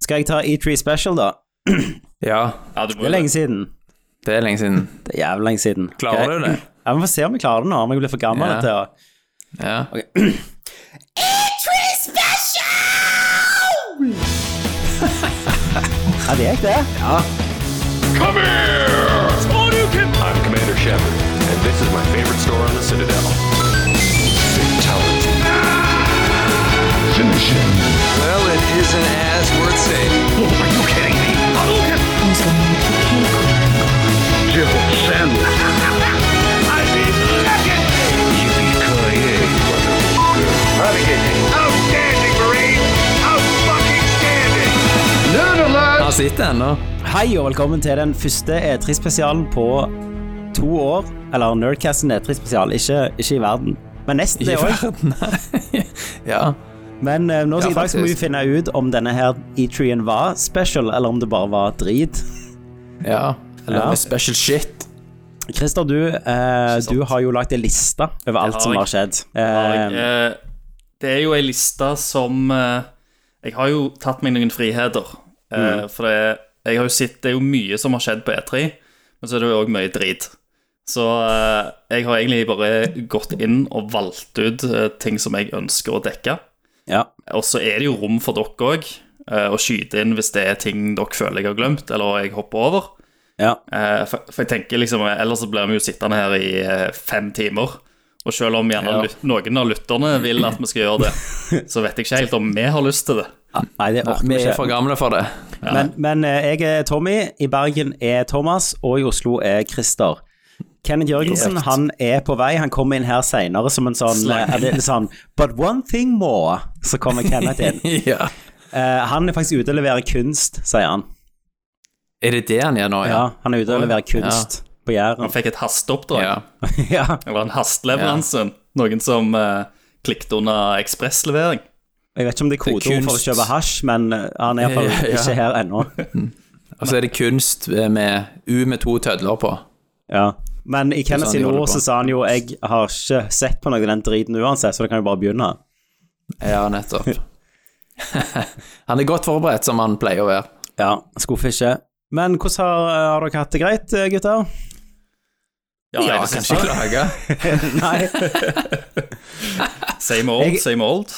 Skal jeg ta E3 Special, da? Ja, Ja, du Det må er jo lenge siden. det er lenge siden. Det er jævlig lenge siden. Klarer Ok. du det? Ja, Vi får se om vi klarer det nå, om jeg blir for gammel Ja. til å Ja. Ja, det gikk, det. Come here! I'm Commander Shepard, and this is my favorite store on the Citadel. Fatality. Finish him. Well, it isn't as worth saying. Are you kidding me? Jill Sandwich. I mean, legendary. Yippee-ki-yay, motherfucker. Outstanding, Marine! Out-fucking-standing! Han sitter ennå. Hei og velkommen til den første E3-spesialen på to år. Eller Nerdcast sin E3-spesial, ikke, ikke i verden. Men nesten det I òg. verden. ja. Men eh, nå Ja, i dag så må vi faktisk. finne ut om denne her E3-en var special, eller om det bare var drit. Ja. Eller Ja. med special shit. Christer, du, eh, du har jo lagt en liste over alt har som jeg. har skjedd. Jeg, Eh, eh, Det er jo ei liste som eh, Jeg har jo tatt meg noen friheter. eh, For det, jeg har jo sett, det er jo mye som har skjedd på E3, men så er det jo òg mye drit. Så eh, jeg har egentlig bare gått inn og valgt ut eh, ting som jeg ønsker å dekke. ja. Og så er det jo rom for dere òg, å skyte inn hvis det er ting dere føler jeg har glemt, eller jeg hopper over. ja. Eh, For, for jeg tenker liksom, Ellers så blir vi jo sittende her i eh, fem timer. Og selv om gjerne Ja. lyt- noen av lytterne vil at vi skal gjøre det, så vet jeg ikke helt om vi har lyst til det. Nei, det orker Vi vi er ikke. for gamle for det. Men, men eh, jeg er Tommy, i Bergen er Thomas, og i Oslo er Christer. Kenneth Jørgensen Korrekt. han er på vei. Han kommer inn her seinere som en sånn, Slang. eh, er det litt sånn But one thing more, så kommer Kenneth inn. ja. Eh, han er faktisk ute og leverer kunst, sier han. Er det det han gjør nå, Ja, han er ute og Oi. leverer kunst på Jæren. Han fikk et hasteoppdrag, ja. ja, eller en hasteleveranse. Noen som eh, klikket under ekspresslevering. jeg vet ikke om det er kodeord for å kunst. kjøpe hasj, men eh, han er iallfall Ja, ja. ikke her ennå. Og så er det kunst med U med to tødler på. Ja. Men i sånn Kenneth de sine holder ord på. så sa han jo 'jeg har ikke sett på noe av den driten uansett', så da kan vi bare begynne. Ja, nettopp. han er godt forberedt, som han pleier å være. Ja, skuffer ikke. Men hvordan har, har dere hatt det greit, eh, gutter? Ja, jeg kan ikke klage. Nei. Same old, Jeg- same old.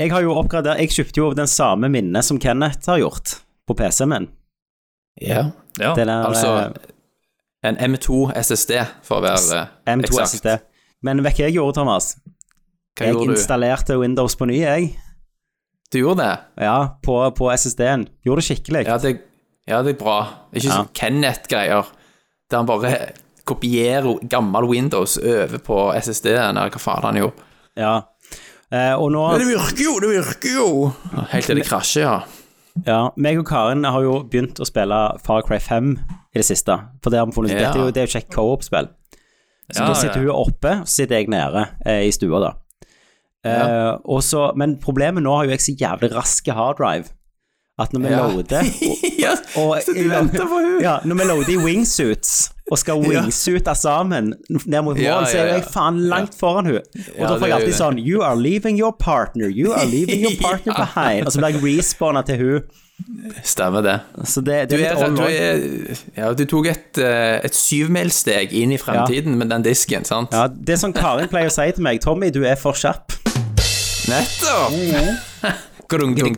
Jeg har jo oppgradert Jeg kjøpte jo den samme minnet som Kenneth har gjort, på PC-en min. Ja. Ja. Den der Altså en M2 SSD, for å være eh, M2 eksakt. SSD. Men vet du hva jeg gjorde, Thomas? Hva jeg gjorde du? installerte Windows på ny, jeg. Du gjorde det? Ja, på, på SSD-en. Gjorde det skikkelig. Ja, det, ja, det er bra. Ikke Ja. sånn Kenneth-greier, der han bare kopierer gammel Windows over på SSD-en, eller hva faen han gjorde. Ja. Eh, og nå Men det virker jo, det virker jo! Helt til det krasjer, ja. Ja, meg og Karen har jo begynt å spille Far Cry 5 i det siste. For det har vi funnet ut. Ja. Dette er jo- Det er jo kjekt co-op-spill. Så Ja, da sitter ja. hun oppe, og så sitter jeg nede eh, i stua, da. Eh, og så, men problemet nå har jo jeg så jævlig raske harddrive. At når vi Ja. loader ja og, så du venter på hun ja, Når vi loader i wingsuits og skal wingsuite sammen ned mot mål, Ja, så er ja, ja. jeg faen langt foran hun Og Ja, da får jeg det er jo alltid det. sånn You are leaving your partner, you are leaving your partner behind. Og så blir jeg respawna til hun Stemmer det. Så det, Du, det er er, litt all du, right. er, ja, du tok et, eh, et syvmilssteg inn i fremtiden med den disken, sant? ja, Det er som Karin pleier å si til meg, Tommy, du er for kjapp. Nettopp! Grung, grung,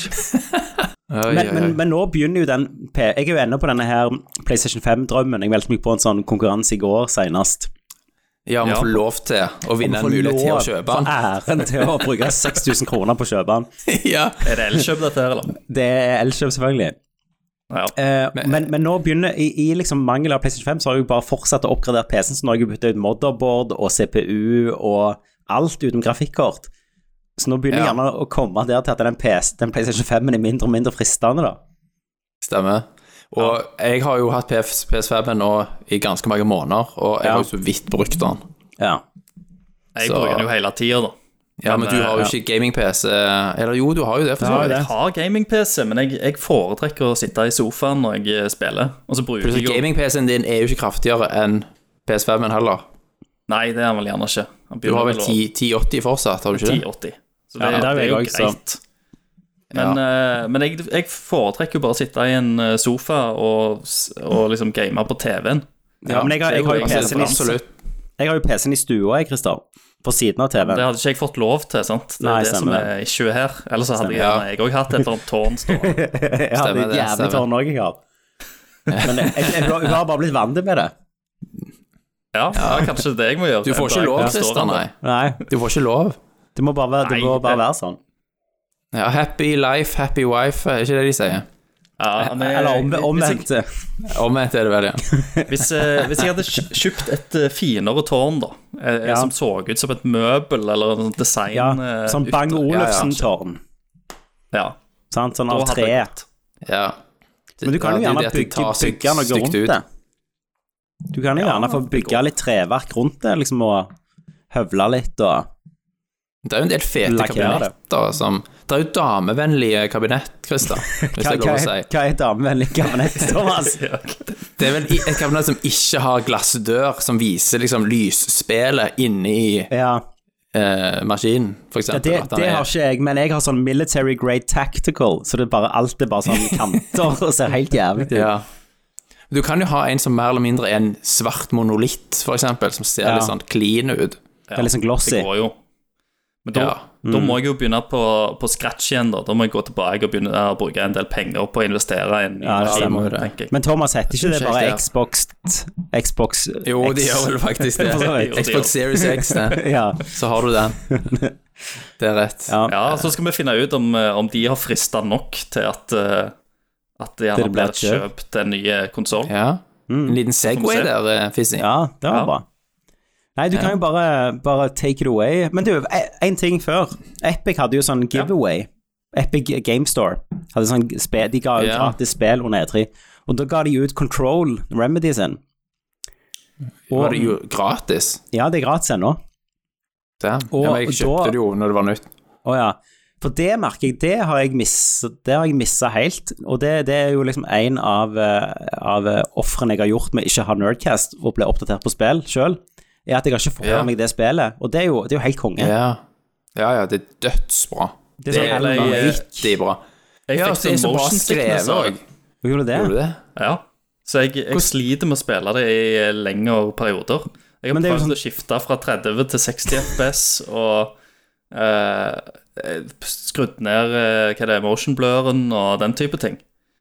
Oi, Men, oi, men, oi. men nå begynner jo den P- Jeg er jo ennå på denne her PlayStation 5-drømmen. Jeg meldte meg på en sånn konkurranse i går senest. Ja, man Ja. får lov til å vinne en mulighet til å kjøpe den. den. Æren til å bruke 6000 kroner på å kjøpe den. ja. Er det Elkjøp, dette her, eller? Det er Elkjøp, selvfølgelig. Ja. Eh, men, men nå begynner I, i liksom mangel av PlayStation 5 så har jeg jo bare fortsatt å oppgradere PC-en, så nå har jeg bytta ut motherboard og CPU og alt utenom grafikkort. Så nå begynner jeg Ja. gjerne å komme der til at den, PS, den PlayStation 5-en er mindre og mindre fristende, da. Stemmer. Og jeg har jo hatt PS PS5 nå i ganske mange måneder, og jeg Ja. har jo så vidt brukt den. Ja. Jeg så- bruker den jo hele tida, da. Ja, men Men, du eh, har ja. jo ikke gaming-PC Eller jo, du har jo det, for så jo vidt. Jeg har gaming-PC, men jeg, jeg foretrekker å sitte i sofaen når jeg eh, spiller. Og så bruker Plutselig jeg jo Gaming-PC-en din er jo ikke kraftigere enn PS5-en heller. Nei, det er han vel gjerne ikke. Han Du har vel å- 10, 1080 fortsatt, har du ikke det? 1080. Så Ja, det, det er det er jo jo jeg også, greit. Men, eh, men jeg, jeg foretrekker jo bare å sitte i en eh, sofa og, s- og liksom game på TV-en. Ja, men jeg har- jeg har jo Altså, PC-en i- Absolutt. jeg har jo PC-en i stua, jeg, Christer. På siden av TV-en. Det hadde ikke jeg fått lov til, sant? Det er Nei, det som stemmer er issue her. Ellers så hadde Stemmer. jeg gjerne jeg òg hatt et eller annet tårn stående. Jeg har Stemmer et det, jævlig stemmer. tårn òg, jeg har. Men jeg, jeg, jeg, hun har bare blitt vant med det. Ja, ja, kanskje det jeg må gjøre. Du får ikke En dag lov, jeg står Christer, der. nei. Nei, Du får ikke lov. det må bare være, det Nei, må bare det- være sånn. Ja, happy life, happy wife, er ikke det de sier? Ja, men jeg- Eller omve- hvis jeg- omvendt. Omvendt er det vel, ja. Hvis, eh, hvis jeg hadde kj- kjøpt et eh, finere tårn, da, eh, Ja. som så ut som et møbel eller en sånn design Ja, eh, sånn ut- Bang ja, Olufsen-tårn. Ja, Sant, sånn da av hadde tre. jeg gått. ja. Men du kan jo Ja, gjerne det er det at de bygge, tar seg bygge noe stygt rundt ut. det. Du kan jo gjerne få bygge litt treverk rundt det, liksom, og høvle litt og Det er jo en del fete Lakkere det. kabinetter som Det er jo damevennlige kabinett, Christer, hvis Hva, det er lov å si. hva, hva er damevennlig kabinett, Thomas? Det er vel i- et kabinett som ikke har glassdør, som viser liksom lysspillet inni Ja, eh, maskinen, for ja eksempel. det, at den det er- har ikke jeg, men jeg har sånn military grade tactical, så det er bare, alt er bare sånn kanter og ser helt jævlig ut. Ja. Du kan jo ha en som mer eller mindre er en svart monolitt, for eksempel, som ser Ja. litt sånn clean ut. Det er litt sånn glossy. Mm. Det går jo. Men da, Ja. da må jeg jo begynne på, på scratch igjen, da. Da må jeg gå tilbake og begynne å bruke en del penger på å investere i en ny Ja, det maskin, stemmer jo det. tenker jeg. Men Thomas, heter ikke det Unnskyld, bare ja. Xbox Xbox Jo, de X? gjør vel faktisk For så det. vidt. Xbox Series X, det. Ja. Så har du den. Det er rett. Ja. Ja, så skal vi finne ut om, eh, om de har frista nok til at eh, at det Til gjerne det blir blir et et kjøp til en ny eh, konsoll. Ja. Mm. En liten Får vi Segway se. der, eh, Fizzy. Sånn Ja, det var Ja. bra. Nei, du kan jo bare, bare take it away. Men du, én ting før. Epic hadde jo sånn giveaway. Epic Game Store. Hadde sånn spe, de ga ut Ja. gratis spill under E3. Og da ga de ut Control, Remedy sin. Var det jo gratis? Ja, det er gratis ennå. Damn. Og- Ja, men jeg og da- kjøpte det jo når det var nytt. Å ja. For det merker jeg, det har jeg miss- det har jeg missa helt. Og det, det er jo liksom en av, eh, av eh, ofrene jeg har gjort med ikke å ha Nerdcast og bli oppdatert på spill sjøl, er at jeg har ikke fått Ja. med meg det spillet. Og det er jo, det er jo helt konge. Ja. ja, ja, det er dødsbra. Det er sånn Det er- Alan Wake. Vanvittig bra. Jeg eh, Ja, fikk det er så sånn bra motion sickness skrevet av òg. det. Gjorde du det? Gjorde du det? Ja. Så jeg, jeg sliter med å spille det i eh, lengre perioder. Jeg har Men det er jo prøvd sånn- å skifte fra 30 til 60 FPS og eh, eh, skrudd ned eh, hva det er, motion blurren og den type ting.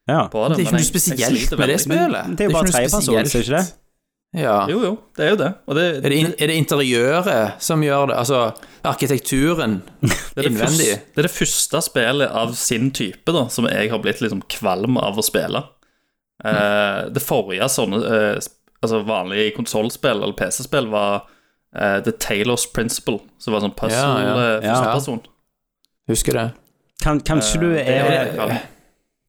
Ja. På det, Det er ikke noe men jeg- jeg spesielt sliter med det veldig. spillet. Det er jo bare ikke noe tredjeperson, er det spesielt. ikke det? Ja. Jo, jo, det er jo det. Og det, Er det, in er det interiøret som gjør det? Altså arkitekturen det, er det, innvendig? første, det er det første spillet av sin type da, som jeg har blitt liksom kvalm av å spille. Eh, det forrige sånne eh, sp- altså vanlige konsollspill eller PC-spill var eh, The Taylors Principle, som var sånn puzzle Ja, ja, eh, ja. førsteperson. Husker du det? Kan, kanskje, Eh, du Det er jo det er, jeg kaller det.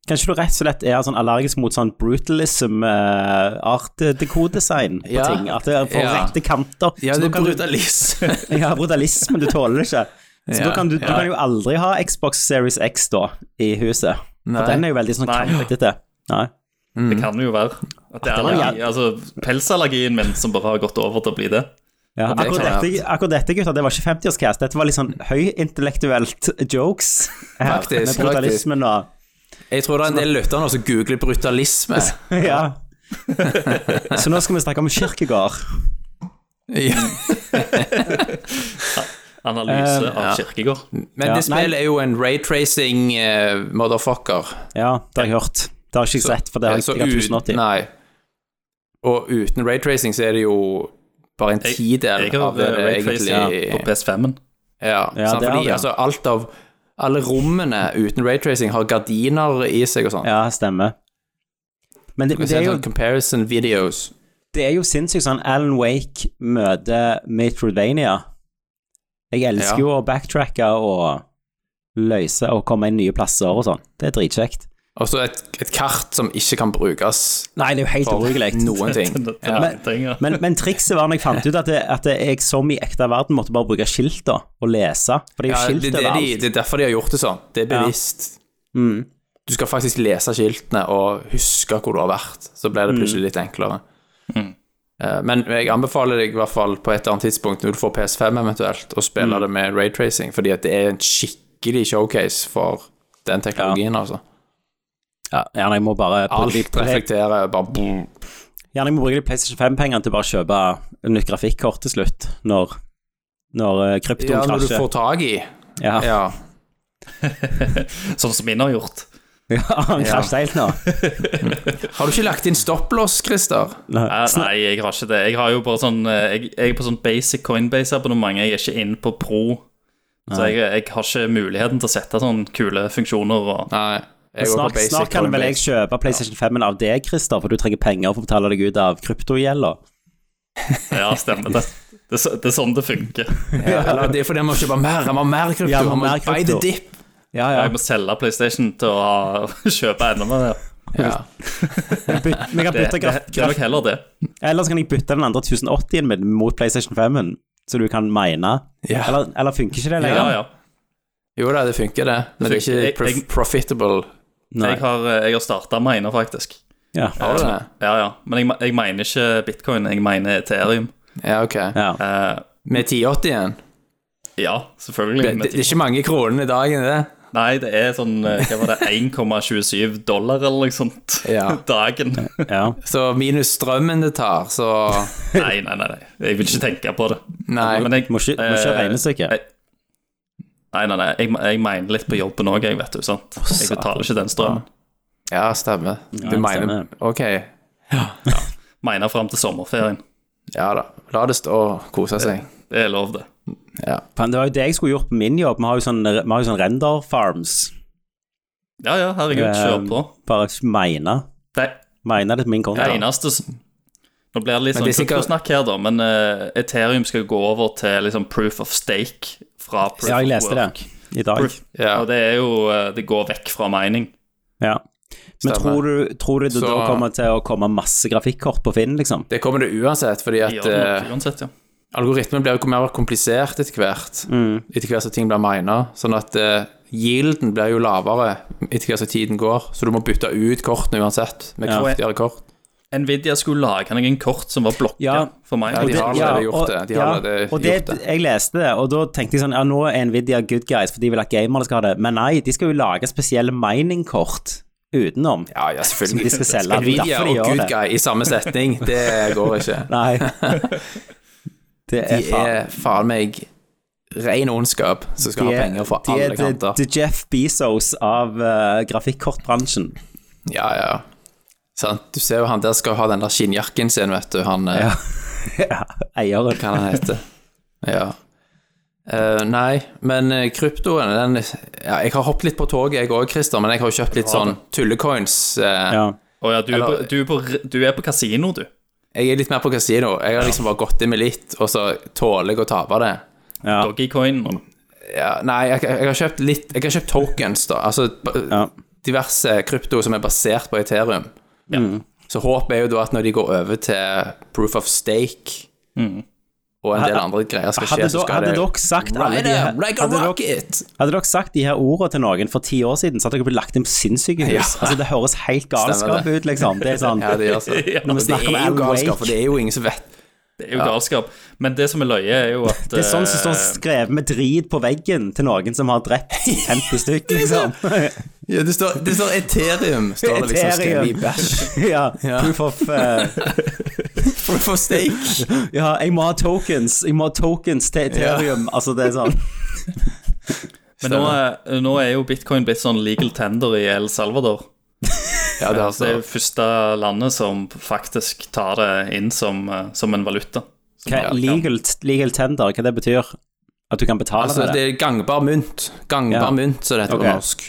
kanskje du rett og slett er sånn allergisk mot sånn brutalism, eh, art decodesign på Ja. ting? At det får Ja. rette kanter. Ja, så det da kan er du- brutalisme. Ja, brutalismen, du tåler det ikke. Så Ja, da kan du, du ja. kan jo aldri ha Xbox Series X da, i huset. Nei. Mm. For den er jo veldig sånn Nei. kantete. Nei. Det kan jo være. At det er det var allergi, altså, pelsallergien min som bare har gått over til å bli det. Ja, det er akkurat, klart. dette, akkurat dette, gutter, det var ikke 50-årscast. Dette var litt sånn høyintellektuelt jokes. her, Faktisk, Med brutalismen og Jeg tror det er en del lyttere nå som googler brutalisme. Ja. Så nå skal vi snakke om kirkegård. Ja. Analyse Eh, av kirkegård. Men Ja, det spillet nei. er jo en raytracing eh, motherfucker. Ja, det har jeg hørt. Det har ikke jeg sett, for det har Eh, Så jeg ikke ut- 1080. Nei. Og uten raytracing så er det jo bare en Jeg- tidel Jeg har av det det raytracing egentlig på PS5-en. Ja, Ja, sant? det har fordi vi, ja. altså alt av Alle rommene uten raytracing har gardiner i seg og sånn. Ja, stemmer. Men det, Du kan det se er jo sånn comparison videos. Det er jo sinnssykt sånn Alan Wake møter Metroidvania. Jeg elsker Ja. jo å backtracke og løse og komme inn nye plasser og sånn. Det er dritkjekt. Og så et, et kart som ikke kan brukes Nei, det er jo helt for ubrukelig. noen ting. Den- den- Ja. den tingen. Men, men trikset var når jeg fant ut at, det, at det, jeg som i ekte verden måtte bare bruke skilt da, og lese. For det er jo Ja, det, skilt det, er Mm. de, overalt. det er derfor de har gjort det sånn. Det er Ja. bevisst. Du skal faktisk lese skiltene og huske hvor du har vært. Så blir det plutselig litt enklere. Eh, Men jeg anbefaler deg i hvert fall på et eller annet tidspunkt, når du får Mm. PS5 eventuelt, å spille det med raytracing, fordi at det er en skikkelig showcase for den teknologien, altså. Ja, gjerne jeg må bare Alt reflekterer bare boom. Gjerne jeg må bruke de PlayStation 5-pengene til å bare kjøpe nytt grafikkort til slutt, når, når eh, kryptoen Ja, når du krasjer. får tak i. Ja, ja. Ja. Sånn som min har gjort. han krasjet helt nå. Har du ikke lagt inn stopplås, Christer? Nei, Nei, nei, jeg har ikke det. Jeg, har jo bare sånn, eh, jeg, jeg er på sånn basic coinbase-abonnement. Jeg er ikke inn på pro. Så jeg, jeg har ikke muligheten til å sette sånne kule funksjoner. Og, Nei. Jeg går på Snart, basic snart kan vel jeg Coinbase. kjøpe PlayStation 5-en av deg, Christer, for du trenger penger for å betale deg ut av kryptogjelda. ja, stemmer det. Det, er så- det er sånn det funker. Ja, eller det er fordi jeg må kjøpe mer. Jeg må ha mer krypto. Ja, jeg må ha jeg må mer buy krypto. the dip. Ja, ja. Jeg må selge PlayStation til å ha, kjøpe enda mer. Ja. Byt, vi kan Det, bytte det, graf- det er nok heller det. Ellers kan jeg bytte den andre 1080-en min mot PlayStation 5-en, så du kan mine. Ja. Eller, eller funker ikke det lenger? Ja, ja. Jo da, det funker, det. Men det er funker. ikke Jeg- prof jeg- profitable. Nei. Jeg har, eh, jeg har starta miner, faktisk. Ja. Har du det? Ja, ja. Men jeg, jeg mener ikke bitcoin, jeg mener Ethereum. Ja, ok. Ja. Eh, Med 1080 igjen? ja, selvfølgelig. Det, med det er ikke mange kronene i dagen, det. Nei, det er sånn eh, Hva var det, 1,27 dollar eller noe sånt Ja. dagen? ja. Så minus strømmen det tar, så Nei, nei, nei, nei. Jeg vil ikke tenke på det. Nei. Men jeg, Må ikke, må ikke eh, regne seg ikke. jeg- Nei, nei, nei. Jeg, jeg mener litt på jobben òg, jeg, vet du. sant? Jeg betaler ikke den strømmen. Ja, stemmer. Du Ja, mener stemmer. Ok. Mener fram til sommerferien. Ja da. La det stå og kose seg. Det er lov, det. Faen, Det var jo det jeg skulle gjort på min jobb. Vi har jo sånn, vi har jo sånn render farms. Ja, ja, herregud, Ehm, kjør på. Bare mine. Det, Mine det til min konto. det eneste som- Nå blir det litt Men sånn det er sikkert- kryptosnakk her, da, men eh, Ethereum skal gå over til liksom proof of stake fra proof Ja, jeg of leste det work. i dag. Proof, Ja. Og det er jo eh, Det går vekk fra mining. Ja. Men Stemmer. tror du, tror du det Så- da kommer til å komme masse grafikkort på Finn, liksom? Det kommer det uansett, fordi Gjør at det nok, eh, uansett, ja. algoritmen blir jo mer komplisert etter hvert. Mm. Etter hvert som ting blir mina. Sånn at eh, yielden blir jo lavere etter hvert som tiden går. Så du må bytte ut kortene uansett, med Ja. kraftigere kort. Nvidia skulle lage noen kort som var blokka Ja. for meg. Ja, de det- har allerede gjort det. De har allerede og det, gjort det. Jeg leste det, og da tenkte jeg sånn Ja, nå er Nvidia good guys, for de vil at gamerne skal ha det. Men nei, de skal jo lage spesielle mining-kort utenom. Ja, ja, Som de selvfølgelig. skal selge. Nvidia Derfor de og gjør Good det. Guy i samme setning, det går ikke. Nei. Det De er faen. er faen meg ren ondskap som skal De ha er- penger fra de er alle the- kanter. the Jeff Bezos av eh, grafikkortbransjen. Ja, ja. Sant? Du ser jo han der skal ha den der skinnjakken sin, vet du. Han eh, Ja. Ja, Eieren. Hva han heter. Ja. Eh, nei, men eh, kryptoen den, ja, Jeg har hoppet litt på toget, jeg òg, Christer, men jeg har jo kjøpt litt sånn tullecoins. eh, Ja. Å ja, du, er Eller- på, du, er på, du er på kasino, du. Jeg er litt mer på kasino. Jeg har liksom bare gått inn med litt, og så tåler jeg å tape det. Ja. Doggycoin. Ja, nei, jeg, jeg har kjøpt litt Jeg har kjøpt tokens, da. Altså ba- Ja. diverse krypto som er basert på Ethereum. Så håpet er jo da at når de går over til proof of stake og en del andre greier skal Mm. skje, Hadde, så da, skal hadde det dere sagt alle Ride de her, up like a hadde, dere, rocket! hadde dere sagt de her ordene til noen for ti år siden, så hadde dere blitt lagt inn på sinnssykehus. Ja. Altså, det høres helt galskap det. ut, liksom. Det er sånn Ja, det altså. gjør så. Når Ja, vi Men det snakker om er jo Alan galskap, Wake for det er jo ingen som vet Det er jo galskap. Men det som er løye, er jo at Det er sånn som står eh, skrevet med drit på veggen til noen som har drept 50 stykker, liksom. ja, det, står, det står Ethereum, står det liksom skrevet i Ethereum. bæsj. ja, Ja. proof of eh, Proof of stake. Ja, jeg må ha tokens. Jeg må ha tokens til Ethereum. Altså, det er sånn. Men nå er, nå er jo bitcoin blitt sånn legal tender i El Salvador. Ja, det, er Det er jo altså, første landet som faktisk tar det inn som, eh, som en valuta. Som Hva, ja. legal, legal tender, hva det betyr? At du kan betale altså, med det det? er gangbar mynt. Gangbar Ja. mynt, så det heter Ok. på norsk.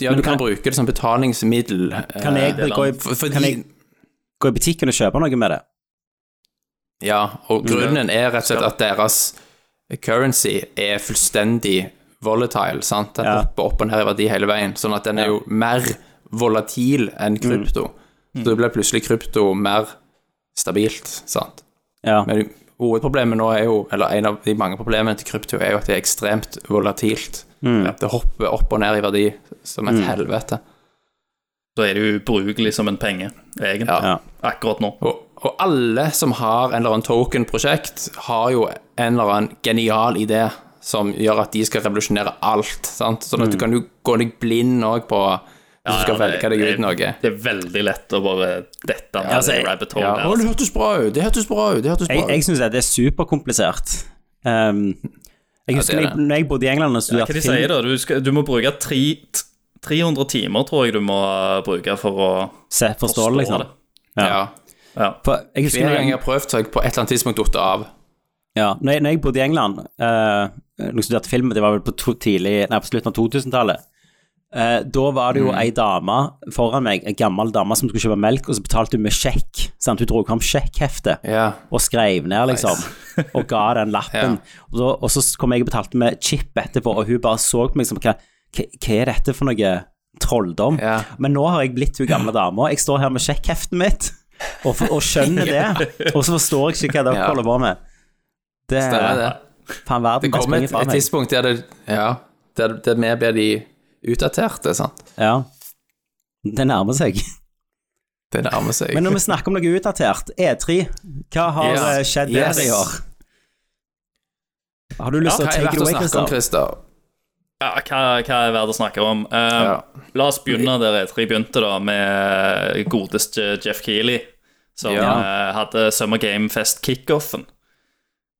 Ja, Men du kan kan- bruke det som betalingsmiddel. eh, Kan jeg, det er gå, i, for, fordi, kan jeg gå i butikken og kjøpe noe med det? Ja, og grunnen er rett og slett at deres currency er fullstendig volatile, sant? Den Ja. hopper opp og ned i verdi hele veien, sånn at den er jo mer volatil enn krypto. Så det blir plutselig krypto mer stabilt, sant? Ja. Men hovedproblemet nå er jo, eller en av de mange problemene til krypto, er jo at det er ekstremt volatilt. Det hopper opp og ned i verdi som et helvete. Da er det jo ubrukelig som en penge, egentlig. Ja. Ja. Akkurat nå. Og, og alle som har en eller annen token-prosjekt, har jo en eller annen genial idé som gjør at de skal revolusjonere alt. Sant? Sånn Mm. at du kan jo gå deg blind òg på hvis du skal velge deg ut noe. Det er veldig lett å bare dette med altså, jeg- rabbit hole Ja. der. Å, det hørtes bra ut! Det hørtes bra ut! det hørtes bra Jeg, ut. jeg syns det er superkomplisert. Um, jeg husker det er når jeg- når jeg bodde i England og Hva studerte de film- sier da? Du, skal, du må bruke tre, t- 300 timer, tror jeg du må eh, bruke for å se, forstå det, forstå liksom. det. ja. Ja. For jeg husker Flere når jeg, ganger jeg har prøvd, så har jeg på et eller annet tidspunkt datt av. ja, når, jeg, når jeg bodde i England eh, Når jeg studerte film, det var vel på, to, tidlig, nei, på slutten av 2000-tallet eh, Da var det jo ei dame foran meg, en gammel dame som skulle kjøpe melk, og så betalte hun med sjekk. Sant? Hun dro fram sjekkheftet Ja. og skrev ned, liksom, og ga den lappen. Og, så, og så kom jeg og betalte med chip etterpå, og hun bare så på meg som hva, hva hva er dette for noe trolldom? Ja. Men nå har jeg blitt hun gamle dama. Jeg står her med sjekkheftet mitt og, for, og skjønner det. Og så forstår jeg ikke hva dere Ja. holder på med. Det Stemmer er det. faen Det verden bare kommer springer et, fra et meg. tidspunkt der det Ja, der, der vi blir de utdaterte, sant. Ja. Det nærmer seg. Det nærmer seg. Men når vi snakker om noe utdatert, E3, hva har Yes. eh, skjedd der Yes. i år? Har du lyst til å Hva er take verdt it å away, snakke om, Christer? Christer? Ja, hva, hva er verdt å snakke om? Eh, Ja. La oss begynne der E3 begynte, da, med godeste Jeff Keeley, som Ja. eh, hadde Summer Game Fest kickoffen.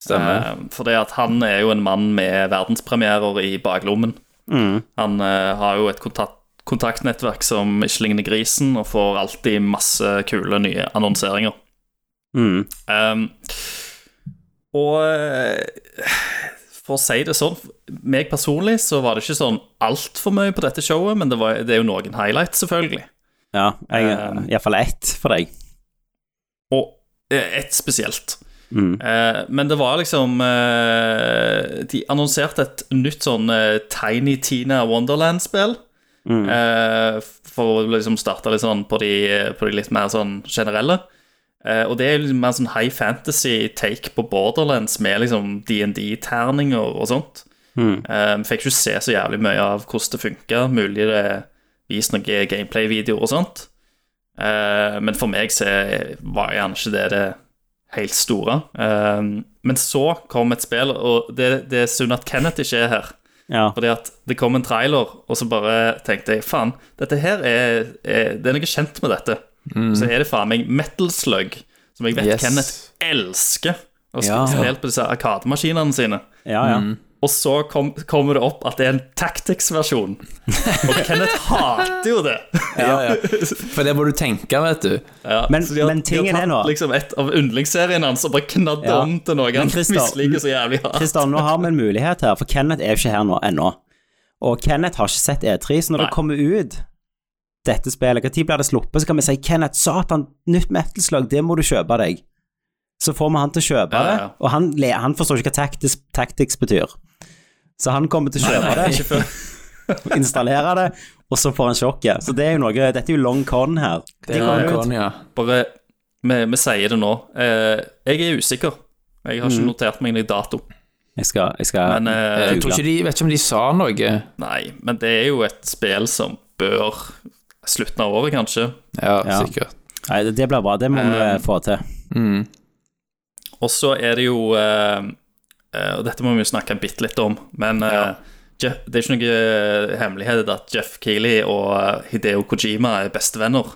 Stemmer. Eh, fordi at han er jo en mann med verdenspremierer i baklommen. Mm. Han eh, har jo et kontakt, kontaktnettverk som ikke ligner grisen, og får alltid masse kule nye annonseringer. Mm. Ehm, og eh, for å si det sånn, meg personlig så var det ikke sånn altfor mye på dette showet, men det, var, det er jo noen highlights, selvfølgelig. Ja, jeg, Eh. iallfall ett for deg. Og eh, ett spesielt. Mm. Eh, men det var liksom eh, De annonserte et nytt sånn eh, Tiny Tina Wonderland-spill. Mm. Eh, for å liksom starte litt sånn på de, på de litt mer sånn generelle. Eh, og det er jo liksom mer sånn high fantasy take på Borderlands med liksom DND-terninger og sånt. Mm. Eh, fikk ikke se så jævlig mye av hvordan det funker. Mulig det viser noen gameplay-videoer og sånt. Eh, men for meg så var gjerne ikke det det helt store. Eh, men så kom et spill, og det, det er synd at Kenneth ikke er her. Ja. Fordi at det kom en trailer, og så bare tenkte jeg faen, dette her er, er Det er noe kjent med dette. Så er det faen meg Metal Slug, som jeg vet Yes. Kenneth elsker. Og Ja. ja. spille på disse arkademaskinene sine. ja, ja. Og så kom, kommer det opp at det er en Tactics-versjon. Og Kenneth hater jo det. Ja, ja. For det må du tenke, vet du. Ja, Men- så de har- men tingen de har er tatt nå- Liksom et av yndlingsseriene hans og bare knadd Ja. om til noe han Christer- misliker så jævlig hardt. Kristian, nå har vi en mulighet her, for Kenneth er jo ikke her nå ennå. Og Kenneth har ikke sett E3, så når Nei. det kommer ut dette spillet, hva tid blir det sluppet, så kan vi si Kenneth, satan, nytt metal-slag, det må du kjøpe deg. Så får vi han til å kjøpe Ja, ja, ja. det, og han, le- han forstår ikke hva tactics, tactics betyr. Så han kommer til å kjøpe Ikke før- det, installere det, og så får han sjokket. Så det er jo noe, dette er jo long con her. Det kommer er ut. Konya. Bare vi, vi sier det nå. Eh, jeg er usikker. Jeg har ikke Mm. notert meg noen dato. Jeg skal, jeg skal Men, eh, Jeg tror ikke de, vet ikke om de sa noe. Nei, men det er jo et spill som bør Slutten av året, kanskje. Ja, Ja. sikkert. Mm. Nei, det- det blir bra, det må Eh. vi få til. Og så er det jo eh, eh, Og dette må vi jo snakke bitte litt om, men eh, Jeff, det er ikke noe eh, hemmelighet at Jeff Keeley og eh, Hideo Kojima er bestevenner.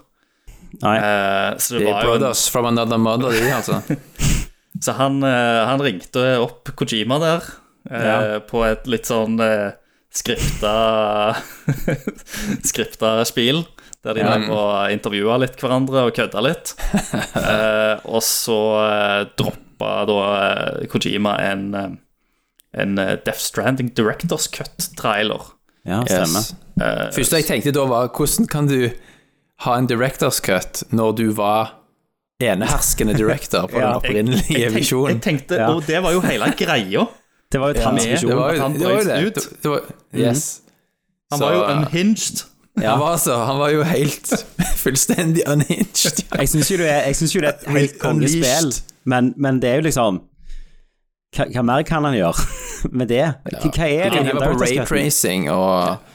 Nei, Eh, så det De var jo en brothers from another mother, de, altså. Så han, eh, han ringte opp Kojima der eh, Ja. på et litt sånn eh, skripta Skripta spill. Der de drev og intervjua litt hverandre og kødda litt. Eh, og så eh, droppa da eh, Kojima en, eh, en eh, Death Stranding Directors Eh, Cut-trailer. ja, stemmer. Yes. Første jeg tenkte da, var hvordan kan du ha en director's cut når du var eneherskende director på den Ja. opprinnelige Jeg visjonen? tenkte, Ja. Og det var jo hele greia. Det var jo hans med- visjon. Det var jo han det. Var jo brøt det. ut. det, det var, Mm. yes. Han var jo eh, Så- unhinged. Han var, altså, han var jo helt fullstendig unhinged. Jeg syns jo, det er- jeg synes jo det er et helt kongespill, Unleashed. men, men det er jo liksom hva, hva mer kan han gjøre med det? Hva, hva er det? Han var Director's på Cut? raytracing og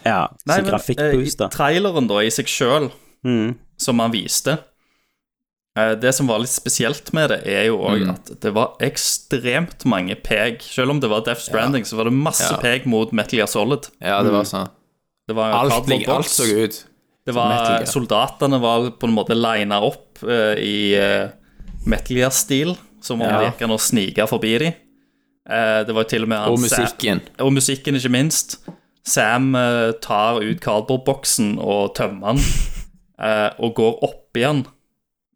Ja, så men, eh, grafikkboost, da. Traileren da i seg sjøl, Mm. som han viste Eh, Det som var litt spesielt med det, er jo òg Mm. at det var ekstremt mange peg. Selv om det var Death Stranding, så var det masse Ja. peg mot Metal Gear Solid. Ja, det Mm. var sånn. Det var Alt, cardboard lik- alt box. så ut. Det Metal var, Gear. soldatene var på en måte lina opp eh, i eh, Metal Gear-stil, som om Ja. det gikk an å snike forbi dem. det var jo til og med han Og Sam- musikken. og musikken, ikke minst. Sam eh, tar ut cardboardboksen og tømmer den, eh, og går opp igjen.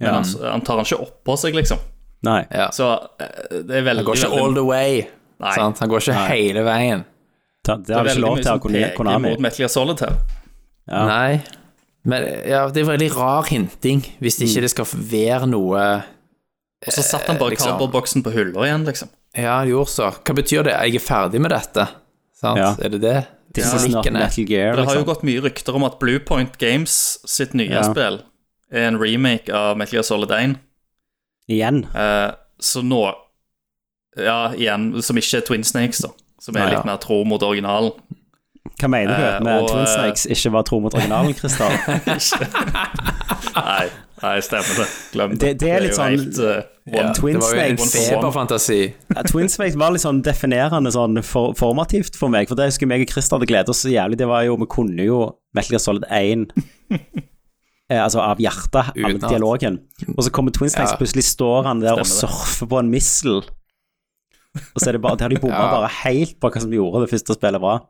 Men han, han tar den ikke oppå seg, liksom. Nei. Ja. Så eh, det er Han veldig går ikke veldig- all the way. Nei. Sant? Han går ikke hele veien. Ta- Det har vi ikke veldig lov mye til som av Kon- peker Konami. mot Metal Gear Solid her. Ja. Nei. Men ja, det er veldig rar hinting hvis det ikke det skal være noe Og så satt han bare Eh, liksom. cardboardboksen på hylla igjen, liksom. Ja, det gjorde så. Hva betyr det? Jeg er ferdig med dette. Sant? Ja. Er det det? This is not Symbolikken er- Metal Gear, Det har jo liksom. gått mye rykter om at Bluepoint Games sitt nye Ja. spill er en remake av Metal Gear Solid 1. Igjen. Eh, så nå Ja, igjen, som ikke er Twin Snakes, da. Som er Ja, ja. litt mer tro mot originalen. Hva mener du Eh, med og, at Twin Snakes ikke var tro mot originalen, Christer? Nei, nei, stemmer det. Glem det. Det- det er litt jo sånn- helt, eh, one- Twin det var jo en Snakes. feberfantasi. Ja, Twin Snakes var litt sånn definerende sånn for, formativt for meg, for det husker jeg meg og Christer hadde gledet oss så jævlig. Det var jo, Vi kunne jo Metal Gear Solid 1 eh, altså av hjertet, all Utenat. dialogen. Og så kommer Twin Snakes, Ja. plutselig står han der og Stemmer surfer på en missel. Og så er det bare, det har de bomma Ja. bare helt på hva som gjorde det første spillet bra.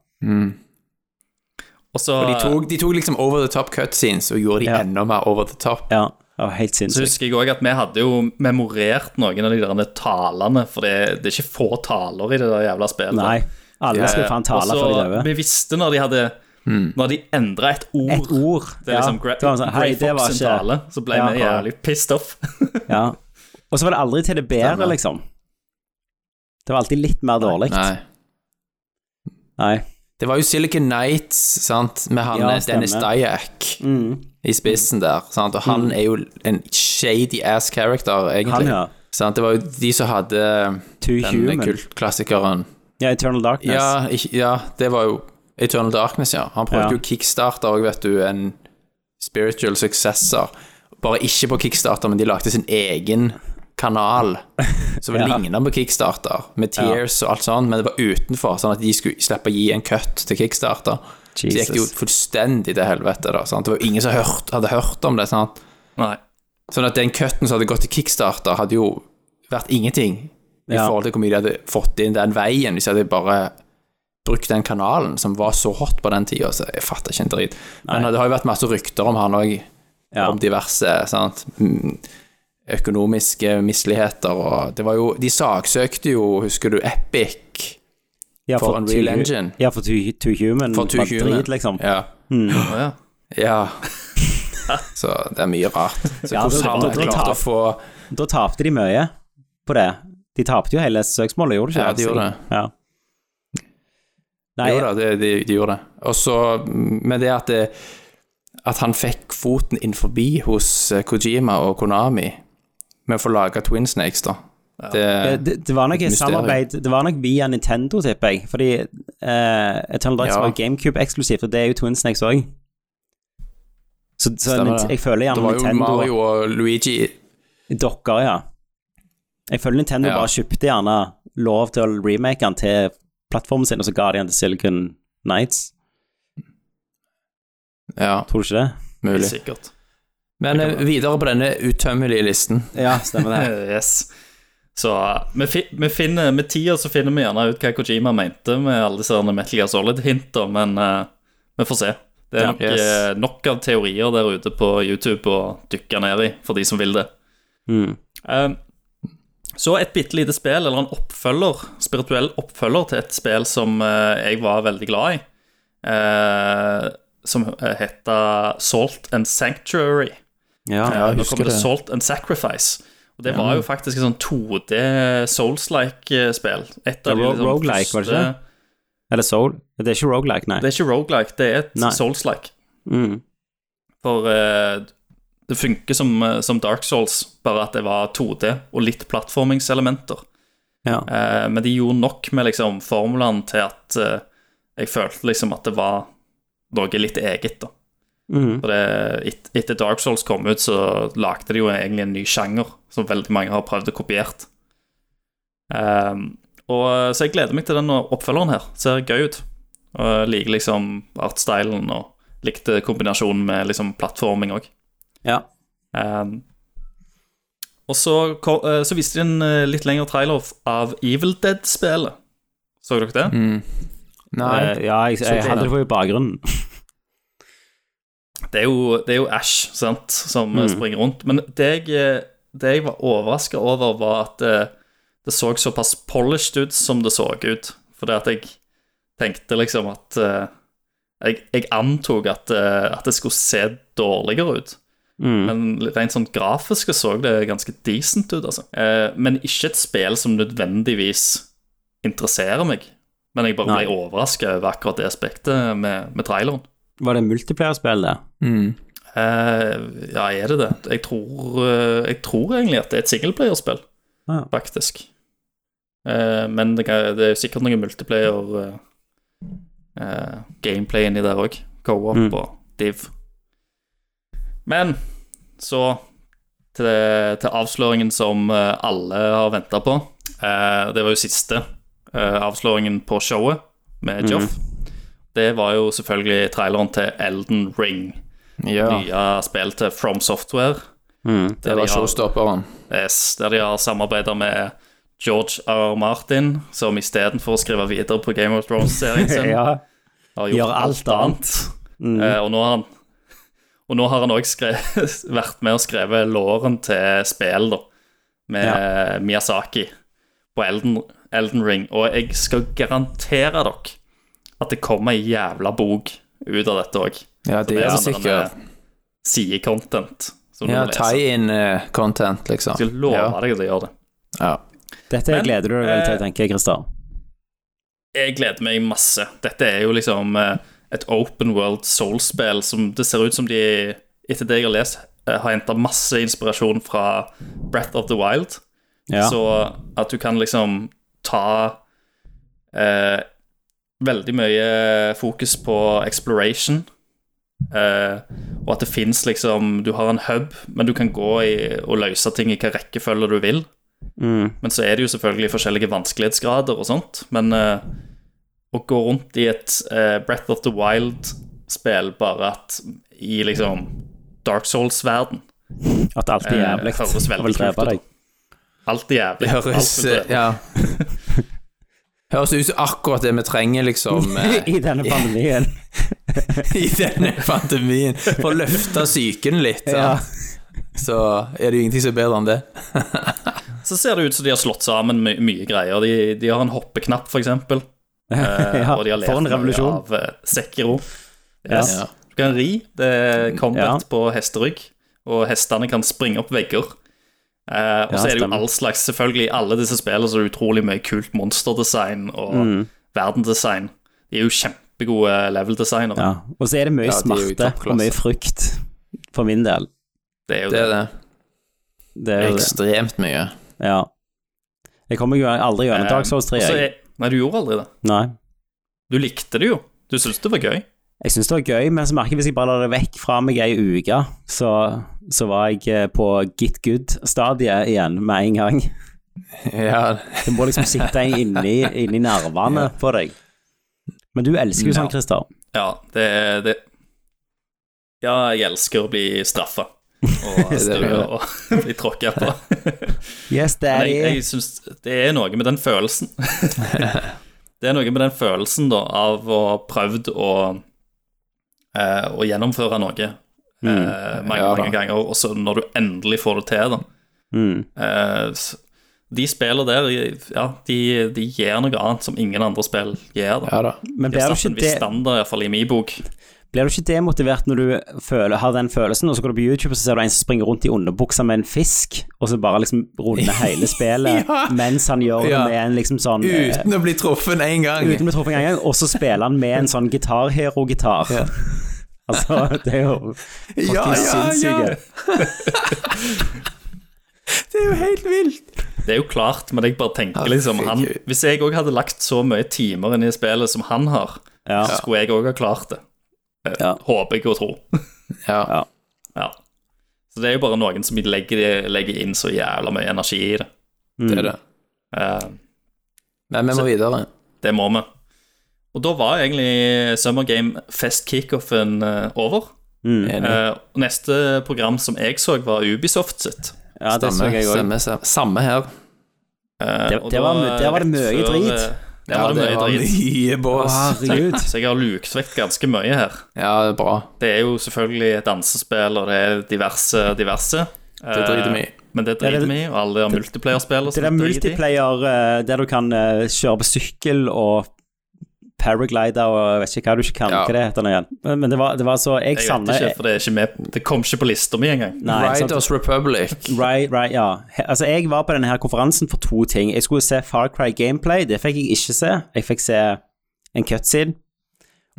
Og så Og de tok, de tok liksom over the top cutscenes og gjorde de Ja. enda mer over the top. Ja, det var helt så sinnssykt. husker jeg òg at vi hadde jo memorert noen av de der talene, for det, det er ikke få taler i det der jævla spillet. Nei, alle skulle faen tale for de Og så døde. vi visste når de hadde Når de endra et ord Et ord. Det er liksom Gra Det var sånn, Grey hei, det var Fox sin ikke- tale, så ble Ja, vi ja. jævlig pissed off. Ja. Og så var det aldri til det bedre, Stemmer. liksom. Det var alltid litt mer dårlig. Nei. Nei. Det var jo Silicon Nights, sant, med han Ja, eh, Dennis stemmer. Dyack Mm. i spissen der, sant, og han er jo en shady ass character, Han, egentlig. ja. Sant, det var jo de som hadde Too den human. kultklassikeren Ja, Eternal Darkness. ja, ikk- ja, det var jo Eternal Darkness, ja. Han Ja. prøvde jo kickstarter òg, vet du, en spiritual successor. Bare ikke på kickstarter, men de lagde sin egen kanal som Ja. ligna på kickstarter, med tears og alt sånt, men det var utenfor, sånn at de skulle slippe å gi en cut til kickstarter. Så det gikk det jo Jesus. fullstendig til helvete, da. Sant? Det var jo ingen som hørt, hadde hørt om det. Sant? Nei. Sånn at den cutten som hadde gått til kickstarter, hadde jo vært ingenting i Ja. forhold til hvor mye de hadde fått inn den veien hvis de hadde bare brukt den kanalen som var så hot på den tida, så jeg fatter ikke en drit. Men det har jo vært masse rykter om han òg, Ja. om diverse sant? Mm, økonomiske misligheter og Det var jo De saksøkte jo, husker du, Epic Ja, for Unreal Too- Engine. Ja, for Too, too Human. for Too Mm, var Human. Drit, liksom. Ja. Å, ja. ja. Så det er mye rart. Så Ja, det- hvordan har man det- det- klart å få Da tapte de mye på det. De tapte jo hele søksmålet, gjorde de ikke? Ja, de gjorde det. Ja. Nei, jo da, det, de, de gjorde det. Og så med det at det, at han fikk foten inn forbi hos eh, Kojima og Konami med å få lage Twin Snakes, da. Det, Eh, det, det var nok Et et mysterium. samarbeid Det var nok via Nintendo, tipper jeg. Fordi eh, Eternal Darks Ja. var GameCube eksklusivt, og det er jo Twin Snakes òg. Så, så Stemmer Nint- det. jeg føler det gjerne var jo Nintendo Mario og Luigi Dokker, ja. Jeg føler Nintendo Ja. bare kjøpte gjerne lov til å remake den til plattformen sin, og så ga de den til Silicon Nights. Ja, Tror du ikke det? Helt mulig. Sikkert. Men eh, videre på denne utømmelige listen. Ja, stemmer Eh, yes. Så eh, vi, fi, vi finner, med tida så finner vi gjerne ut hva Kojima mente med alle disse herne Metal Gear Solid-hinta, men eh, vi får se. Det er Ja. nok, Yes. eh, nok av teorier der ute på YouTube å dykke ned i, for de som vil det. Mm. Eh, så et bitte lite spill, eller en oppfølger, spirituell oppfølger til et spill som eh, jeg var veldig glad i, eh, som uh, heter Salt and Sanctuary. Ja. Ja, jeg Nå husker kommer det det. Salt and Sacrifice. Og det var jo faktisk et sånn 2D Souls-like-spill. Et Ja, av de ro- liksom roguelike, var det første- ikke? Eller Soul. Det er ikke Roguelike, nei. Det er ikke roguelike, det er et Nei. Souls-like. Mm. For eh, det funker som, eh, som Dark Souls, bare at det var 2D og litt plattformingselementer. Ja. Eh, men de gjorde nok med liksom formelen til at eh, jeg følte liksom at det var noe litt eget, da. Mm. For det, et, etter Dark Souls kom ut, så lagde de jo egentlig en ny sjanger som veldig mange har prøvd å kopiert. Ehm, og, så jeg gleder meg til den oppfølgeren her. Ser gøy ut. Og jeg liker liksom artstylen og likte kombinasjonen med liksom plattforming òg. Ja. Ehm, og så, ko- eh, så viste de en eh, litt lengre trailer av- av Evil Dead-spelet. Så Mm. dere det? Nei. Eh, ja, jeg, jeg hadde det på i bakgrunnen. Det er jo, det er jo Ash sant, som eh, springer rundt. Men det jeg, eh, det jeg var overraska over, var at eh, det så såpass polished ut som det så ut. Fordi at jeg tenkte liksom at eh, Jeg, jeg antok at, eh, at det skulle se dårligere ut. Mm. Men rent sånn grafisk så det ganske decent ut, altså. Eh, men ikke et spill som nødvendigvis interesserer meg. Men jeg bare Nei. ble overraska over akkurat det aspektet med, med traileren. Var det multiplayer-spill, det? Mm. Eh, ja, er det det? Jeg tror, eh, jeg tror egentlig at det er et singleplayerspill, Ja. faktisk. Eh, men det, kan, det er jo sikkert noe multiplayer eh, eh, gameplay inni der òg. Co-op Mm. og div. Men så til, det, til avsløringen som eh, alle har venta på. Eh, det var jo siste eh, avsløringen på showet med Joff. Det var jo selvfølgelig traileren til Elden Ring Ja. nye spill til From Software. Det var de har- showstopperen. Yes, der de har samarbeida med George R. R. Martin, som istedenfor å skrive videre på Game of Thrones-serien sin, Ja. Mm. har gjør gjort alt alt annet. Eh, og nå har han Og nå har han òg vært med og skrevet låren til spill, da, med Miyazaki på Elden, Elden Ring. Og jeg skal garantere dere at det kommer ei jævla bok ut av dette òg. Ja, det er er det sånn sikkert. Sidecontent. som du Ja, må lese. tie-in-content, liksom. Jeg skal love Ja. deg at jeg gjør det. ja. Dette Men, gleder du deg vel til, eh, tenker jeg, Christer. Jeg gleder meg masse. Dette er jo liksom eh, et open world soul-spill som det ser ut som de, etter det jeg har lest, eh, har henta masse inspirasjon fra Breath of the Wild. Ja. Så at du kan liksom ta eh, veldig mye fokus på exploration. eh, og at det fins liksom Du har en hub, men du kan gå i, og løse ting i hvilken rekkefølge du vil. Mm. Men så er det jo selvfølgelig forskjellige vanskelighetsgrader og sånt. Men eh, å gå rundt i et eh, Breath of the Wild-spill bare at i liksom Dark Souls-verden At alt er eh, jævlig. høres veldig Jeg vil kult drepe ut. deg. Alt er jævlig. Det høres alt er Ja. Høres ut som akkurat det vi trenger, liksom, eh, I denne pandemien. i denne pandemien. For å løfte psyken litt. Ja. sant? Så er det jo ingenting som er bedre enn det. Så ser det ut som de har slått sammen my mye greier. De, de har en hoppeknapp, for eksempel. Eh, Ja, og de har lært for en mye revolusjon. av eh, Sekiro. Yes. Ja. Du kan ri. Det er combat Ja. på hesterygg, og hestene kan springe opp vegger. Eh, og Ja, så er det jo stemmer. all slags Selvfølgelig, i alle disse spillene så er det utrolig mye kult monsterdesign og Mm. verdendesign. De er jo kjempegode level-designere. Ja. Og så er det mye Ja, de er jo i smerte og toppklasse. mye frukt, for min del. Det er jo Det det. er det. Det er jo det. Ekstremt mye. Ja. Jeg kommer jo aldri Eh, gjennom Dark Souls 3, og så jeg. er- Nei, du gjorde aldri det. Nei. Du likte det jo. Du syntes det var gøy. Jeg syns det var gøy, men så merker jeg hvis jeg bare la det vekk fra meg ei uke, så, så var jeg eh, på get good-stadiet igjen med en gang. Ja, Det må liksom sitte inni, inni nervene på deg. Men du elsker jo sånn, Ja. Christer. Ja, det er det. Ja, jeg elsker å bli straffa. Og, Det er det. og bli tråkka på. Yes, Men jeg, daddy. jeg syns det er noe med den følelsen. det er noe med den følelsen da av å ha prøvd å, eh, å gjennomføre noe eh, Mm. mange, Mm. Ja, da. mange ganger, og så når du endelig får det til, da. Mm. Eh, s- de spiller der, ja, de, de gjør noe annet som ingen andre spill gjør. Da. ja da. Men De har blir du ikke satt en viss det- standard, iallfall i min bok. blir du ikke demotivert når du føler, har den følelsen, og så går du på YouTube og så ser du en som springer rundt i underbuksa med en fisk, og så bare liksom runder hele spillet Ja. mens han gjør det Ja. med en liksom sånn eh, Uten å bli truffet én gang. Uten å bli truffet en gang, og så spiller han med en sånn gitarhero-gitar. Ja. Altså, det er jo fucking Ja, ja, ja. sinnssyke. Det er jo helt vilt. Det er jo klart, men jeg bare tenker Ja, liksom han, fy- Hvis jeg òg hadde lagt så mye timer inn i spillet som han har, Ja. så skulle jeg òg ha klart det. Eh, Ja. Håper jeg og tror. Ja. Ja. Ja. Så det er jo bare noen som legger, legger inn så jævla mye energi i det. det er det. Eh, Mm. Men vi må videre. det må vi. Og da var egentlig Summer Game Fest kickoffen eh, over. Mm. Enig. Eh, og neste program som jeg så, var Ubisoft sitt. Ja, det så Samme, jeg òg. samme, samme. Samme her. Eh, Det- og det da, var mye- der var det rett mye før, drit. eh, Der var det mye var drit. mye bås. Herregud. Så jeg har lukt vekk ganske mye her. Ja, det er bra. Det er jo selvfølgelig et dansespill, og det er diverse, diverse. Eh, Det driter vi i. Men det Ja, driter det- vi i, og alle har multiplayerspill. og Det sånt der sånn drit i. multiplayer eh, der du kan eh, kjøre på sykkel og paraglider og jeg vet ikke hva du ikke kan. Ja. Hva det heter nå igjen. Men men det var, det var så Jeg, Jeg vet savner ikke, for det, er ikke med, det kom ikke på lista mi engang. Nei, sant. Eh, Riders Republic. Right, right, ja. He- Altså, jeg var på denne her konferansen for to ting. Jeg skulle se Far Cry Gameplay, det fikk jeg ikke se. Jeg fikk se en cutscene.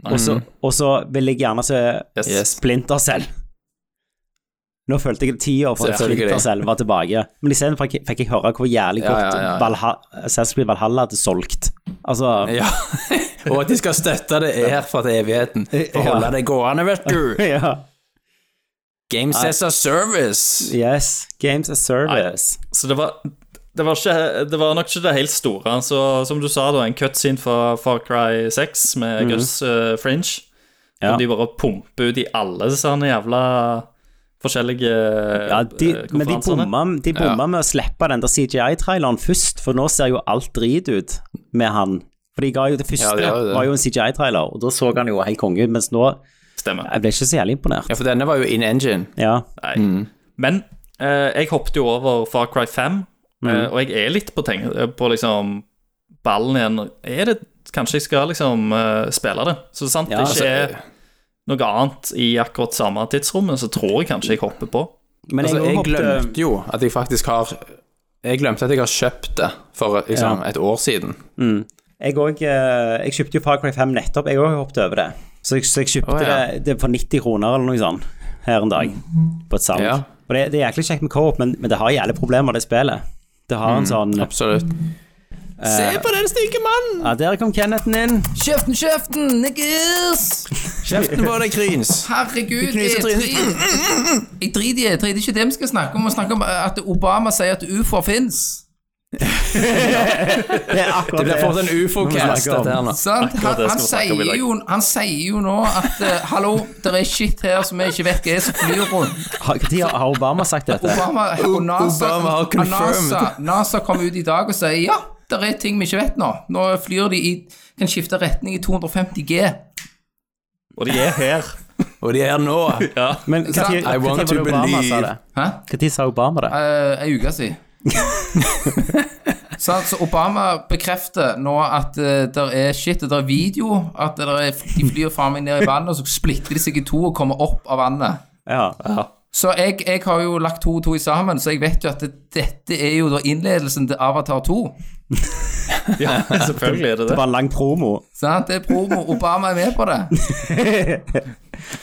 Og så, og så vil jeg gjerne se Yes. Splinter Cell. Nå følte jeg tida for at Selvfølgelig. Splinter Cell var tilbake. Men isteden fikk jeg- fikk jeg høre hvor jævlig Ja, godt ja, ja. Valha- Assassin's Creed Valhalla hadde solgt. Altså Ja. Og at de skal støtte det er herfra til evigheten. For å holde det gående, vet du. ja. Games as a service. Yes. Games as service. Så det var, det var, ikke, det var nok ikke det helt store. Så som du sa, da, en cutscene fra Far Cry 6 med Gus eh, Fringe. Mhm. Ja. Som de bare pumper ut i alle sånne jævla forskjellige Ja, de, eh, men de konferansene. bomma, de bomma Ja. med å slippe den der CGI-traileren først, for nå ser jo alt drit ut med han. For de ga jo det første Ja, det gjør jo det. var jo en CGI-trailer, og da så han jo helt konge ut, mens nå Stemmer. Jeg ble ikke så jævlig imponert. Ja, for denne var jo in engine. Ja. Nei. Mm. Men eh, jeg hoppet jo over Far Cry 5, eh, Mm. og jeg er litt på, tenk på liksom ballen igjen. Er det Kanskje jeg skal liksom eh, spille det. Så sant Ja, altså, det ikke er noe annet i akkurat samme tidsrommet, så tror jeg kanskje jeg hopper på. Men Altså, jeg, jeg hoppet- glemte jo at jeg faktisk har Jeg glemte at jeg har kjøpt det for liksom, et år siden. jeg, også, eh, jeg kjøpte jo Far Cry 5 nettopp, jeg òg hoppet over det. Så jeg, så jeg kjøpte Å, ja. det, det for 90 kroner eller noe sånt her en dag, på et salg. Ja. Og det, det er jæklig kjekt med co-op, men, men det har jævlig problemer, det spillet. Det har Mm. en sånn Absolutt. Se på den stygge mannen! Ja, der kom Kennethen inn. Kjeften, kjeften! Niggers! Kjeften på deg, Kryns. Herregud, jeg driter jeg driter i jeg driter ikke i det vi skal snakke om. Vi snakker om at Obama sier at ufoer fins. Det er akkurat Det blir fort en ufo-cast, snakker om. dette her nå. Sant? Han, det han, skal vi snakke om i sier dag. jo, han sier jo nå at eh, Hallo, det er shit her som vi ikke vet hva er som flyr rundt. Har, når har Obama sagt dette? Obama, og NASA, Obama har og confirmed. NASA, NASA kom ut i dag og sier ja, det er ting vi ikke vet nå. Nå flyr de i kan skifte retning i 250 G. Og de er her. Og de er her nå. Men hva tid I hva tid var want det to Obama sa believe. det? Hæ? Hva tid sa Obama det? Eh, Ei uke siden. Sant, så altså, Obama bekrefter nå at det er shit, det er video, at der er, de flyr faen meg ned i vannet, og så splitter de seg i to og kommer opp av vannet. Ja. Så jeg, jeg har jo lagt to og to i sammen, så jeg vet jo at det, dette er jo da innledelsen til Avatar 2. Ja, selvfølgelig er det Det det. var en lang promo. Sant? Det er promo. Obama er med på det.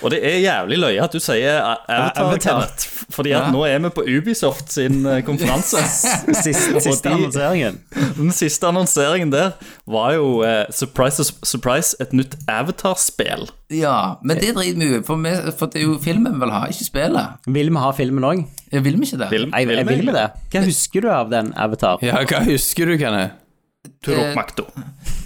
Og det er jævlig løye at du sier A- Avatar, Avatar. Kenneth. Fordi at nå er vi på Ubisoft sin eh, konferanse. Siste, siste de- annonseringen. Den siste annonseringen der var jo eh, surprise, surprise, et nytt Avatar-spill. Ja, men det driter vi jo i, for, vi- for det er jo filmen vi vil ha, ikke spillet. Vil vi ha filmen òg? Eh, Vil vi ikke det? Film. Jeg, jeg vil vi det. Hva husker du av den Avatar? Ja, hva husker du, Kenneth? Eh, Turok Makto.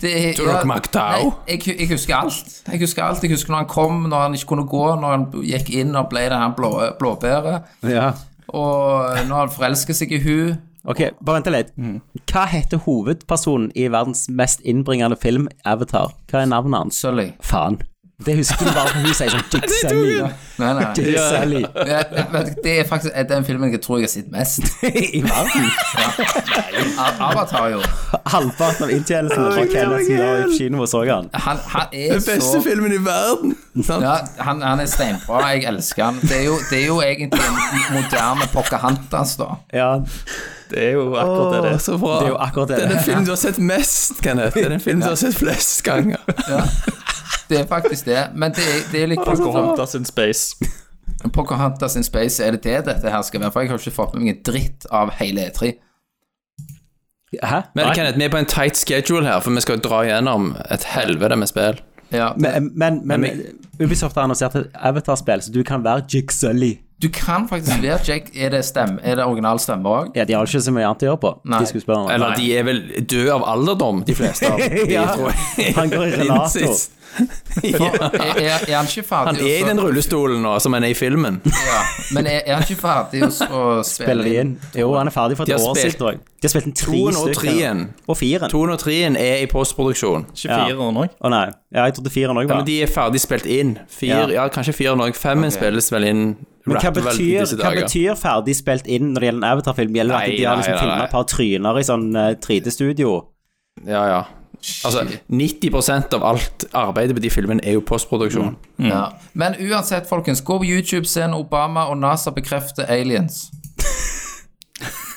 Det, Tror dere Magdao? Nei, jeg, jeg husker alt. Jeg husker alt, jeg husker når han kom, når han ikke kunne gå, når han gikk inn og ble det her blå, blåbæret, Ja. og eh, når han forelsker seg i hun. Ok, bare vent litt. Mm. Hva heter hovedpersonen i verdens mest innbringende film, Avatar? Hva er navnet hans? Sully. Faen. Det husker du bare for hun sier sånn Dick Sally. Nei, nei. Dick Sally. Ja, vet du, Det er faktisk eh, den filmen jeg tror jeg har sett mest. I verden. Av- Avatar, jo. Halvparten av inntjenesten fra Kenneth som var i kino og så han. Han, han er så filmen i verden. ja, han, han er steinbra. Jeg elsker han. Det er jo, det er jo egentlig en moderne Pocahontas, da. Ja, Det er jo akkurat det det er. Så bra. det er jo akkurat det. filmen du har sett mest, Kenneth. Det er den filmen du har sett flest ganger. Det er faktisk det. Men det, er- det er litt Pocahontas in space. Pocahontas in Space, er det det dette her skal være? For jeg har ikke fått med meg en dritt av hele E3. Hæ? Men Kenneth, vi er på en tight schedule her, for vi skal dra gjennom et helvete med spill. Ja. Men, men, men, Ubisoft har annonsert et Avatar-spill, så du kan være Jig Sully. Du kan faktisk være Jake. Er det, stemme? Er det original stemme òg? Ja, de har jo ikke så mye annet å gjøre på, Nei. de skuespillerne. Eller de er vel døde av alderdom, de fleste av de, Ja. tror jeg. Han går i relator. Innsikt. ja. Er, er, er han ikke ferdig? Han er i også- den rullestolen nå, som han er i filmen. Ja. Men er, er han ikke ferdig også å Spiller spille de inn? inn? Jo, han er ferdig for De et har år spilt- siden, tror jeg. De har spilt inn tre Toen og stykker. treen. Og firen. Å Toen og treen er i postproduksjon. Ikke fire år nå. nei. Ja, jeg trodde firen òg Ja, var men de er ferdig spilt inn. Fire, Ja. ja. kanskje fire nå. Femmen Ok. spilles vel inn Men hva rapper vel i betyr, disse hva dager. betyr ferdig spilt inn når det gjelder en Avatar-film? Gjelder det Nei, at de har nei, liksom nei, filma nei. et par tryner i sånn eh, 3D-studio? Ja, ja. Altså, 90 av alt arbeidet på de filmene er jo Mm. postproduksjon. Ja. Men uansett, folkens, gå på YouTube, se når Obama og NASA bekrefter aliens.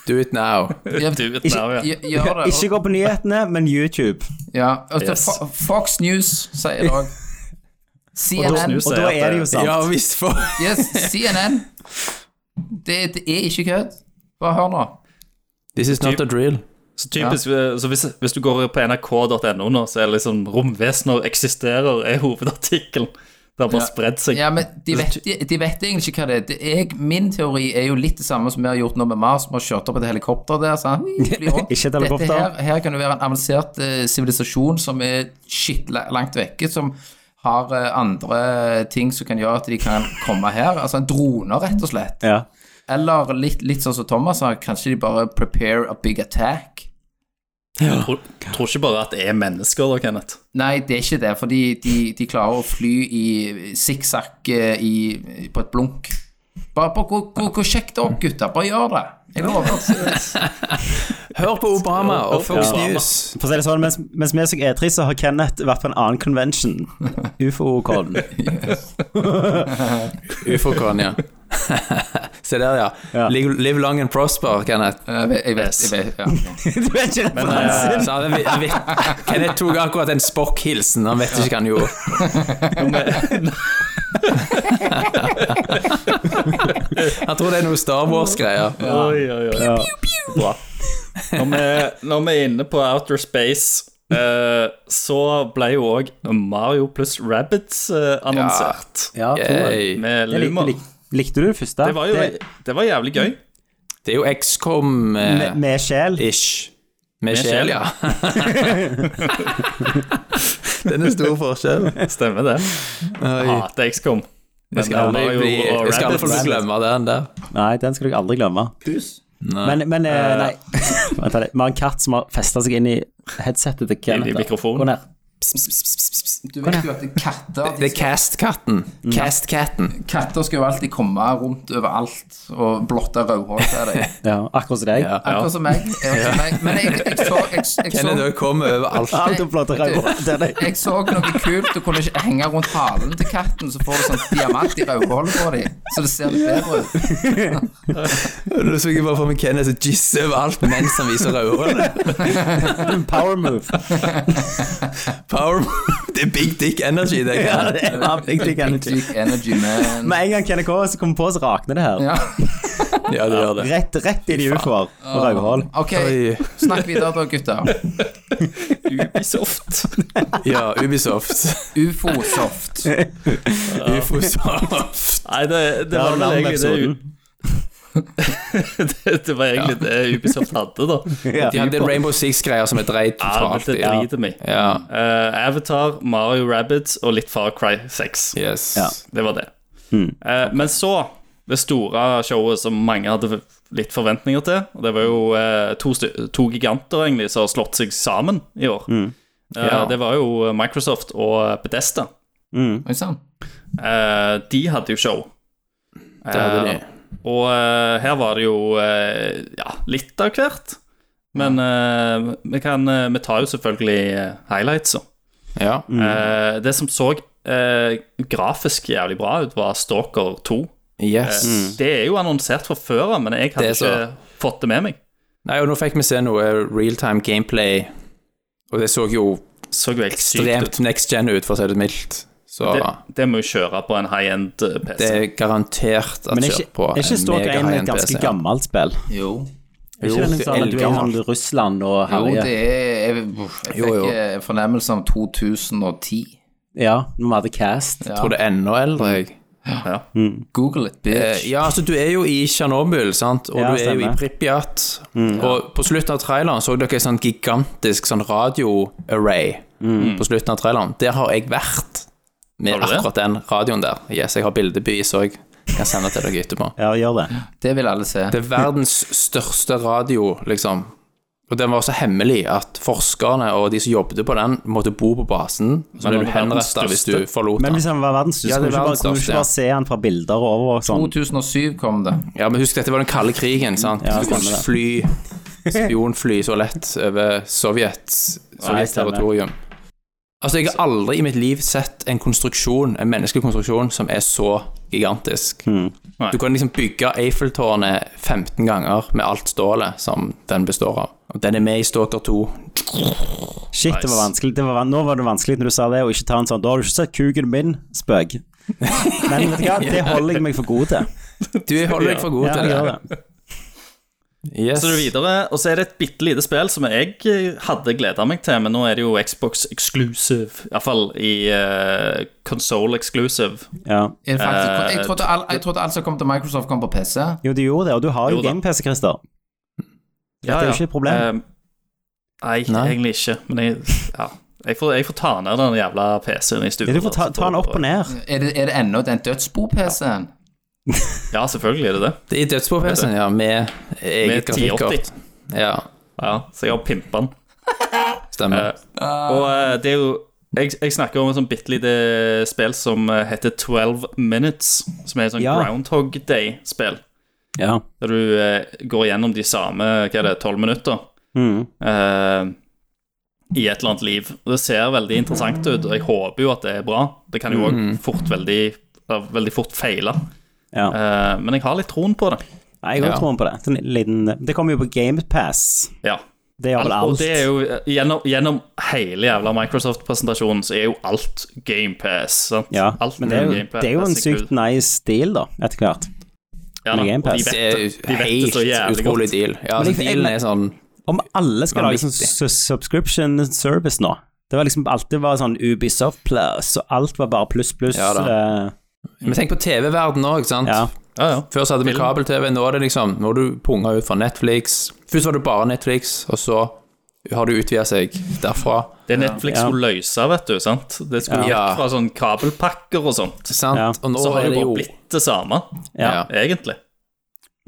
Do it now. Ja, Du vet Ikke- nær, ja. gj- Gjør det. Ikke gå på nyhetene, men YouTube. Ja. og så Yes. Fo- Fox News sier det òg. Fox CNN. News. Og da er det jo sant. Ja visst, for Yes, CNN. Det, det er ikke kødd. Bare hør nå. This is not a drill. Så typisk, eh, så hvis, hvis du går på nrk.no nå, så er det liksom 'Romvesener eksisterer' er hovedartikkelen. Det har bare spredd seg. Ja, men de Altså, vet, de vet egentlig ikke hva det er. Det er. Min teori er jo litt det samme som vi har gjort nå med Mars. Vi har kjørt opp et helikopter der. Sant? Fly rundt. Ikke et helikopter. Dette her, her kan det være en avansert eh, sivilisasjon som er shit la- langt vekke, som har eh, andre ting som kan gjøre at de kan komme her. Altså en drone, rett og slett. Ja. Eller litt, litt sånn som Thomas sa, kanskje de bare prepare a big attack. Tror, tror ikke bare at det er mennesker, da, Kenneth. Nei, det er ikke det, fordi de, de klarer å fly i sikksakk eh, i- på et blunk. Bare, bare gå, gå, gå og sjekk det opp, gutter. Bare gjør det. Jeg lover. Hør på Obama og Fox Obama. News. For å si det sånn, mens, mens vi er så E3, så har Kenneth vært på en annen convention. UFO-con. Ufo-kon, ja. Se der, ja. Ja. Live live long and prosper, Kenneth. Jeg vet, jeg vet, jeg vet ja. ok. du er ikke referansen! Så han, vi- vi- Kenneth tok akkurat en Spock-hilsen. Han vet ikke hva han gjorde. Han tror det er noe Star Wars-greier. Oi, oi, oi. Ja. Bra. Når vi, når vi er inne på Outer Space, eh, så ble jo òg Mario pluss Rabbits eh, annonsert. Ja, toeren. Yay. Med Jeg likte, Lumor. lik, likte du det første? eh, Det var jo Det- det var jævlig gøy. Det er jo med, XCOM-ish. med sjel. Med sjel, sjel, ja. Den er stor forskjell. Stemmer det. Oi. Hater XCOM. eh, Jeg skal aldri, Mario bli, og jeg skal aldri Rabbids. få glemme den der. Nei, den skal du aldri glemme. Men, men eh, nei Vent litt. Vi har en katt som har festa seg inn i headsetet til Kenneth. da. mikrofonen. Gå ned. Du vet jo at katter Det de, er Cast-katten. Cast-katten. Katter skal jo alltid komme rundt overalt og blotte rødhål til deg. Ja, akkurat som deg. Ja. Akkurat som meg. Akkurat som meg. Men jeg, jeg så, jeg, jeg, Kenneth så òg kommer overalt. Alt om flotte rødhår til deg. jeg så noe kult, du kunne ikke henge rundt halen til katten, så får du sånn diamant i rødhålet på dem, så det ser litt bedre ut. Nå så jeg bare for meg Kenneth som gisser overalt mens han viser rødhårene. Power move. Power Det er big dick energy, det. Ja, Kenneth. det var viktig, Kenneth. Syk energy, man. Med en gang Kenneth kommer, så kommer på, så rakner det her. Ja. Ja, det gjør det. Rett, rett inn i ufoer og rødhål. Ok, Oi. snakk videre da, gutter. Ubisoft. Ja, Ubisoft. Ufosoft. Ufosoft. Nei, det, det Ja, var vel navnet egentlig det, det, det var egentlig det Ubisoft hadde, da. Ja. De hadde Rainbow Six-greier som er dreit Ja, totalt det i. driter meg. Ja. Eh, Avatar, Mario Rabbits og litt Far Cry 6. Yes. Ja. Det var det. Hmm. Eh, men så, det store showet som mange hadde litt forventninger til, og det var jo eh, to, sty- to giganter egentlig som har slått seg sammen i år. Eh, Hmm. Ja. Hmm. det var jo Microsoft og Bedesta. Oi sann. de hadde jo show. Det hadde de. Og eh, her var det jo eh, ja, litt av hvert. Men eh, vi, kan, eh, vi tar jo selvfølgelig eh, highlights. Så. Ja. Eh, det som så eh, grafisk jævlig bra ut, var Stalker 2. Yes. Det er jo annonsert fra før av, men jeg hadde Mm. Det er så. ikke fått det med meg. Nei, og nå fikk vi se noe eh, realtime gameplay, og det så jo Så jo helt sykt ut. ekstremt next gen ut, for å si det mildt. Så Det, det, det må jo kjøre på en high-end eh, PC. er garantert at Men er kjørt på ikke, er ikke en Stalker 1 mega et ganske PC. gammelt spill? Jo. Er ikke Jo, den det sånn at du er er i sånn eldgammelt. Russland og Jo, herje? det er Jeg, jeg fikk Jo, jo. eh, fornemmelse av 2010. Ja, når vi hadde cast. Ja. Jeg tror det er enda eldre, jeg. Google it, bitch. Eh, Ja, altså, du er jo i Tsjernobyl, sant, og Ja, du er jo i stemmer. Pripjat. Mm, Og på slutten av traileren så dere et sånn gigantisk sånn radio-array på slutten av traileren. Der har jeg vært med Mm. Har du det? akkurat den radioen der. Yes, jeg har bildebevis òg. Kan sende til dere etterpå. Ja, gjør det. Det vil alle se. Det er verdens største radio, liksom. Og den var så hemmelig at forskerne og de som jobbet på den, måtte bo på basen. Så ble du den var verdens henrettet hvis du største. forlot Men den. hvis han var verdens største, Ja, kunne det er du ikke bare, verdens kunne du ikke største, bare se han fra bilder og over og sånn. 2007 kom det. Ja, men husk, dette var den kalde krigen, sant? Ja, du kunne stemmer ikke fly, spionfly så lett over Sovjet, stemmer. Sovjet-territorium. Altså, jeg har aldri i mitt liv sett en konstruksjon, en menneskekonstruksjon, som er så gigantisk. Hmm. Nei. Du kan liksom bygge Eiffeltårnet 15 ganger med alt stålet som den består av. Og den er med i Stalker 2. Shit, det var Nice. vanskelig. Det var, van- nå var det vanskelig når du sa det, og ikke ta en sånn 'Da har du ikke sett kuken min', spøk. Men vet du hva, det holder jeg meg for god til. Du jeg holder deg for god Ja, jeg til gjør det. det. Yes. Så det er videre, og så er det et bitte lite spill som jeg eh, hadde gleda meg til, men nå er det jo Xbox exclusive. Iallfall i uh, console exclusive. Ja. Er det faktisk, jeg, trodde all, jeg trodde alt som kom til Microsoft, kom på PC. Jo, du gjorde det, og du har jo, Jo da. game-PC, Christer. Dette er jo ikke et problem. Eh, nei, Nei. egentlig ikke. Men jeg, ja. jeg, får, jeg får ta ned den jævla PC-en i stuen. Ja, du får ta, ta den opp og ned. Er det, er det ennå den dødsbo-PC-en? Ja, selvfølgelig er det det. Det er dødsbo-PC-en, ja, med Med eget 1080. grafikkort. Ja, Ja, så jeg har pimpa den. Eh, stemmer. Og eh, det er jo jeg, jeg snakker om et sånn bitte lite spill som eh, heter 12 Minutes. Som er et sånn Ja. Groundhog Day-spill. Ja. Der du eh, går gjennom de samme hva er det, 12 minutter Mm. eh, i et eller annet liv. Og det ser veldig interessant ut, og jeg håper jo at det er bra. Det kan jo òg fort veldig, eh, veldig fort feile. ja. Eh, men jeg har litt troen på det. Nei, jeg har Ja. troen på det. Den liten, det kommer jo på GamePass. Ja. Det gjør vel Og alt. det er jo eh, gjennom, gjennom hele jævla Microsoft-presentasjonen så er jo alt GamePass. sant? ja, Alt men det er, jo, Game Pass, det er jo en sikkerhet. sykt nice deal, da, etter hvert. ja, da, med Game og de Pass. vet Det er det- de jo vet det så helt jævlig utrolig godt. deal. Ja, Men jeg- altså, dealen er sånn Om alle skal lage sånn Vanvittig. su- subscription service nå Det var liksom alltid var sånn Ubisoft plus, og alt var bare pluss, pluss. Ja da. eh, Men tenk på TV-verdenen òg, sant. Ja. Ja, ja. Før så hadde vi Film. kabel-TV, nå er det liksom Nå er du punga ut fra Netflix. Først var det bare Netflix, og så har du utvida seg derfra. Det Netflix Ja. skulle løse, vet du. sant? Det skulle Ja. vekk fra sånn kabelpakker og sånt. Sant? Ja. Og nå Så har er det det bare jo blitt det samme, ja. Ja. egentlig.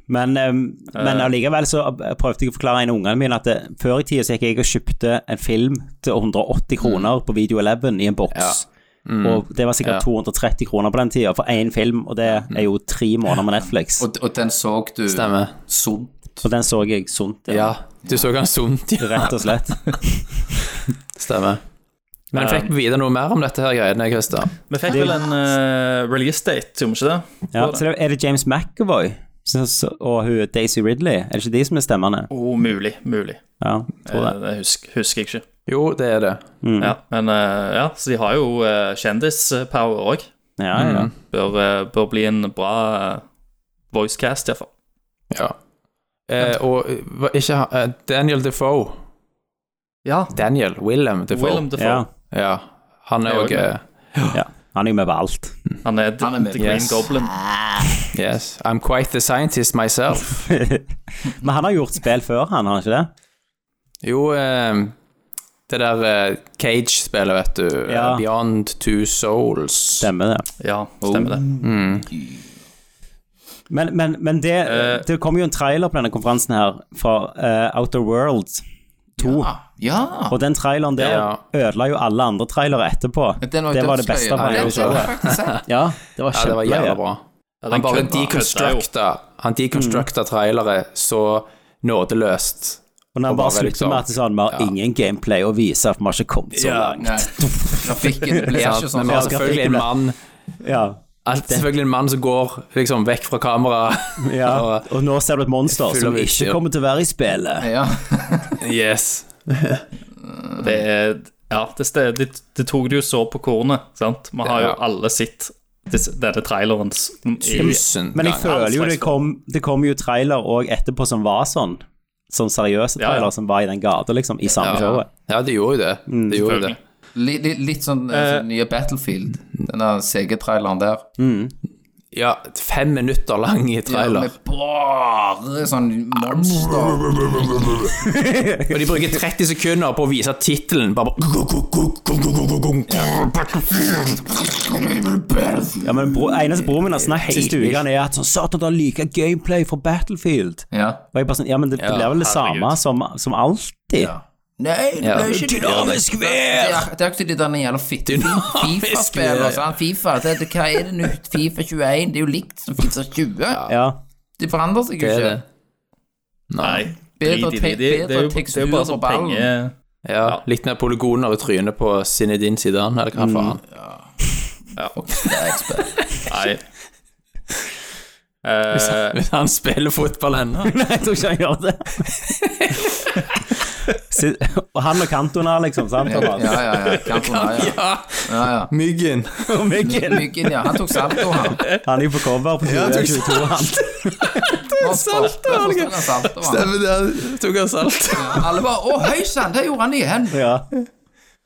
Men, eh, men Eh. allikevel så prøvde jeg å forklare en av ungene mine at det, før i tida så gikk jeg og kjøpte en film til 180 kroner på Video 11 i en boks. Og det var sikkert Ja. 230 kroner på den tida for én film, og det er jo tre måneder med Netflix. Og, og den så du Stemmer. sunt. Og den så jeg sunt. Ja. Du så han sunt, ja. Rett og slett. Stemmer. Men fikk vi vite noe mer om dette her greiene, Christer? Vi fikk vel en eh, release date, gjorde vi ikke det? Ja, så det- er det James McAvoy så- så- og hun Daisy Ridley? Er det ikke de som er stemmene? Oh, mulig, mulig. Ja, tror det. Mm. Eh, det husker, husker jeg ikke. Jo, det er det. Ja, men eh, ja, så de har jo eh, kjendispower òg. Ja, ja. Mm. Bør, eh, bør bli en bra eh, voicecast, iallfall. Ja. Eh, og eh, hva- ikke ha- eh, Daniel Defoe. Ja, Daniel Willem Defoe. Willem Defoe. ja. Ja. Han er eh, Det er òg jo ja. Han er jo med på alt. Han er, Han er med. The Green Yes. Goblin. Yes. I'm quite the scientist myself. Men han har gjort spill før, han, har han ikke det? Jo, eh, det der eh, Cage-spillet, vet du. Ja. eh, Beyond Two Souls. Mm. Stemmer det. Ja, stemmer det. Men, men, men det, Eh. det kom jo en trailer på denne konferansen her fra eh, Outer World 2. Ah, Ja. ja. Og den traileren der Ja. ødela jo alle andre trailere etterpå. Den var, jo det var det dødsløye. beste Ja, han den gjorde. har jeg faktisk sett. Ja, det var Ja, det var kjempeløye. jævla bra. Ja, Han den bare kødda- kødda jo. deconstructa Han deconstructa Mm. trailere så nådeløst. Og når han bare Og bare slutter liksom- med at det er sånn, vi har ingen gameplay å vise, for vi har ikke kommet så Ja. langt. Nei. Grafikken blir Ja, ikke sånn. men det var selvfølgelig en mann Ja. alt, Selvfølgelig en mann som går liksom vekk fra kamera. Ja. og, eh, Og nå ser du et monster Full som av ikke utstyr. kommer til å være i spillet. Ja. yes. Det er Ja, det, sted, det, det tok det jo så på kornet, sant. Vi har jo Ja. alle sett disse- denne traileren s- i Tusen Men jeg ganger. føler jo slags det kom, det kom jo trailer òg etterpå som var sånn. Sånn seriøse Ja, ja. trailer som var i den gata, liksom, i samme Ja. showet. Mm. Ja, det gjorde jo det. Det gjorde jo det. Li- li- Litt sånn eh, sånn nye Battlefield, denne CG-traileren der. Ja, fem minutter lang i trailer. Med bare sånn monster. Og de bruker 30 sekunder på å vise tittelen. Bare Ja, men bro, eneste broren min har sånn hele uka er at sånn Satan, det er like gameplay fra Battlefield. Ja. Og jeg bare sånn Ja, men det, det blir vel det samme som, som alltid. ja. Nei, det er ikke dynamisk vær! Det er ikke de der jævla fitte Fifa-spillene. sant? Fifa, det, det, hva er det nytt? Fifa 21? Det er jo likt som Fifa 20. Ja. Det forandrer seg jo Det er ikke. det. Nei. Bedre drit i te- det. Det- det er jo- bedre Det er jo tekstur bare på så ballen. penge Ja, litt mer polygoner i trynet på Zinedine Zidane, eller hva faen. Mm. Nei. Eh, Hvis han spiller fotball ennå. Nei, jeg tror ikke han gjør det. Si- Og han og Cantona, liksom, sant, Ja, Thomas? ja, ja. Cantona, ja. Ja, ja, ja. myggen. Og Mikkel. Myggen, ja. Han tok salto, han. Han er jo på cover på 22, han. Salto, salto, han. Stemmer det, tok han salt. Alle bare 'Å, høy sann, det gjorde han igjen'. Ja.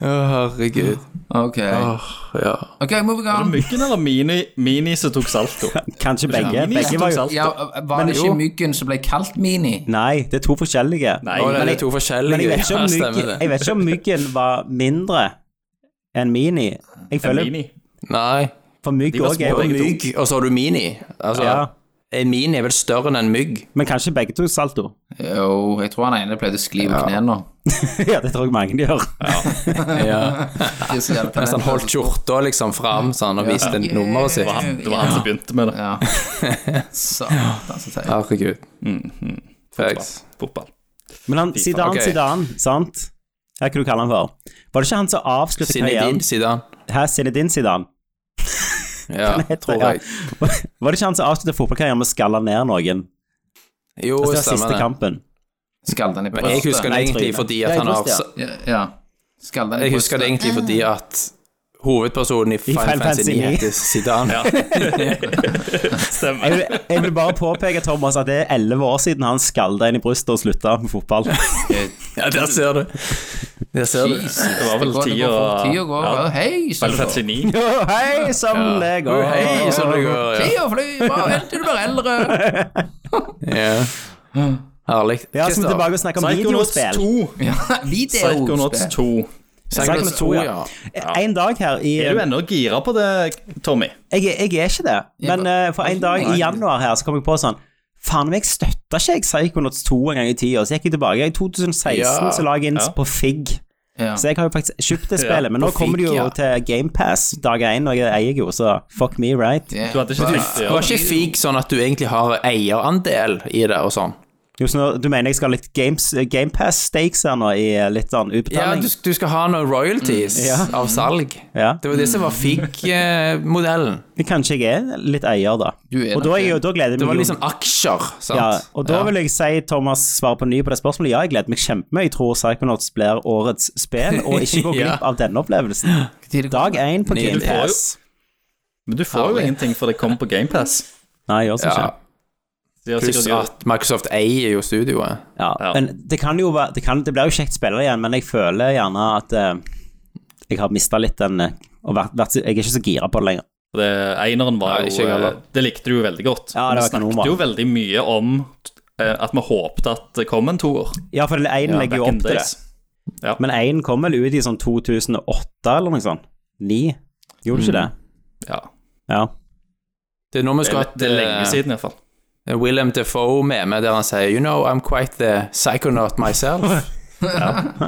Å, herregud. Ok, Åh, ja. ok, moving var det on. Myggen eller Mini, mini som tok salto? Kanskje begge. Begge var jo Ja, var det jo. ikke myggen som ble kalt Mini? Nei, det er to forskjellige. Nei, Å, det er jeg- de to Men forskjellige. jeg vet ikke Ja, om stemmer myggen, det. jeg vet ikke om myggen var mindre enn Mini. Jeg en føler, Mini. Nei. for mygg var òg er små jo begge to. Mygg, og så har du mini. Altså, Ja. En mini er vel større enn en mygg. Men kanskje begge to salto? Jo, jeg tror han ene pleide å skli over knærne. ja, det tror jeg mange de gjør. Ja. Det er så jævla Mens han sånn holdt skjorta liksom fram sånn, og viste nummeret Det var sitt. han, det var han som begynte med det. Ja. Satan, så teit. Herregud. Mm, Facts. Fotball. Men han, Zidane, Ok. Zidane, sant? Hva kan du kalle han for? Var det ikke han som avsluttet karrieren Zinedine Zidane. Hæ, Zinedine Zidane? Ja, heter det, tror ja. jeg. Var det ikke han som avsluttet fotballkarrieren med å skalle ned noen? Jo, Altså, det var stemmer siste det. kampen. Skallet han i Men jeg husker brystet? det Nei, egentlig trynet. fordi Ja, at i han har brystet, Ja, Ja. Skallet han i Jeg husker det brystet? egentlig fordi at hovedpersonen i Final Final Fantasy Fantasy 9 ni. heter Zidane. Jeg vil, jeg vil bare påpeke, Thomas, at det er elleve år siden han skalda inn i brystet og slutta med fotball. Ja, der ser du. Der ser du. Jesus, Det var vel går- det tida- går fort. Tida går. Ja. Ja. Hei, så Final det går. Fantasy 9. Å, Hei, som det går. Hei, sånn det går, ja. Tida flyr, bare vent til du blir eldre. ja. Herlig. Ja, så må vi Christer, tilbake og snakke om Psychonauts videospill. 2. Ja, Psychonauts Videospill. 2. Psychonauts 2, ja. En dag her i Er du ennå gira på det, Tommy? Jeg, er- jeg er ikke det, men Ja, eh, for en dag i januar her så kom jeg på sånn Faen meg, støtta ikke jeg Psychonauts 2 en gang i tida? Så gikk jeg tilbake. I 2016 Ja, så la jeg inn ja. på Fig. Ja. Så jeg har jo faktisk kjøpt det spillet, Ja, men nå på kommer det jo Fig, ja. til GamePass dag én, og jeg eier jo, så fuck me, right? Det Du hadde ikke var- tenkt det, ja. Det var ikke fik sånn at du egentlig har eierandel i det og sånn. Jo, så nå, du mener jeg skal ha litt games- eh, GamePass-stakes her nå, i eh, litt sånn Ja, du, utbetaling? du skal ha noen royalties Ja. av salg. Ja. Det var det som var fig-modellen. Kanskje jeg er litt eier, da. Du er Og da, nok er jeg, jo- da gleder jeg Det meg var jo- liksom aksjer, sant? Ja, og da vil jeg si, Thomas, svare på ny på det spørsmålet. Ja, jeg gleder meg kjempemye. Jeg tror Psychonauts blir årets spill, og ikke går Ja. glipp av denne opplevelsen. Tidlig- Dag én på Nydelig. GamePass. Men du får jo Herlig. ingenting for det kommer på GamePass. Nei, jeg gjør sånn Ja. ikke. Pluss at Microsoft eier jo studioet. Ja. Ja. Men det kan jo være Det, kan, det blir jo kjekt spillere igjen, men jeg føler gjerne at eh, jeg har mista litt den eh, og vært, vært, Jeg er ikke så gira på det lenger. Det, Eineren var Nei, ikke jo jeg heller. eh, Det likte du jo veldig godt. Ja, det vi var kanon, snakket bra. jo veldig mye om eh, at vi håpet at det kom en toer. Ja, for én Back legger jo in opp til det. days. Men én kom vel ut i sånn 2008 eller noe sånt? 9? Gjorde det ikke det? Ja. Ja. Det er nå vi Det, skulle er- hatt det er eh, lenge siden, iallfall. Willem Defoe med meg der han sier You know, I'm quite the psychonaut myself. Wow.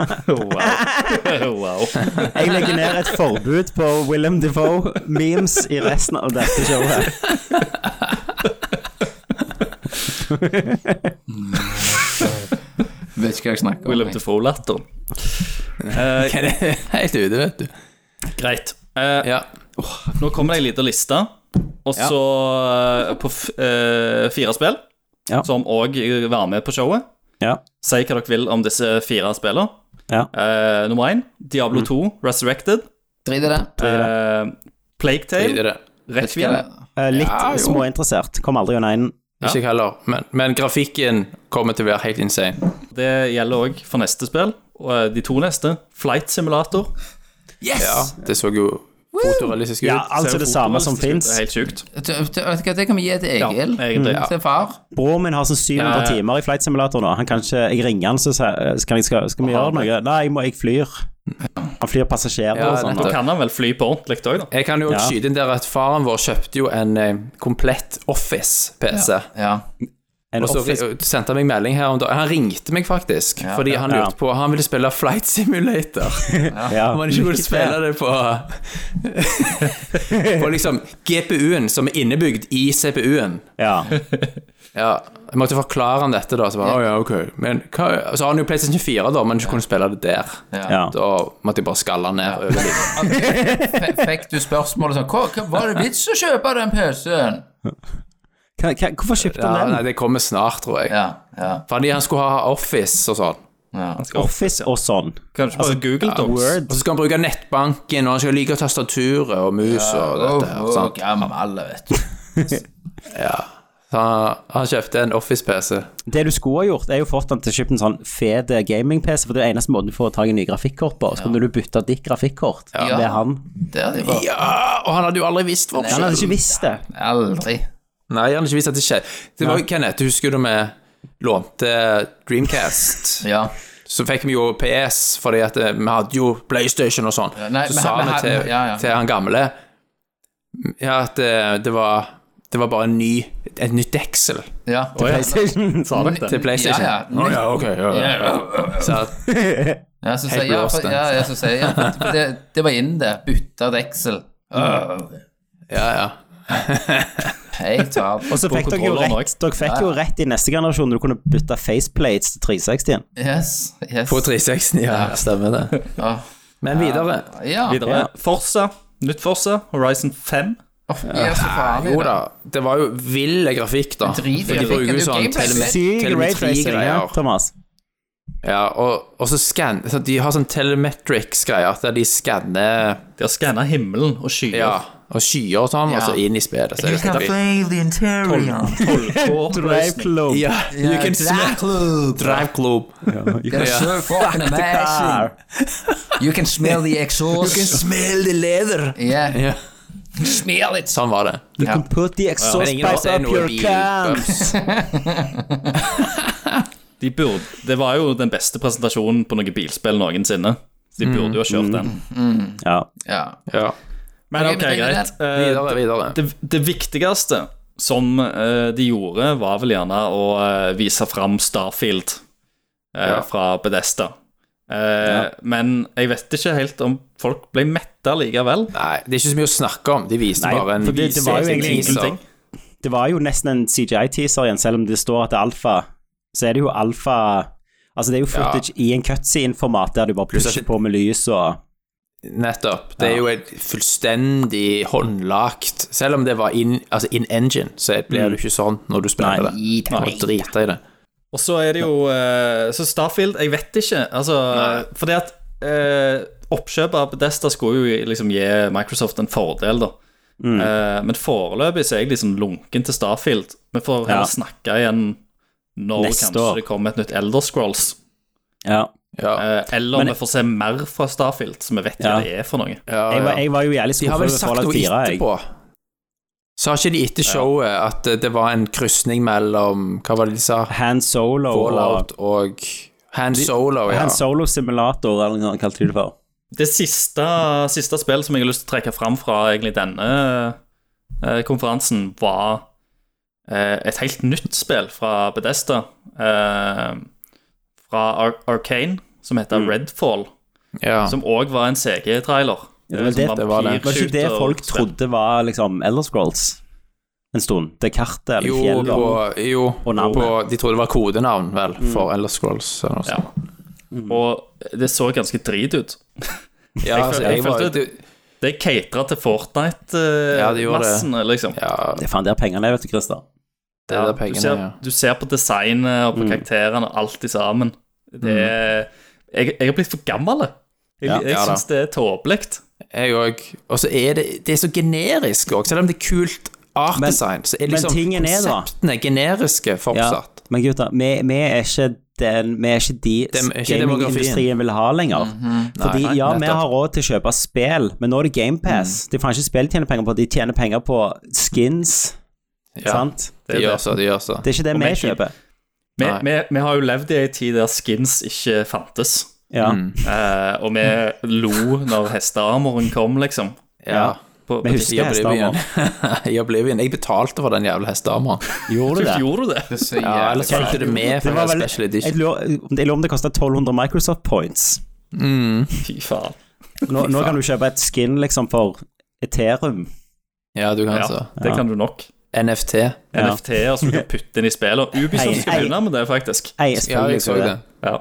wow. Jeg legger ned et forbud på Willem Defoe-memes i resten av dette showet. Vet ikke hva jeg snakker om. William Defoe-latteren. Eh, Helt ute, vet du. greit. Eh, Ja. Nå kommer det ei lita liste, og så eh, på f eh, fire spill, Ja. som òg var med på showet. Ja. Si hva dere vil om disse fire spillene. Ja. Mm. Eh, nummer én, Diablo 2, Resurrected. Drit i det. Eh, Plague Drit i Tale, det. Requiem. Eh, litt Ja, jo. småinteressert. Kom aldri unna en Ikke jeg heller. Men, men grafikken kommer til å være helt insane. Det gjelder òg for neste spill, og eh, de to neste. Flight Simulator Yes! Ja, det så jo fotorealistisk ut. Ja, altså det samme som Det er fins. helt sjukt. Du- du- vet du hva, Det kan vi gi til Egil. Ja, egentlig, ja. Til far. Broren min har sånn 700 Ja, ja. timer i flight simulator nå. Han kan ikke, jeg ringer han, så sier skal, jeg- skal, skal vi gjøre noe? Nei, jeg, må, jeg flyr. Han flyr passasjerer Ja, og sånn. Da nettopp. kan han vel fly på ordentlig òg, da. Jeg kan jo Ja. skyte inn der at faren vår kjøpte jo en eh, komplett Office-PC. Ja. En Og så office- ri- sendte han meg melding her om dagen. Han ringte meg faktisk, Ja, fordi ja. han lurte på Han ville spille Flight Simulator. ja. Om han ikke kunne spille det på På liksom GPU-en som er innebygd i CPU-en. Ja. Ja, jeg måtte forklare han dette, da. Så, bare, «Å, ja, ok». men, hva, så har han jo PlayStation 4, da, men ikke kunne spille det der. Ja. Da måtte jeg bare skalle han ned. over livet. F- Fikk du spørsmålet sånn Hva, hva var det vits å kjøpe den PC-en? Hva- hva- Hvorfor kjøpte Ja, han nei, den? det kommer snart, tror jeg. Ja, ja, Fordi han skulle ha Office og sånn. ja. Office og sånn. Kan du ikke Altså, bare google Docs? Word. Og så skal han bruke nettbanken, og han skal like tastaturet og mus og Oh, dette. her, Åh, sant? gammel, vet du. Så han, han kjøpte en Office-PC. Det du skulle ha gjort, er jo fått han til å kjøpe en sånn fet gaming-PC, for det er jo eneste måten du får tak i nye grafikkort på. Så kunne du bytte ditt grafikkort Ja. med han. Det hadde jeg bare Ja, og han hadde jo aldri visst hvor Han hadde ikke visst det. aldri. Nei, han hadde ikke visst at det skjedde. Det var jo Kenneth, du husker da vi lånte Dreamcast. Ja. Så fikk vi jo PS, fordi at eh, vi hadde jo PlayStation og sånn. nei, så men- sa men vi her- til, ja, ja. til han gamle ja, at eh, det var, det var bare en ny, et nytt deksel ja. PlayStation sa dere det. til PlayStation. Ja, ja. Å, ja, ok, ja, ja. Så at, Ja, så Helt sier jeg, blåst, den. ja, ja, så sier jeg for for det, det var inn det. Bytte deksel. Øh, ja, ja. Jeg tar Og så fikk dere jo kontrolleren rett, dere fikk jo rett i neste generasjon når du kunne bytte faceplates til 360-en. Yes. yes. På 360, ja. Stemmer det. Ja. Men videre. Ja. Videre. Forsa. Nytt Forsa. Horizon 5. ja, så faen. Jo da, det var jo vill grafikk, da. Drit i For de grafikken, bruker det jo er jo sånn gameplay. telemet- Syk raytracing, ja, telemetri-greier. Thomas. Ja, og, og så scan, så de har sånn telemetrics-greier der de skanner De har skanna himmelen og skyer. ja, og skyer og sånn, Ja. og så inn i spelet. Så er det helt vilt. Drive club. Ja, you can drive smash Drive club. They're so fucking amazing. Der. You can smell the exhaust. smell the leather. Yeah. Ja, Smell it. sånn var det. You can put the exhaust Men ingen av oss pipe er up noe your cam. bilbuffs. De burde, det var jo den beste presentasjonen på noe bilspill noensinne. Så de burde jo ha kjørt den. Ja. Ja. Ja. Men Ok, ok, men det er greit. Eh, Videre, videre. det, det viktigste som eh, de gjorde, var vel gjerne å eh, vise fram Starfield eh, Ja. fra Bedesta. Men jeg vet ikke helt om folk ble metta likevel. Nei, det er ikke så mye å snakke om. De viste Nei, bare en for det- det var jo en egentlig teaser. ingenting. Det var jo nesten en CGI-teaser igjen, selv om det står at det er alfa. Så er det jo alfa Altså, det er jo footage i en cutscene-format der du bare Pluss at- pusher på med lys og Nettopp. Det er jo et fullstendig håndlagt Selv om det var in, altså in engine, så blir det jo ikke sånn når du spiller det. I Du må drite i det. Og så er det jo eh, Så Starfield, jeg vet ikke. Altså, fordi at eh, oppkjøpet av Bedesta skulle jo liksom gi Microsoft en fordel, da. mm. Eh, men foreløpig så er jeg liksom lunken til Starfield. Vi får Ja. heller snakke igjen når Neste kanskje år. det kommer et nytt Elder Scrolls. Ja. Ja. Eh, eller Men- vi får se mer fra Starfield, så vi vet Ja. hva det er for noe. Ja, Jeg var, ja. jeg var jo jævlig eh, De har skuffa vel over sagt Fallout noe 4. Jeg. etterpå. Sa ikke de etter showet at eh, det var en krysning mellom Hva var det de sa? Han Solo og Fallout og Han Solo, ja. Han Solo Simulator, eller noe sånt kalte de det for. Det siste, siste spillet som jeg har lyst til å trekke fram fra egentlig denne eh, konferansen, var eh, et helt nytt spill fra Bedesta. eh, fra Ar Arcane, som heter Redfall. Mm. ja. Som òg var en CG-trailer. det var det- det sånn var det. Var ikke det folk trodde var liksom Elder Scrolls en stund? Det kartet eller Jo, fjellet? på, jo Og navnet. på, de trodde det var kodenavn, vel, for Elder Scrolls eller noe Ja. sånt. Mm. Mm. Og det så ganske drit ut. Ja, Jeg altså, følte- jeg jeg var, følte- det, Det catera til Ja, det gjorde det. Fortnite-massene, liksom. ja, Det er faen der pengene er, vet du, Christer. det er Ja, der du, pengene ser, ja. du ser på designet og på karakterene og alt i sammen. Det er, jeg, jeg har blitt for gammel. Jeg, Ja, jeg ja da. syns det er tåpelig. Jeg òg. Og så er det, det er så generisk òg, selv om det er kult art Men- design, så er men liksom tingen er da- konseptene generiske Ja. fortsatt. Men gutta, vi, vi er ikke den, vi er ikke Dem- de ikke demografien. gamingindustrien vil ha lenger. Fordi Mhm. Nei, ja, vi nettopp. Mhm. har råd til å kjøpe spill, men nå er det GamePass. De får ikke spill tjener penger på, de tjener penger på skins, Ja, sant? De gjør så, de gjør så. Det er ikke det vi Mac-en. kjøper. Vi, Nei. vi, vi har jo levd i ei tid der skins ikke fantes. Ja. Mm. Eh, og vi lo når hestearmoren kom, liksom. Ja. På, Vi på husker I Oblivion. hestearmer. I Oblivion. Jeg betalte for den jævla hestearmeren. Gjorde du det? Gjorde du det? Det er så Ja, jævlig ellers fulgte det med for Det var den vel- special Jeg edition. lurer jeg lurer om det kosta 1200 Microsoft points. Mm. Fy faen. Nå, nå kan du kjøpe et skin liksom for Ethereum. Ja, du kan Ja, altså. det kan du nok. NFT. Ja. NFT-er som du kan putte inn i spillet. Hei, Ubisoft skal hei. begynne med det, faktisk. Nei, Ja, jeg så det. Ja.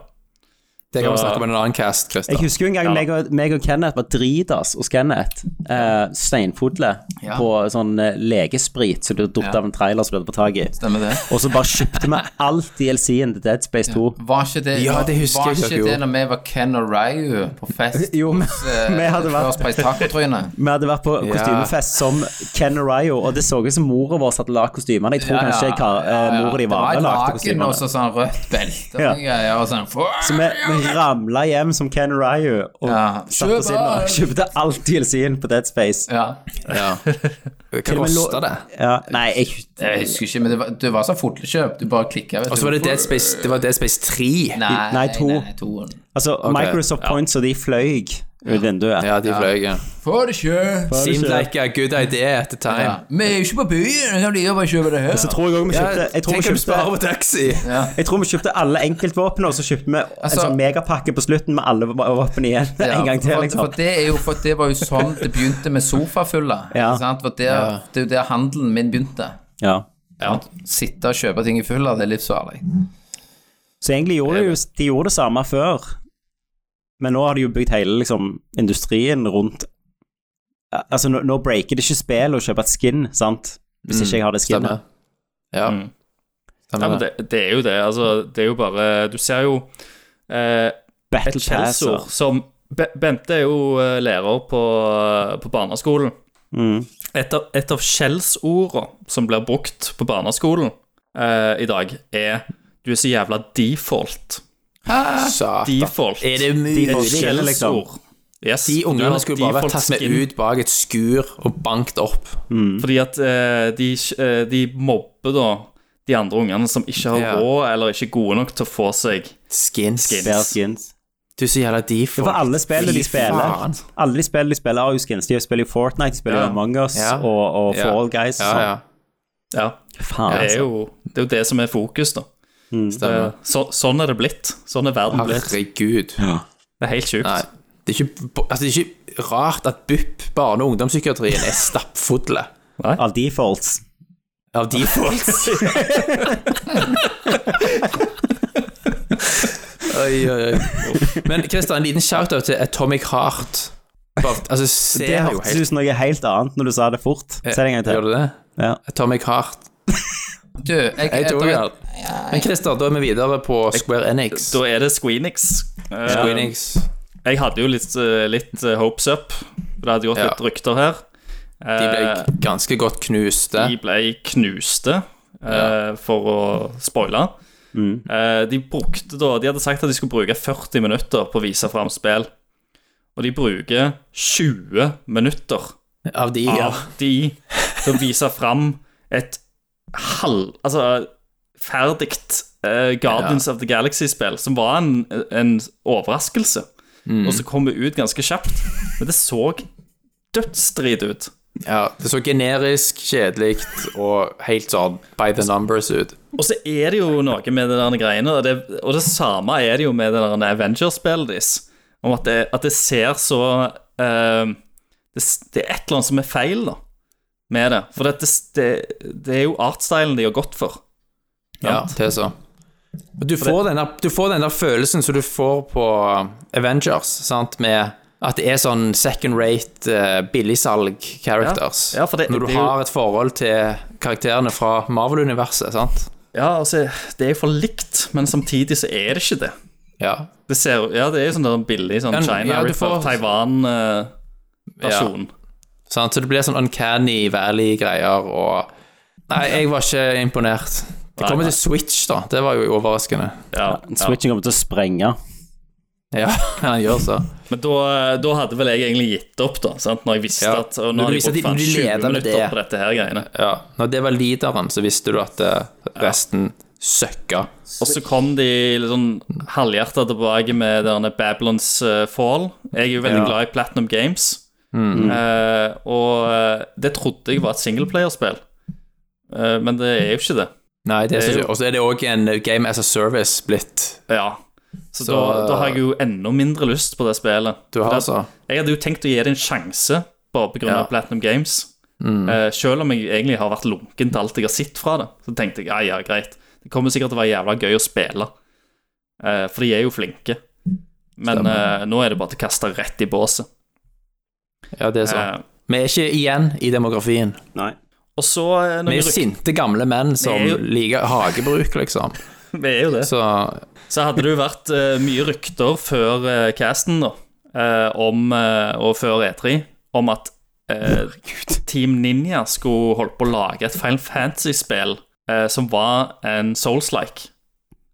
Det kan vi Så- snakke om i en annen cast, Christer. Jeg husker jo en gang Ja. meg, og, meg og Kenneth var dritas hos Kenneth. Eh, Steinfodle Ja. på sånn eh, legesprit som ble duppet Ja. av en trailer som ble tatt tak i. Stemmer det. Og så bare kjøpte vi alt DLC-en til Dead Space 2. Var ikke det, Ja, det husker jeg var dere ikke det gjorde. når vi var Ken og Ryu på fest eh, Jo, men- vi hadde vært- First Price Tacotryne? Vi hadde vært på kostymefest som Ken og Ryo, og det så ut som mora vår hadde lagd kostymene. Jeg tror kanskje jeg har, eh, mora di var med og lagde kostymene. kostymene. Og så sånn rødt belte og Ja. noen greier. Og sånn Så vi, vi ramla hjem som Ken og Ryo og Ja. satte oss inn og Kjøp kjøpte alt DLC-en på Dead Space. ja. Ja. Hva og med kosta lå- det? Ja, nei, jeg, Jeg husker ikke, men det var, det var sånn fotlekjøp. Du bare klikka, vet Og så var det Dead Space, det var Dead Space 3. Nei, Nei, to. nei, toen. Altså, Microsoft Points og de fløy ut vinduet. Ja, de fløy. Ja. Får det ikke! Seemed like a good idea at the Ja. time. Vi er jo ikke på byen, vi kan like bare kjøpe det her. Så tror jeg også vi kjøpte Jeg tror vi Tenk om du kjøpte, sparer på taxi! jeg tror vi kjøpte alle enkeltvåpnene, og så kjøpte vi en Altså- sånn megapakke på slutten med alle våpen igjen. Ja, en gang til, for, liksom. for, det er jo, for det var jo sånn det begynte med sofafulla. Ja. ikke sant? For der, Det er jo der handelen min begynte. Ja. Sant? Sitte og kjøpe ting i fulla, det er livsfarlig. Så egentlig gjorde de, jo, de gjorde det samme før, men nå har de jo bygd hele liksom, industrien rundt Altså, nå, nå breaker det ikke spill å kjøpe et skin, sant? Hvis ikke jeg har det Stemmer. skinnet. Ja. Mm. Ja, Stemmer men det. det, det er jo det. Altså, det er jo bare Du ser jo eh, et Battle Pass skjellsord og som Be- Bente er jo eh, lærer på, eh, på barneskolen. mm. Et av, et av skjellsordene som blir brukt på barneskolen eh, i dag, er Du er så jævla default. Satan. Default. Er det mulig? Et Default skjell, liksom. skjellsord. Yes, De du har ungene skulle bare vært default tatt med skin. ut bak et skur og bankt opp. Fordi at eh, de, eh, de mobber da de andre ungene som ikke har Ja. råd eller ikke er gode nok til å få seg Skins. bedre skins. Du så jævla Det default. er for alle spillene de Fy spiller. faen. Alle de spillene de spiller, har jo skins. De spiller jo Fortnite, de spiller Ja. Among Us Ja. og, og Ja. Fall Guys. og Ja, sånn. ja. Ja, Faen, det er altså. jo det, er jo det som er fokus, da. Eh, Stemmer. så, sånn er det blitt. Sånn er verden blitt. Herregud. Det er helt sjukt. Nei. Det er, ikke, altså, det er ikke rart at BUP, barne- og ungdomspsykiatrien, er stappfulle Av defaults. av defaults. oi, oi, oi. Men Christian, en liten shout-out til Atomic Heart. Bare, altså, ser Det jo hørtes helt Eh, ut som noe helt annet når du sa det fort. Si det en gang Gjør til. det det? Ja. Atomic Heart. Du, jeg, jeg, Jeg tror jeg- jeg Men Christer, da er vi videre på Square Enix. Da er det Squeenix. Eh, Square Enix. Jeg hadde jo litt, eh, litt eh, hopes up. Det hadde gått Ja. litt rykter her. De Eh, ble ganske godt eh, knuste. De ble knuste, eh, for å spoile. Eh, de brukte da De hadde sagt at de skulle bruke 40 minutter på å vise fram spill. Og de bruker 20 minutter Av de, ja. av de til å vise fram et halv... Altså ferdig eh, Guardians of the Galaxy-spill, som var en, en overraskelse, og som kom ut ganske kjapt. Men det så dødsdrit ut. ja. Det så generisk, kjedelig og helt sånn by the numbers ut. Og så er det jo noe med det der greiene, og det, og det samme er det jo med det der Avengers-spillet deres, om at det, at det ser så eh, det, s- det er et eller annet som er feil, da, med det. For det, det, det er jo artstylen de har gått for. Ja, det er så. Og Du får, den der, du får den der følelsen som du får på um, Avengers, sant, med at det er sånn second rate eh, billigsalg characters. Ja, ja, for det- Når du det er jo- har et forhold til karakterene fra Marvel-universet, sant. Ja, altså, det er jo for likt, men samtidig så er det ikke det. Ja. Det, ser, ja, det er jo sånn der billig sånn Ja, China, eh, ja, du rip off får- Taiwan-versjon. Sant? Så det blir sånn uncanny valley-greier og Nei, jeg var ikke imponert. Det kommer til Switch, da. Det var jo overraskende. Ja, ja. Switchen kommer til å sprenge. Ja, han gjør så. Men da, da hadde vel jeg egentlig gitt opp, da. Sant? Når jeg visste Ja. at og Når Nå har du jeg visste at de- brukt faen når de 20 leder med minutter det. på dette her greiene. Ja. Når det var leaderen, så visste du at eh, resten søkka. Og så kom de litt sånn halvhjerta tilbake med denne Babylons eh, Fall. Jeg er jo veldig Ja. glad i Platinum Games. Mm. Eh, og eh, det trodde jeg var et singleplayerspill, uh, men det er jo ikke det. Nei, det er Det er så jo- ikke. Og så er det òg en game as a service blitt. Ja. Så, Så, da, da eh, har jeg jo enda mindre lyst på det spillet. Du har For det- altså Jeg hadde jo tenkt å gi det en sjanse, bare pga. Ja. Mm. av Platinum Games. Eh, selv om jeg egentlig har vært lunken til alt jeg har sett fra det, så tenkte jeg ja, ja, greit. Det kommer sikkert til å være jævla gøy å spille, Eh, for de er jo flinke. Men eh, nå er det bare til å kaste rett i båset. Ja, det er så. Eh, Vi er ikke igjen i demografien. Nei. og så eh, Vi noen er rykter sinte gamle menn som Vi er jo- liker hagebruk, liksom. Vi er jo det. Så Så hadde det jo vært eh, mye rykter før eh, casten, da, eh, om, eh, og før E3, om at eh, Team Ninja skulle holdt på å lage et Final Fantasy-spill eh, som var en Souls-like.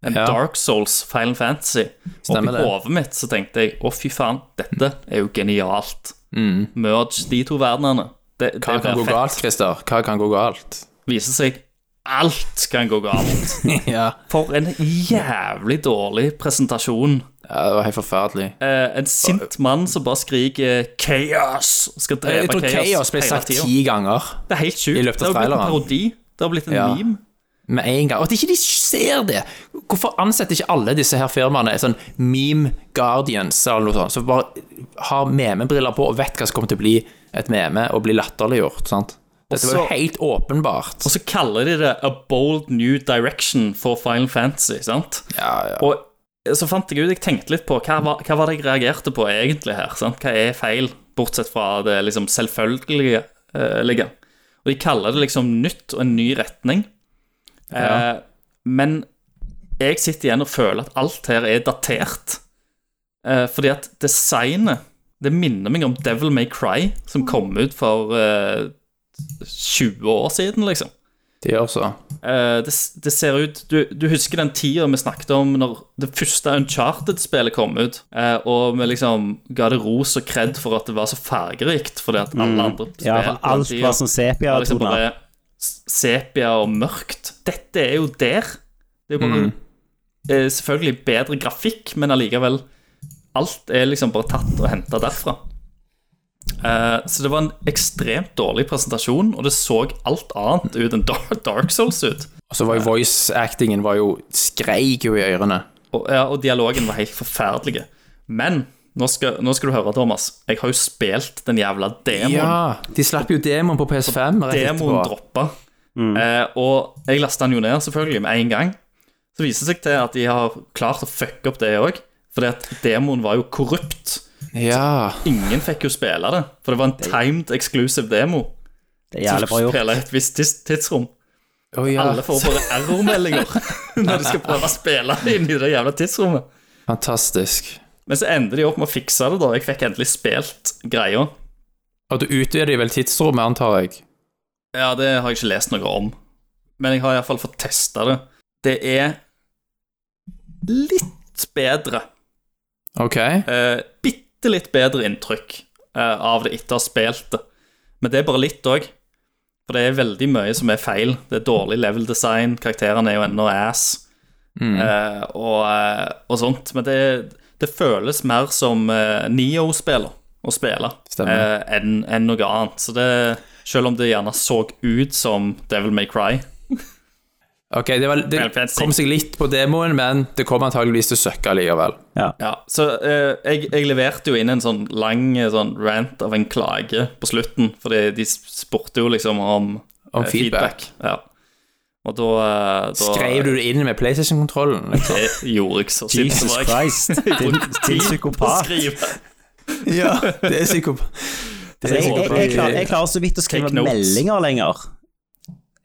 En Ja. Dark Souls Final Fantasy. Og Stemmer i det. hodet mitt så tenkte jeg å, fy faen, dette er jo genialt. Merge de to verdenene. Det, det hva Mm. kan blir gå fett. galt, Christer? Hva kan gå galt? Viser seg alt kan gå galt. ja. For en jævlig dårlig presentasjon. ja, det var helt forferdelig. Eh, en sint mann som bare skriker 'Chaos!' og skal drepe Jeg tror Chaos, Chaos ble hele sagt tiden. ti ganger Det er helt sjukt. i løpet av det har blitt en traileren. parodi. Det har blitt en Ja. meme. med en gang. Og at ikke de ser det! Hvorfor ansetter ikke alle disse her firmaene sånn meme guardians eller noe sånt, som bare har memebriller på og vet hva som kommer til å bli et meme og bli latterliggjort? sant? Dette var jo Også- helt åpenbart. Og så kaller de det 'A Bold New Direction for Final Fantasy'. sant? Ja, ja. Og så fant jeg ut, jeg tenkte litt på hva var, hva var det jeg reagerte på egentlig her? sant? Hva er feil, bortsett fra det liksom selvfølgelige? eh, ligge. og de kaller det liksom nytt og en ny retning. Eh, men jeg sitter igjen og føler at alt her er datert. Eh, fordi at designet Det minner meg om Devil May Cry, som kom ut for eh, 20 år siden, liksom. De gjør så. Eh, det, det ser ut du, du husker den tida vi snakket om når det første Uncharted-spillet kom ut, eh, og vi liksom ga det ros og kred for at det var så fargerikt, fordi at alle andre spill Mm. Ja, på for den alt tiden var sånn var liksom sepia-toner. bare s- sepia og mørkt. Dette er jo der. Det er jo Mm. bare eh, selvfølgelig bedre grafikk, men allikevel Alt er liksom bare tatt og henta derfra. Eh, så det var en ekstremt dårlig presentasjon, og det så alt annet ut enn Dark, Dark Souls ut. Og så var jo voice-actingen var jo skreik jo i ørene. Og, ja, og dialogen var helt forferdelig. Men nå skal, nå skal du høre, Thomas. Jeg har jo spilt den jævla demoen. Ja, de slapp jo demoen på PS5 rett demoen etterpå. droppa. Eh, og jeg lasta den jo ned, selvfølgelig, med en gang. Så viser det seg til at de har klart å fucke opp det òg. Fordi at demoen var jo korrupt. Ja. Ingen fikk jo spille det. For det var en timed exclusive demo. Det er jævlig bra Som gjort. spiller i et visst tids- tidsrom. Å, ja. Alle får bare errormeldinger når de skal prøve å spille inn i det jævla tidsrommet. Fantastisk. Men så endte de opp med å fikse det, da. Jeg fikk endelig spilt greia. Og du utvider vel tidsrommet, antar jeg? Ja, det har jeg ikke lest noe om. Men jeg har iallfall fått testa det. Det er litt bedre. Ok. Eh, Bitte litt bedre inntrykk eh, av det etter å ha spilt det. Men det er bare litt òg. For det er veldig mye som er feil. Det er dårlig level design, karakterene er jo ennå ass, eh, og, eh, og sånt. Men det, det føles mer som eh, Neo-spiller å spille eh, Stemmer. enn enn noe annet. Så det Selv om det gjerne så ut som Devil May Cry. Ok, det, var, det Final Fantasy. kom seg litt på demoen, men det kom antageligvis til å søkke likevel. Ja, så eh, jeg, jeg leverte jo inn en sånn lang eh, sånn rant av en klage på slutten, fordi de spurte jo liksom om, Om eh, feedback. Ja. Og da, eh, da Skrev du det inn med PlayStation-kontrollen? Liksom? Det gjorde jeg så sint Jesus som jeg. Christ, din, din psykopat. Skrive. ja, det er psykop... Altså, jeg, jeg, jeg, klarer, jeg klarer så vidt å skrive Take notes. meldinger lenger.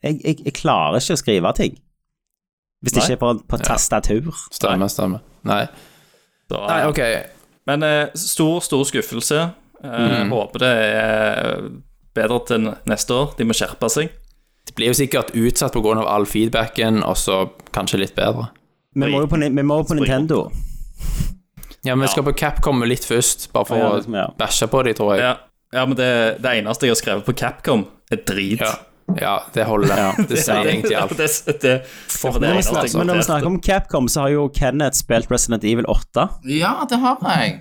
Jeg, jeg, jeg klarer ikke å skrive ting. Hvis det Nei. ikke er på, på tastatur. Stemmer, stemmer. Nei. Da- Nei, ok. Men eh, stor, stor skuffelse. Mm. Eh, Håper det er bedre til neste år. De må skjerpe seg. Det blir jo sikkert utsatt pga. all feedbacken, og så kanskje litt bedre. Vi må jo på, Ni- vi må jo på Nintendo. Ja, men vi skal på Capcom litt først, bare for Ja, liksom, ja. å bæsje på de, tror jeg. Ja, ja men det, det eneste jeg har skrevet på Capcom, er drit. Ja, ja det holder. Det sier egentlig alt. altså. det, det, det, det Når var det vi eneste jeg snakker, men når vi snakker om Capcom, så har jo Kenneth spilt Resident Evil 8. Ja, det har jeg.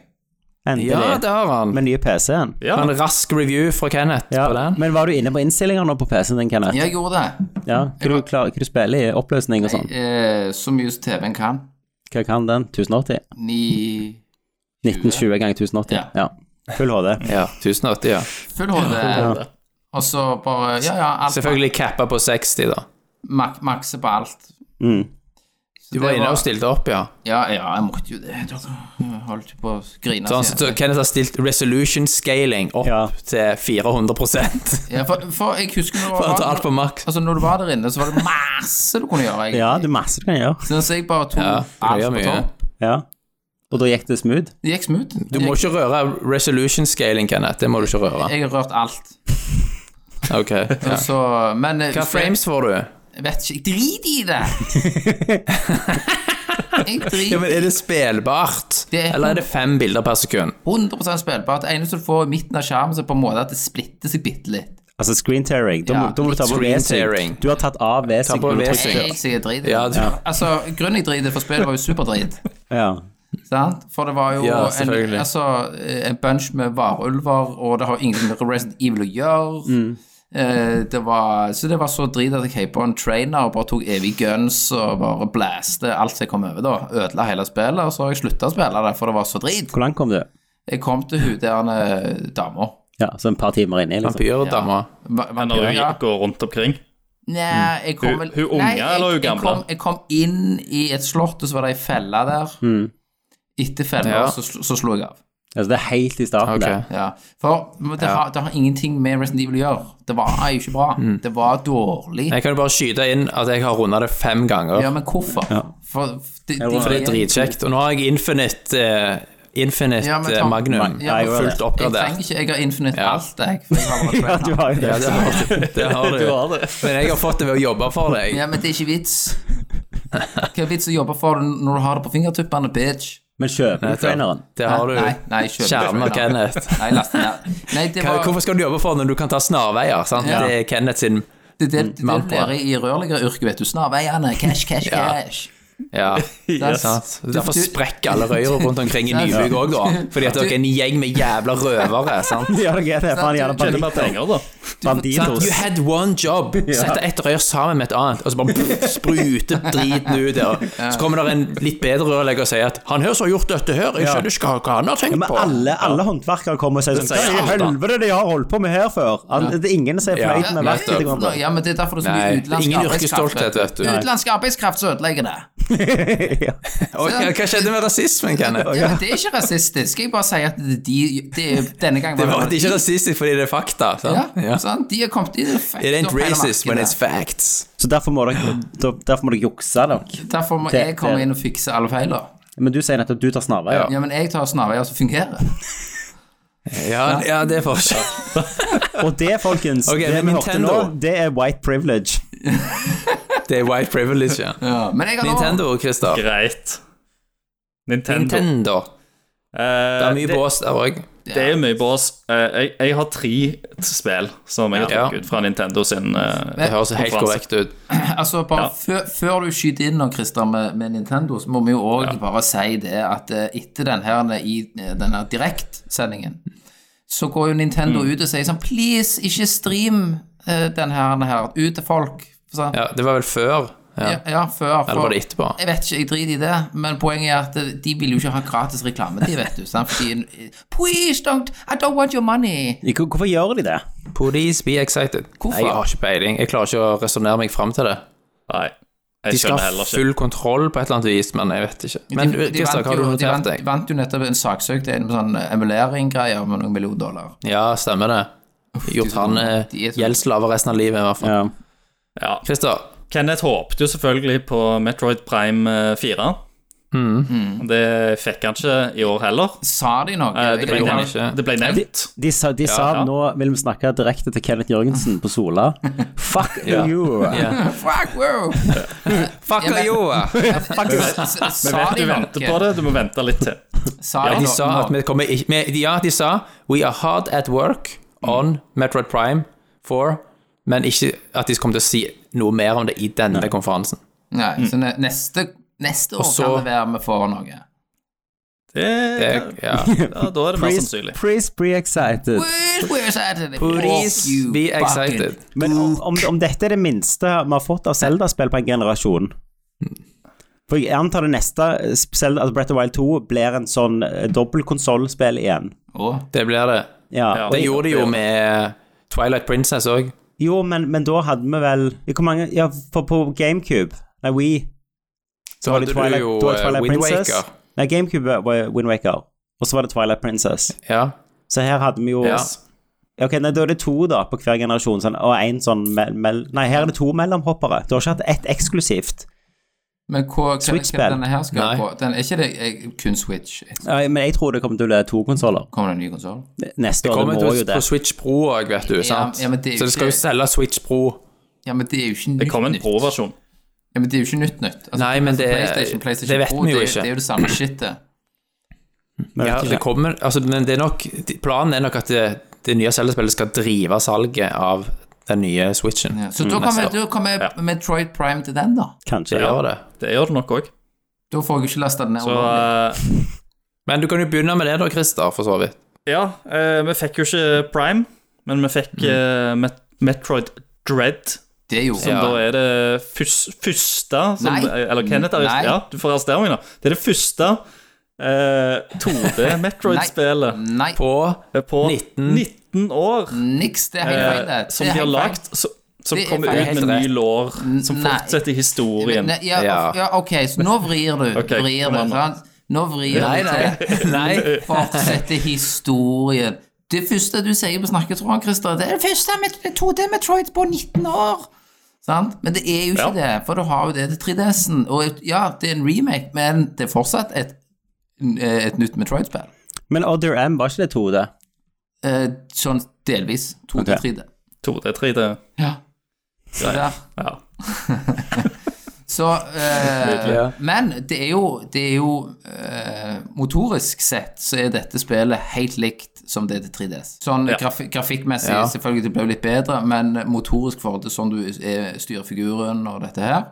Endelig. Ja, det har han. Med nye PC-en. Ja. En rask review fra Kenneth Ja, på den. Men var du inne på innstillingene nå på PC-en din, Kenneth? Jeg gjorde det. Ja, Hva du, klar, hva du spiller i oppløsning og sånn? Eh, så mye som TV-en kan. Hva kan den? 1080? Ni 1920 ganger 1080? Ja. Ja. Full HD. Ja, 1080, ja. full HD. Og så bare Ja, ja, alt. Selvfølgelig cappa på 60, da. Mak makse på alt. Mm. Du Så det var inne og stilte opp, ja. Ja, ja, jeg måtte jo det. Jeg holdt jo på å grine. Sånn, så så jeg- Kenneth har stilt resolution scaling opp Ja. til 400 Ja, for, for jeg husker når For å ta du var, alt på maks. altså, når du var der inne, så var det masse du kunne gjøre. Jeg, Ja, det er masse du kan gjøre. Så jeg bare tok Ja, du kan alt gjøre på mye. topp. Ja. Og da gikk det smooth? Det gikk smooth. Du må ikke røre resolution scaling, Kenneth. Det må du ikke røre. Jeg har rørt alt. Ok. Ja. Og Så, men eh, Hva frames får du? Jeg vet ikke. Jeg driter i det! jeg Ja, driter men Er det spelbart? Det er- Eller er det fem bilder per sekund? 100 spillbart. Det eneste du får i midten av skjermen, så er på en måte at det splitter seg bitte litt. Altså screen tearing. Da, må- Ja, da må du ta på screen tearing. V-sync. Du har tatt av V-sync. på når du V-sync. trykker. Jeg sier jeg driter i det. Ja, du- Altså, grunnen jeg driter, for spillet var jo superdrit. Ja. Sant? For det var jo Ja, en, selvfølgelig. altså, en bunch med varulver, og det har ingenting med Resident Evil å gjøre. Mm. Eh, det var, så det var så drit at jeg heiv på en trainer og bare tok evig guns og bare blaste alt som jeg kom over, da. Ødela hele spillet, og så har jeg slutta å spille det, for det var så drit. Hvor langt kom du? Jeg kom til hun der eh, dama. Ja, så et par timer inni, liksom. Vampyrdama. Va- Når vampyr, hun ja. går rundt omkring. Nei, Mm. jeg kom Hun- vel hun unge, Nei, jeg- eller hun jeg gamle? kom- Jeg kom inn i et slott, og så var det ei felle der. Etter fella, Mm. Ja. så, sl- så slo jeg av. Altså, det er helt i starten, Ok. det. Ja. For men det, har, det har ingenting med Resident Evil å gjøre. Det var jo ikke bra. Det var dårlig. Jeg kan jo bare skyte inn at jeg har runda det fem ganger. Ja, men hvorfor? For, de, de, For det er dritkjekt. Og nå har jeg Infinite, eh, Infinite Ja, men eh, ta- Magnum. Ja, men- fullt Jeg oppgradert. trenger ikke, jeg har infinite Ja. alt, jeg. For jeg var bare Ja, du har jo det. Ja, det har du. Det har du. Men jeg har fått det ved å jobbe for deg. ja, men det er ikke vits. Hva er vits å jobbe for når du har det på fingertuppene, bitch? Men kjøper du traineren? Det har du. Nei, nei, kjøper Skjermer traineren. Kenneth. Nei, last ned. Nei, det Hva, var hvorfor skal du jobbe for når du kan ta snarveier? Sant? Ja. Det er Kenneth sin Det er det, det, er det du mantra. lærer i rørleggeryrket, vet du. Snarveiene. Cash, cash, Ja. cash. Ja. Yes. Sant? Derfor Du- sprekker alle røyra rundt omkring i Nybygg òg, da. Fordi at dere er en gjeng med jævla røvere. Sant? Ja, det er det. Faen, jævla Tjener banditter. mer penger, da. Sant? Banditos. You had one job. Sette ett rør sammen med et annet, og så bare pff, sprute driten ut der. Så kommer det en litt bedre rørlegger og sier at 'han her som har gjort dette her, jeg Ja. skjønner ikke hva- hva han har Ja, tenkt men på'. alle, alle håndverkere kommer og sier sånn Hva sier i alt, da. helvete de har holdt på med her før? Al- Det er ingen som er Ja, fornøyd med Nei, verktøyet. for noe- Grønland. ja, men det er derfor det er så Nei, mye det er utenlandsk ingen arbeidskraft. yrkesstolthet, vet du. Utenlandsk arbeidskraft som ødelegger det. Ja. Og hva hva skjedde med rasismen, Kenneth? Ja, men det er ikke rasistisk. Jeg bare sier at det, de, det er denne gangen Det, var, det er ikke rasistisk fordi det er fakta. Ja, Sant? Ja. sant? De har kommet inn It ain't racist when it's facts. Så derfor må dere da- Derfor må dere jukse dere. Derfor må Det- jeg komme det- inn og fikse alle feiler. Men du sier nettopp du tar snarveier. Ja, men jeg tar snarveier som fungerer. Ja, ja det er forskjell. Og det, folkens, Ok, det men vi hørte nå, Nintendo- det er white privilege. Det er white privilege, ja. Ja, men jeg har lov. Nintendo, Christer. Greit. Nintendo. Nintendo. Eh, Det er mye det, bås der òg. det er mye bås. Eh, jeg, jeg har tre spill som jeg har Ja. trukket ut fra Nintendo sin eh, Det høres helt konferanse. korrekt ut. Altså, bare Ja. før, før du skyter inn nå, Christer, med, med Nintendo, så må vi jo òg bare si det at eh, etter den her i eh, denne direktsendingen, så går jo Nintendo Mm. ut og sier sånn Please, ikke stream eh, den her, den her ut til folk. Sånn. Ja, det var vel før? Ja. Ja, ja, før. Eller var det for- Eh, etterpå? Jeg vet ikke, jeg driter i det, men poenget er at eh, de vil jo ikke ha gratis reklame, de, vet du. Sant? Fordi, eh, Please don't, I don't want your money. Hvor- Hvorfor gjør de det? Please be excited. Hvorfor? Nei, jeg har ikke peiling. Jeg klarer ikke å resonnere meg fram til det. Nei, De jeg skal skjønner ha heller ikke. full kontroll på et eller annet vis, men jeg vet ikke. Men de, de, Christer, vant hva har du jo, de notert vant, deg? vant jo nettopp en saksøk til en sånn emulering-greier med noen million dollar. Ja, stemmer det. Gjort han eh, de er så- gjeldsslave resten av livet, i hvert fall. Ja. Ja. Christer, Kenneth håpet jo selvfølgelig på Metroid Prime eh, 4. Mm. Mm. Det fikk han ikke i år heller. Sa de noe? Eh, Det ble Jeg- nevnt. ikke. Det ble De, nevnt. de sa, de sa ja. nå vil vi snakke direkte til Kenneth Jørgensen på Sola. Fuck you! Fuck, wow! Fuck men- you! Vi Sa vet de du venter på noe? det, du må vente litt til. Sa Ja, de sa noe? at vi kommer ikke vi- Ja, de sa We are hard at work on Metroid Prime 4, men ikke at de kommer til å si noe mer om det i denne konferansen. Nei, så ne- neste, neste år Mm. så- kan det være vi får noe. Det, Det, ja. ja, da er det mer Please, sannsynlig. please be excited. Please, we're excited. Fuck Please you, be fucking- excited. Men om, om, om dette er det minste vi har fått av Zelda-spill på en generasjon For jeg antar det neste eh, Zelda, altså Breath of the Wild 2 blir en sånn eh, dobbeltkonsollspill igjen. Å, Det blir det. Ja, Ja. og- Det gjorde de jo med Twilight Princess òg. Jo, men, men da hadde vi vel Hvor mange Ja, for på GameCube Nei, We Så hadde du Twilight- jo da var det eh, Twilight Wind Princess. Waker. Nei, GameCube var Wind Waker, og så var det Twilight Princess. Ja. Så her hadde vi jo Ja. Ok, nei, da er det to da på hver generasjon, sånn, og én sånn mel, mel, Nei, her er det to mellomhoppere. Du har ikke hatt ett eksklusivt. Men hva, hva, hva Switch-spill. denne her skal Nei. på? Den, er ikke det eh, kun Switch? Ja, men jeg tror det kommer til å bli to konsoller Kommer det en ny konsoll? neste år. Kommer Det må jo til det. på Switch Pro òg, vet du. sant? ja, men det er jo så det skal jo ikke- selge Switch Pro. Ja, men det er jo ikke nytt. Det kom en nytt. pro-versjon. Ja, men det er jo ikke nytt nytt. Altså, Nei, men det- PlayStation, PlayStation det vet Pro, vi jo det er- ikke. Det er jo det samme shitet. Vi Ja, vet det ikke. kommer, altså, men det er nok, planen er nok at det, det nye Zelda-spillet skal drive salget av den nye Switchen. Ja. Så da kommer, da kommer Metroid Prime til den, da. Kanskje. Det Ja. gjør det. Det gjør det nok òg. Da får jeg jo ikke lasta den ned. Så ordentlig. eh, Men du kan jo begynne med det da, Christer, for så vidt. Ja, eh, vi fikk jo ikke Prime, men vi fikk Mm. eh, Met Metroid Dread, det er jo som da er det fys første som, Nei. Eller Kenneth, er, Nei. ja, du får arrestere meg nå. Det er det første eh, 2D-Metroid-spillet Nei, På på 19. 19 år niks. Det er helt feil. eh, det. som Det er de har helt feil. lagd, som, som Det er kommer feil. ut med Helt ny rett. lår, som Nei. fortsetter historien. Men, ja, Ja. ja, OK, så nå vrir du. Ok, vrir kom du, an nå. sant? Nå vrir du. Nei, nei, nei. Fortsette historien. Det første du sier på snakketråden, Christer, det er det første med 2D Metroid på 19 år. Sant? Men det er jo ikke det, for du har jo det til 3DS-en. Og ja, det er en remake, men det er fortsatt et, eh, et nytt Metroid-spill. Men Other M, var ikke det to, det? Eh, sånn delvis. 2D, Ok. 3D. 2D, 3D. Ja. Så der. Ja. Så eh, Men det er jo, det er jo eh, Motorisk sett så er dette spillet helt likt som det til 3DS. Sånn Ja. graf grafikkmessig, Ja. selvfølgelig, det ble jo litt bedre, men motorisk for det, sånn du er, styrer figuren og dette her.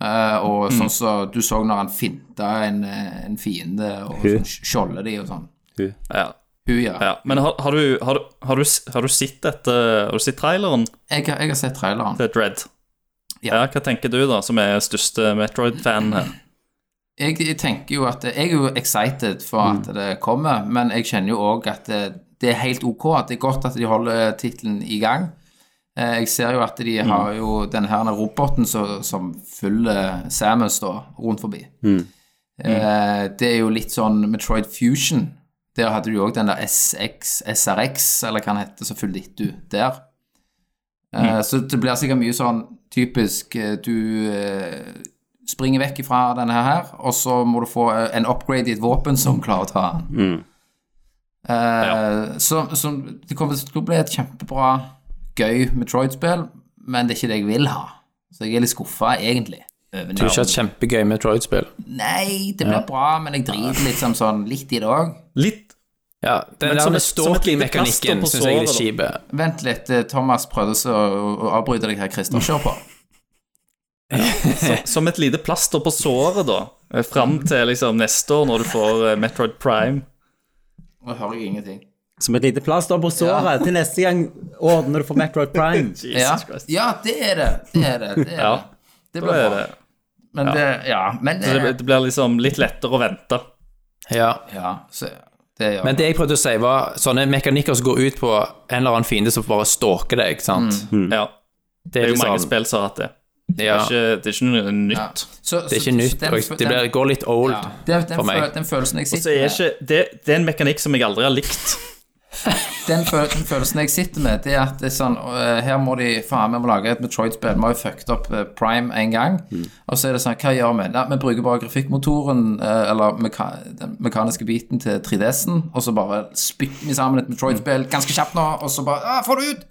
Eh, og sånn som så du så når han finta en, eh, en fiende og Hun. sånn, skjolde de og sånn. Ja. Hun, ja. ja. Men har, har, du, har, du, har, du, har du sett dette Har du sett traileren Jeg, har- jeg har sett traileren. til Dread? Ja. ja, hva tenker du, da, som er største Metroid-fan her? jeg, jeg tenker jo at Jeg er jo excited for at det kommer, men jeg kjenner jo òg at det, det er helt ok. At det er godt at de holder tittelen i gang. Eh, Jeg ser jo at de har jo den her roboten som, som følger Samus da, rundt forbi. Eh, Det er jo litt sånn Metroid Fusion. Der hadde du jo òg den der SX, SRX, eller hva den heter, som fulgte etter du der. Eh, Så det blir sikkert mye sånn typisk eh, Du eh, springer vekk fra denne her, og så må du få eh, en upgrade i et våpen som klarer å ta den. Eh, så, så det kommer til å bli et kjempebra, gøy Metroid-spill, men det er ikke det jeg vil ha. Så jeg er litt skuffa, egentlig. over Du har det. ikke hatt kjempegøy Metroid-spill. Nei, det blir bra, men jeg driter liksom sånn litt i det òg. Litt Ja, den Men som der et- som et lite plaster stalking-mekanikken på syns jeg er litt såret, kjip. Vent litt, eh, Thomas prøvde så å, å avbryte deg her, Christer. Kjør på. som, som et lite plaster på såret, da. eh, Fram til liksom neste år, når du får eh, Metroid Prime. Nå hører jeg ingenting. Som et lite plaster på såret til neste gang ordner du for Metroid Prime. Ja, Jesus Christ. ja det er det. Det er det. Det, er Ja. det. det Da blir er bra. det. Men det Ja, men Så det, det, det blir liksom litt lettere å vente. Ja. ja, så, det gjør Men det jeg prøvde å si, var sånne mekanikker som går ut på en eller annen fiende som bare stalker deg, sant. Ja. Mm. Det er jo mange spill som har hatt det. Det liksom- Ja, er ikke, det er ikke noe nytt. så, det er ikke nytt. og Det blir, går litt old ja, den, den, for meg. føl- den følelsen jeg Så sitter er med ikke, det, det er en mekanikk som jeg aldri har likt. den, føl den følelsen jeg sitter med, det er at det er sånn, øh, her må de faen, vi må lage et Metroid-spill. Vi har jo fucket opp øh, Prime en gang. Og så er det sånn, hva gjør vi? Nei, vi bruker bare grafikkmotoren, øh, eller meka den mekaniske biten til 3DS-en, og så bare spytter vi sammen et Metroid-spill ganske kjapt nå, og så bare ah, få det ut!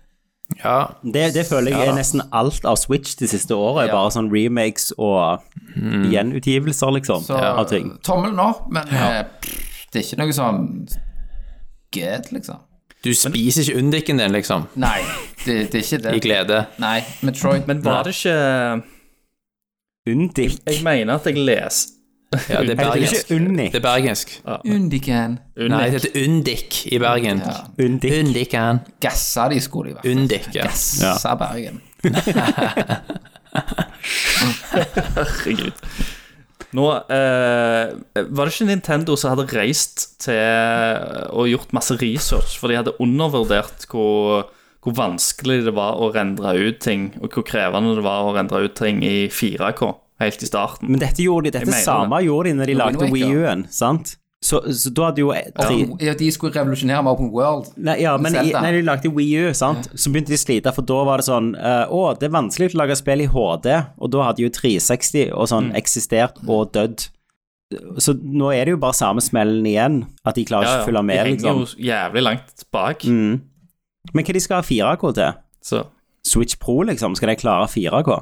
Ja. Det, det føler jeg er nesten alt av Switch de siste åra. er Bare sånn remakes og gjenutgivelser, liksom, Så av ting. tommel nå, men øh, pff, det er ikke noe sånn Get, liksom. Du spiser ikke undiken din, liksom, Nei, det, det er ikke det. i glede. Nei, Metroid Men var det ikke Undik. Jeg mener at jeg leser Ja, det er Heter det bergensk. ikke Unnik? Det er bergensk. Undiken. Nei, det heter undik i Bergen. Ja. Undik. Undiken. Gassa de skulle de vært. Undik, ja. Gassa Bergen. Herregud. Nå eh, Var det ikke Nintendo som hadde reist til eh, og gjort masse research, for de hadde undervurdert hvor, hvor vanskelig det var å rendre ut ting, og hvor krevende det var å rendre ut ting i 4K helt i starten. Men dette gjorde de, Jeg dette mener samme gjorde de når de Wind lagde Waker. Wii U-en, sant? Så, så da hadde jo tre Open, ja, de skulle revolusjonere med Open World. Nei, ja, men i, Zelda. nei, de lagde Wii U, sant? Så begynte de å slite, for da var det sånn eh, Å, det er vanskelig å lage spill i HD, og da hadde jo 360 og Mm. sånn eksistert og dødd. Så nå er det jo bare samme smellen igjen, at de klarer ikke å følge de med, henger liksom. Mm. jo jævlig langt bak, Men hva de skal ha 4K til? så Switch Pro, liksom? Skal de klare 4K?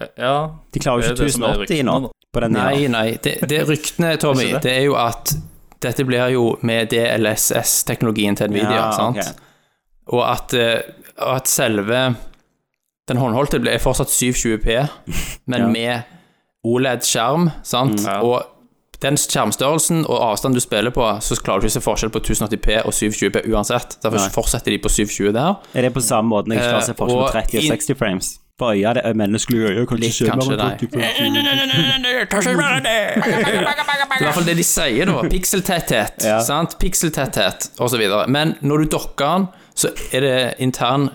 eh, ja. De klarer jo Det er ikke det som er 1080 nå, ryktene, da. på den Nei, nye. nei. Det, det er ryktene, Tommy, Ikke det? det er jo at dette blir jo med DLSS-teknologien til Nvidia, Ja, sant? ok. Og at, eh, og at selve den håndholdte ble- er fortsatt 720P, men med OLED-skjerm, sant? Og den skjermstørrelsen og avstanden du spiller på, så klarer du ikke å se forskjell på 1080P og 720P uansett. Derfor fortsetter de på 720 der. Er det på samme måten jeg klarer å se Eh, forskjell og på 30 og inn- 60 frames? På øya, det er menneskelige øyet, kan Litt, ikke se kanskje, mellom nei. 30 og 40. Det er i hvert fall det de sier, da. Pixeltetthet, Ja. sant? Pixeltetthet, osv. Men når du dokker den, så er det intern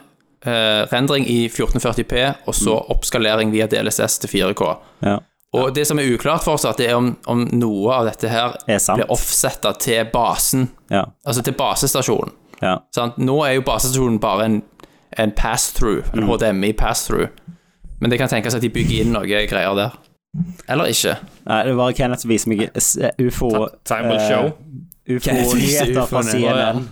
eh, rendring i 1440P, og så oppskalering via DLSS til 4K. Mm. Ja. Og det som er uklart fortsatt, det er om, om noe av dette her Er sant. blir offsetta til basen, Ja. altså til basestasjonen. ja. Sant? Nå er jo basestasjonen bare en, en pass-through, Mm. en HDMI pass-through. Men det kan tenkes at de bygger inn noe greier der. Eller ikke. Nei, det var Kenneth som viste meg s- eh, ufo... Time will eh, show. Kenneth viser UFO-nyheter fra ufoene. CNN.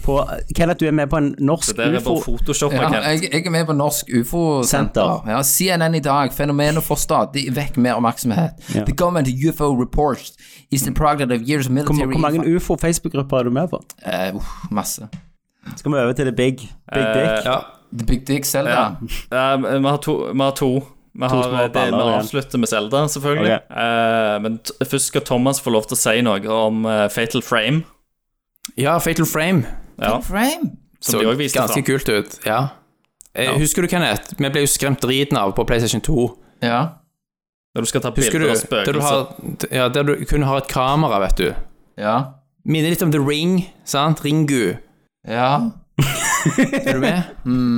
På, Kenneth, du er med på en norsk Det der er bare ufo... Photoshop. Ja, Kent. jeg, jeg er med på Norsk UFO-senter. Senter. Ja, CNN i dag. Fenomenet får stadig vekk mer oppmerksomhet. Ja. The government UFO report is the product of years of Hvor, military hvor mange ufo-Facebook-grupper er du med på? Eh, uff, Masse. Skal vi over til det big? Big Eh, dick? Ja. The Big Dick Zelda. Ja, vi har to. Vi, har to. vi har eh, små det, baller vi igjen. avslutter med Zelda, selvfølgelig. Ok. Eh, men t først skal Thomas få lov til å si noe om eh, Fatal Frame. ja, Fatal Frame. Ja, Frame. som de også viste ganske fram. kult ut. Ja. Eh, Husker du, Kenneth, vi ble jo skremt driten av på PlayStation 2. Ja. Når du skal ta Husker bilder du, av der du, spøkelser. har, ja, der du kun har et kamera, vet du. Ja. Minner litt om The Ring, sant? Ringu. Ja. Er du med?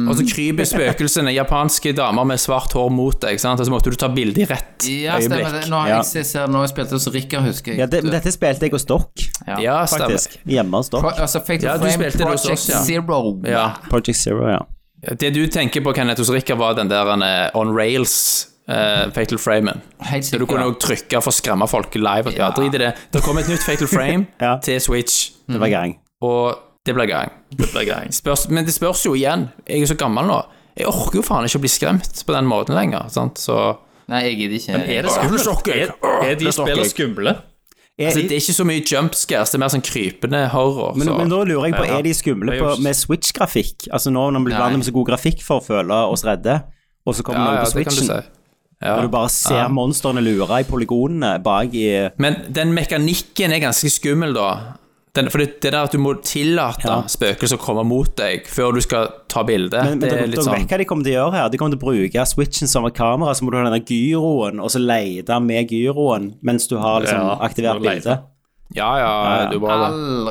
Og så kryper spøkelsene, japanske damer med svart hår mot deg, sant? og så måtte du ta bilde i rett Ja, stemmer øyeblikk. det. Nå har Ja. jeg jeg ser nå har jeg spilte hos Rikard, husker jeg. Ja, det, men dette spilte jeg hos Stokk, Ja, stemmer. faktisk. Hjemme hos Pro, Stokk. altså, Fatal Ja, du Frame spilte det hos Project oss, ja. Zero. Ja. Project Zero, ja. Det du tenker på, Kenneth, hos Rikard, var den der eh, on rails. eh, fatal Framen. Helt Så du kunne også trykke for å skremme folk live. Ja, drit i det. Det kom et nytt Fatal Frame Ja. til Switch, Det var gang. og det ble gang. Det blir greit. Spørs, men det spørs jo igjen. Jeg er så gammel nå. Jeg orker jo faen ikke å bli skremt på den måten lenger. Sant? Så Nei, jeg gidder ikke. Er det det skummelt? sjokker jeg. Er, er de Det sjokker jeg. spillene skumle? Er, altså, det er ikke så mye jump scares, det er mer sånn krypende horror. men, så. men da lurer jeg på, Ja. er de skumle Det er på, jo- med Switch-grafikk? Altså nå når vi Nei. blander med så god grafikk for å føle oss redde, og så kommer ja, noen ja, på det kan du Switchen, si. Ja. og du bare ser monstrene lure i polygonene bak i Men den mekanikken er ganske skummel, da. Den, for det, det der at du må tillate Ja. spøkelser å komme mot deg før du skal ta bilde, Men, men det dere, er litt dere sånn vet hva de kommer til å gjøre her. De kommer til å bruke switchen som et kamera, så må du ha den der gyroen, og så lete med gyroen mens du har liksom, Ja, aktivert må du lete. bildet. Ja, ja, du bare det. All...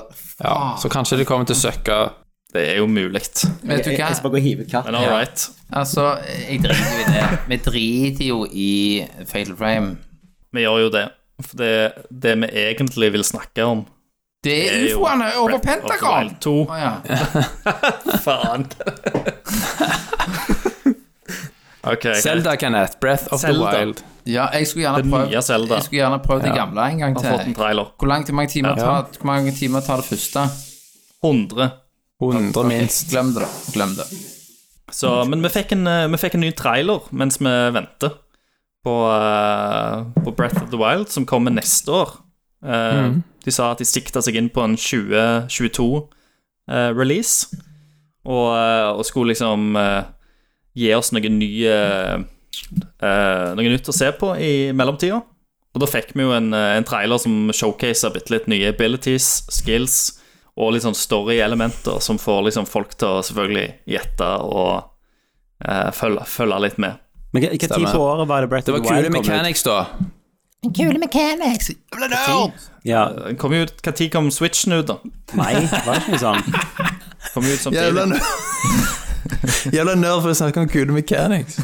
Ja. Så kanskje det kommer til å søkke Det er jo mulig. Vet du Jeg, jeg hva? skal bare gå og hive katt. Men all right. Altså, jeg driter jo i det. Vi driter jo i Fatal Frame. Vi gjør jo det. For det, det vi egentlig vil snakke om, Det er jo ufoene over Breath of the Pentagon! Wild 2. Å ja. Faen. OK. Zelda, Kenneth. Breath of Zelda. the Wild. ja, jeg skulle gjerne Det prøvd nye Zelda. Jeg skulle gjerne prøvd det gamle en gang Har fått en til. trailer. Hvor langt- hvor mange timer, Ja. tar, hvor mange timer tar det første? 100. 100 minst. Glem det, da. Glem det. Så, men vi fikk, en, eh, vi fikk en ny trailer mens vi venter på, eh, på Breath of the Wild, som kommer neste år. Eh, De sa at de sikta seg inn på en 2022-release, og, eh, og skulle liksom eh, gi oss noe, nye, eh, noe nytt å se på i mellomtida. Og da fikk vi jo en, eh, en trailer som showcaser bitte litt nye abilities, skills og litt sånn story-elementer som får liksom folk til å selvfølgelig gjette og eh, følge, følge litt med. Men hva hva tid Stemmer. på året var det Breath Det of var the Wild kule kom ut? mechanics, da. Ja, Den Eh, kom jo ut, Hva tid kom Switchen ut, da? nei, var det ikke noe sånn? Kom jo ut samtidig. Jævla nerd for å snakke om kule mechanics. For,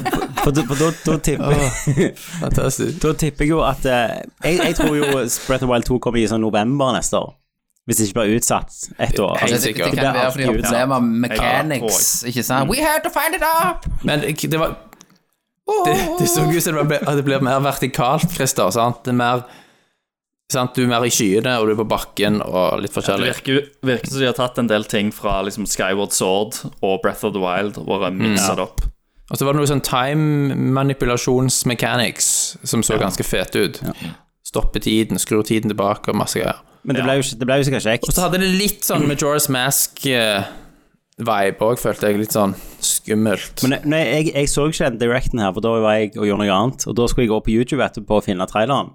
da- for da, da, tipper, Fantastisk. da tipper jeg jo at eh, jeg, jeg tror jo Breath of the Wild 2 kommer i sånn november neste år. Hvis det ikke blir utsatt et år. Helt Det, Altså, det, sikkert. det kan være fordi de har problemer med mechanics, ikke Mm. sant? We had to find it up! Men det var Det, det så ut som det ble, at det blir mer vertikalt, Christer. Sant? Det er mer sant? Du er mer i skyene, og du er på bakken, og litt Det forskjellig. virker, jo- virker som de har tatt en del ting fra liksom Skyward Sword og Breath of the Wild og bare mikset det opp. Og så var det noe sånn time manipulasjons-mechanics som så ganske fete ut. Stoppe tiden, skru tiden tilbake og masse greier. men det ble jo, ikke- det ble jo sikkert Og kjekt. så hadde det litt sånn Mm. Majora's Mask-vibe òg, følte jeg. Litt sånn skummelt. Men nei, jeg, jeg så ikke den directen her, for da var jeg og gjorde noe annet. Og da skulle jeg gå på YouTube etterpå og finne traileren.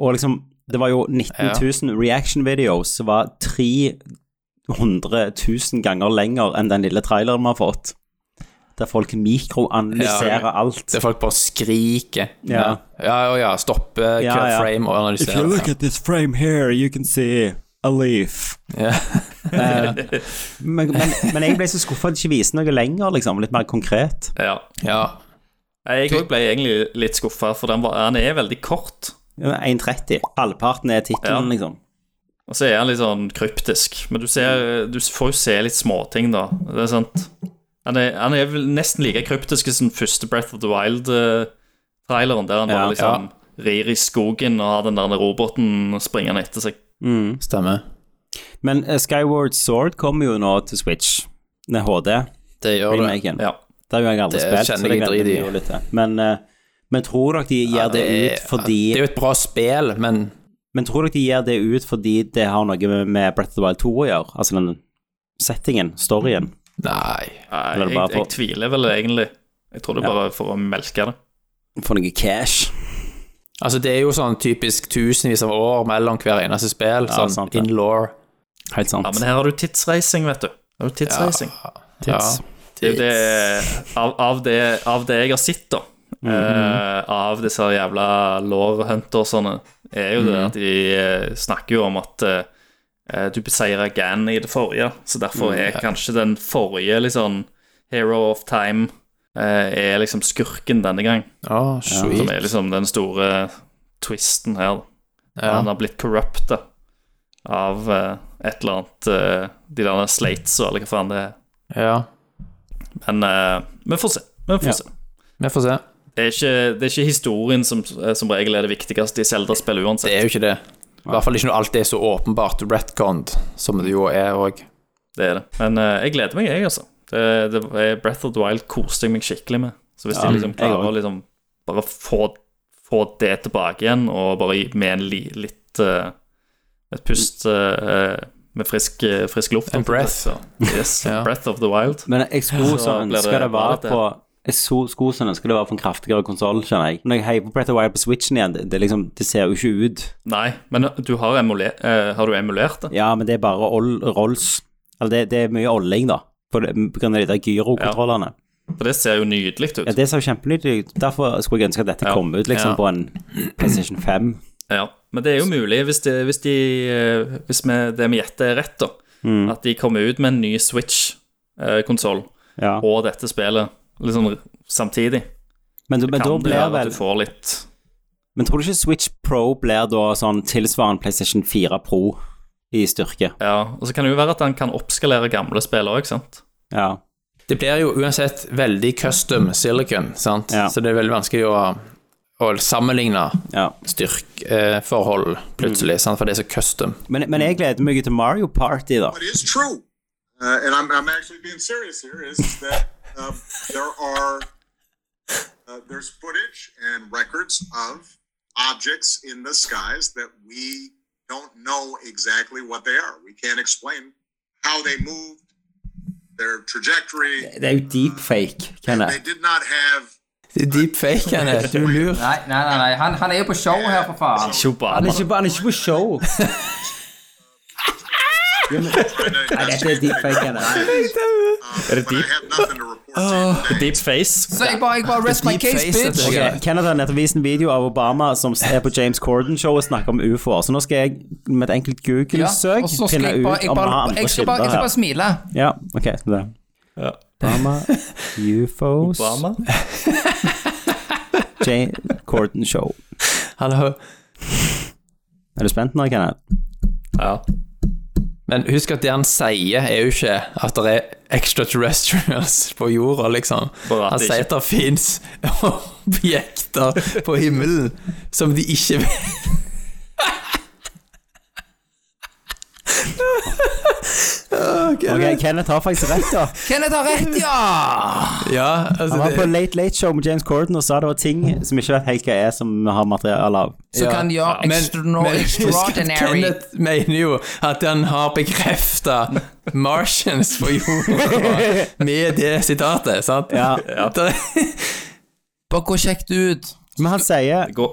Og liksom, det var jo 19 000 reaction videos som var 300 000 ganger lenger enn den lille traileren vi har fått. Der folk mikroanalyserer alt. Det folk bare skriker. Ja. ja, ja, ja stoppe, cut Ja, ja. frame og analysere. at this frame here, you can see a leaf. Ja. Eh, Men, men, men jeg ble så skuffa at de ikke viste noe lenger, liksom. Litt mer konkret. Ja. ja. Jeg òg ble egentlig litt skuffa, for den, var, den er veldig kort. Ja, 1,30. Halvparten er tittelen, liksom. Og så er han litt sånn kryptisk. Men du, ser, du får jo se litt småting, da. Det er sant. Han er, han er vel nesten like kryptisk som første Breath of the Wild-traileren, der han bare Ja. liksom rir i skogen og har den der roboten springende etter seg. Stemmer. Men eh, Skyward Sword kommer jo nå til Switch med HD. Det gjør det. Remaken. Ja. Det har jo jeg aldri Det spilt, kjenner så det jeg gleder drit jeg i. meg jo litt til. Men, eh, men tror dere de gir Ja, det, er- ut fordi Det er jo et bra spill, men Men tror dere de gir det ut fordi det har noe med- med Breath of the Wild 2 å gjøre? Altså den settingen, storyen? Nei. Nei, Eller jeg, bare jeg, for- tviler vel egentlig. Jeg tror det er bare for å melke det. For noe cash? Altså, det er jo sånn typisk tusenvis av år mellom hver eneste spill, Ja, sånn sant det. in law. Helt sant. Ja, Men her har du tidsreising, vet du. Her har du tidsreising. Ja. Det er jo det av, av det av det jeg har sett, da. Mm, Mhm. eh, av disse jævla lawhuntersene, er jo det at de eh, snakker jo om at eh, du beseirer Gan i det forrige, så derfor er kanskje den forrige liksom Hero of Time eh, er liksom skurken denne gang. Å, Som sweet. er liksom den store twisten her. da. Han Ja. har blitt corrupta av eh, et eller annet eh, De der slates og eller hva faen det er. ja. Men eh, vi får se. Vi får Ja. se. Vi får se. Det er ikke, det er ikke historien som eh, som regel er det viktigste i Zelda-spill Det uansett. er jo ikke det. I hvert fall ikke når alt er så åpenbart retconned, som det jo er òg. Det er det. Men eh, jeg gleder meg, jeg, altså. Det, det, er- Breath of the Wild koste jeg meg skikkelig med. Så hvis de liksom jeg klarer også. å liksom bare få, få det tilbake igjen, og bare gi- med en li, litt eh, Et pust eh, med frisk, eh, frisk luft. En breath. Så, yes, Ja. Breath of the Wild. Men jeg skulle Så så blir det ønske det bra, var dette. på jeg så- skulle så ønske det var på en kraftigere konsoll, skjønner jeg. Når jeg heier på Breath of the Wild på Switchen igjen, det, det, liksom, det ser jo ikke ut. Nei, men du har, emule, eh, har du emulert det? Ja, men det er bare ol, Rolls Eller det, det er mye olling, da. På, det- på grunn av de der gyrokontrollene. For det ser jo nydelig ut. Ja, det ser jo kjempenydelig ut. Derfor skulle jeg ønske at dette Ja. kom ut liksom Ja. på en PlayStation 5. Ja, men det er jo mulig hvis, det, hvis, de, eh, hvis vi, det vi gjetter er rett, da. Mm, At de kommer ut med en ny Switch-konsoll Ja. og dette spillet liksom samtidig. Men, du- men da Kan det blir være at vel du får litt Men tror du ikke Switch Pro blir da sånn tilsvarende PlayStation 4 Pro? i styrke. Ja, og så kan det jo være at han kan oppskalere gamle spill òg, sant. Ja. Det blir jo uansett veldig custom silicon, sant? Ja. så det er veldig vanskelig å, å sammenligne ja. styrkeforhold plutselig, sant? for det er så custom. Men, men jeg gleder meg til Mario Party, da. what is true, uh, and I'm, I'm actually being serious here, is that um, there are uh, there's footage and records of objects in the skies that we don't know exactly what they are. We can't explain how they moved, their trajectory. Det er jo deepfake, and Kenneth. They did not have. Det er deepfake, Kenneth. Du er lur. Nei, nei, nei, nei. Han, han er jo på show her, for faen. Ikke Han Obama. er ikke, på- han er ikke på show. trying to Nei, dette er deepfake, Kenneth. Uh, but I have nothing to report to you today. Deep face. Så jeg bare, jeg bare rest my Deep case, face, bitch. dette. Ok, Kenneth har nettopp vist en video av Obama som er på James Corden-show og snakker om ufoer, så nå skal jeg med et enkelt Ja, og Google-søk så skal finne jeg ut bare, jeg om han har bare, andre jeg skal bare, jeg kilder skal her. bare smile. Ja, ok, så det. Obama, UFOs, Obama. James Corden-show. Han har Er du spent nå, Kenneth? Ja. Men husk at det han sier, er jo ikke at det er extraterrestrials på jorda, liksom. Bare at Han det sier ikke- at det fins objekter på himmelen som de ikke vet Ok, Kenneth har faktisk rett, da. Kenneth har rett, ja! Ja, altså Han var på det, Late Late Show med James Corden og sa det var ting som ikke vet helt hva er, som vi har materiale av. Så kan han gjøre men, extra- men husk at extraordinary. Kenneth mener jo at han har bekrefta Martians på jorda med det sitatet, sant? Ja. Det, Bare gå og sjekk det ut. Men han sier Gå.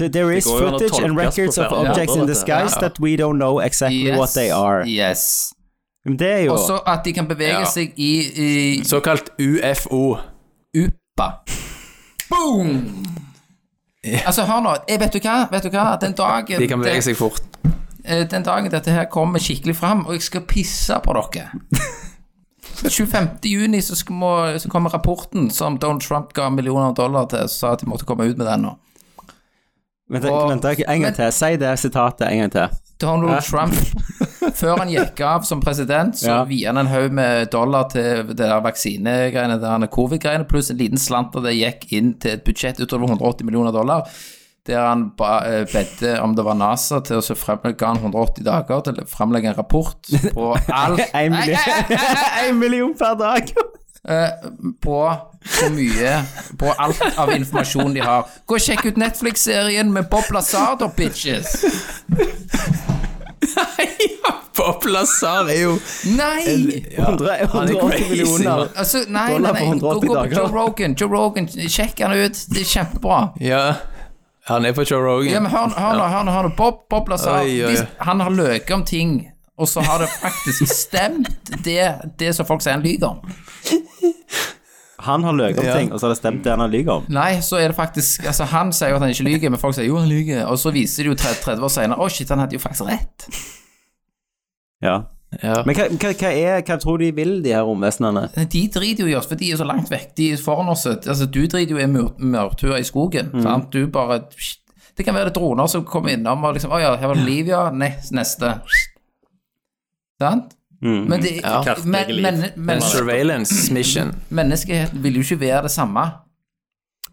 Th- There is går jo an å footage and tolkes på records of flere måter, objects in the dette. skies Ja. that we don't know exactly Yes. what they are. Yes. Men det er jo Og så at de kan bevege Ja. seg i, i såkalt UFO. Upa. Boom! Altså, hør nå. Jeg vet du hva? Vet du hva? Den dagen De kan bevege seg fort. eh, den dagen dette her kommer skikkelig fram, og jeg skal pisse på dere 25. juni så, skal må, så kommer rapporten som Donald Trump ga millioner av dollar til, og sa at de måtte komme ut med den nå. Vent, og- vent, vent, en gang til. Si det sitatet en gang til. Donald Trump, før han gikk av som president, så Ja. viet han en haug med dollar til det der vaksinegreiene, det der covid-greiene, pluss en liten slant av det gikk inn til et budsjett utover 180 millioner dollar, der han ba, eh, bedte om det var NASA til å så fremlegge ga han 180 dager til å fremlegge en rapport på alt En million, en million per dag. på så mye På alt av informasjon de har. Gå og sjekk ut Netflix-serien med Bob Lazardo, bitches! Ja, Bob Lazar er jo Nei! ja, 100 han er 180 crazy, millioner. man. Altså, nei, nei, Dollar nei. for Gå, 180 gå på dager. Joe Rogan, Joe Rogan, sjekk han ut. Det er kjempebra. Ja, han er på Joe Rogan. Ja, men hør nå, hør nå, hør nå, hør nå. Bob, Bob Lazar, Oi, oi, oi. hvis han har løket om ting, og så har det faktisk stemt det, det som folk sier han lyver om. Han har løyet om Ja. ting, og så har det stemt det han har lyget om. Nei, så er det faktisk Altså, han sier jo at han ikke lyver, men folk sier jo han lyver, og så viser det jo 30 30 år senere Å, shit, han hadde jo faktisk rett. Ja. Ja. Men hva, hva, hva, er, hva tror de vil, de her romvesenene? De driter jo i oss, for de er så langt vekk. De er foran oss. Altså, du driter jo i mur- mørtuer i skogen. Mm. Sant? Du bare Det kan være det er droner som kommer innom og liksom Å ja, her var det liv, ja. Ne- Neste. Sant? Mm. Men, det, Kartlegge men, liv. men, En men, surveillance mission. menneskeheten vil jo ikke være det samme.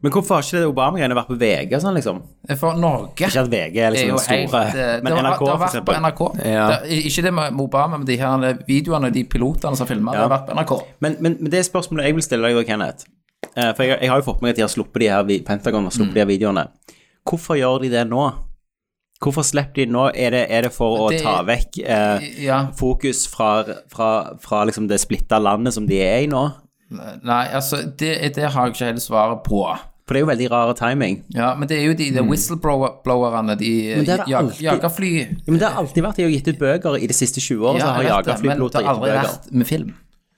Men hvorfor har ikke det Obama-greiene vært på VG og sånn, liksom? For Norge Ikke at VG er er liksom jo den helt store, eh, men det har, NRK, det for har vært på eksempel. NRK. Ja. Det, er- ikke det med Obama, men de her eh, videoene og de pilotene som filma, det har vært på NRK. Men, men, men det spørsmålet jeg vil stille deg da, Kenneth eh, For jeg, jeg har jo fått med meg at de har sluppet de her vi- Pentagon har sluppet de her videoene. Hvorfor gjør de det nå? Hvorfor slipper de det nå? Er det, er det for å Det- ta vekk eh, Ja. fokus fra, fra, fra liksom det splitta landet som de er i nå? Nei, altså, det, det har jeg ikke helt svaret på. For det er jo veldig rar timing. Ja, men det er jo de, de whistleblowerne, de Mm. Men det er det jag- alltid. jagerfly Ja, men det har alltid vært De har gitt ut bøker i de siste 20 årene, så jeg har vet det, Men det jagerflypiloter har gitt ut aldri bøker. vært med film.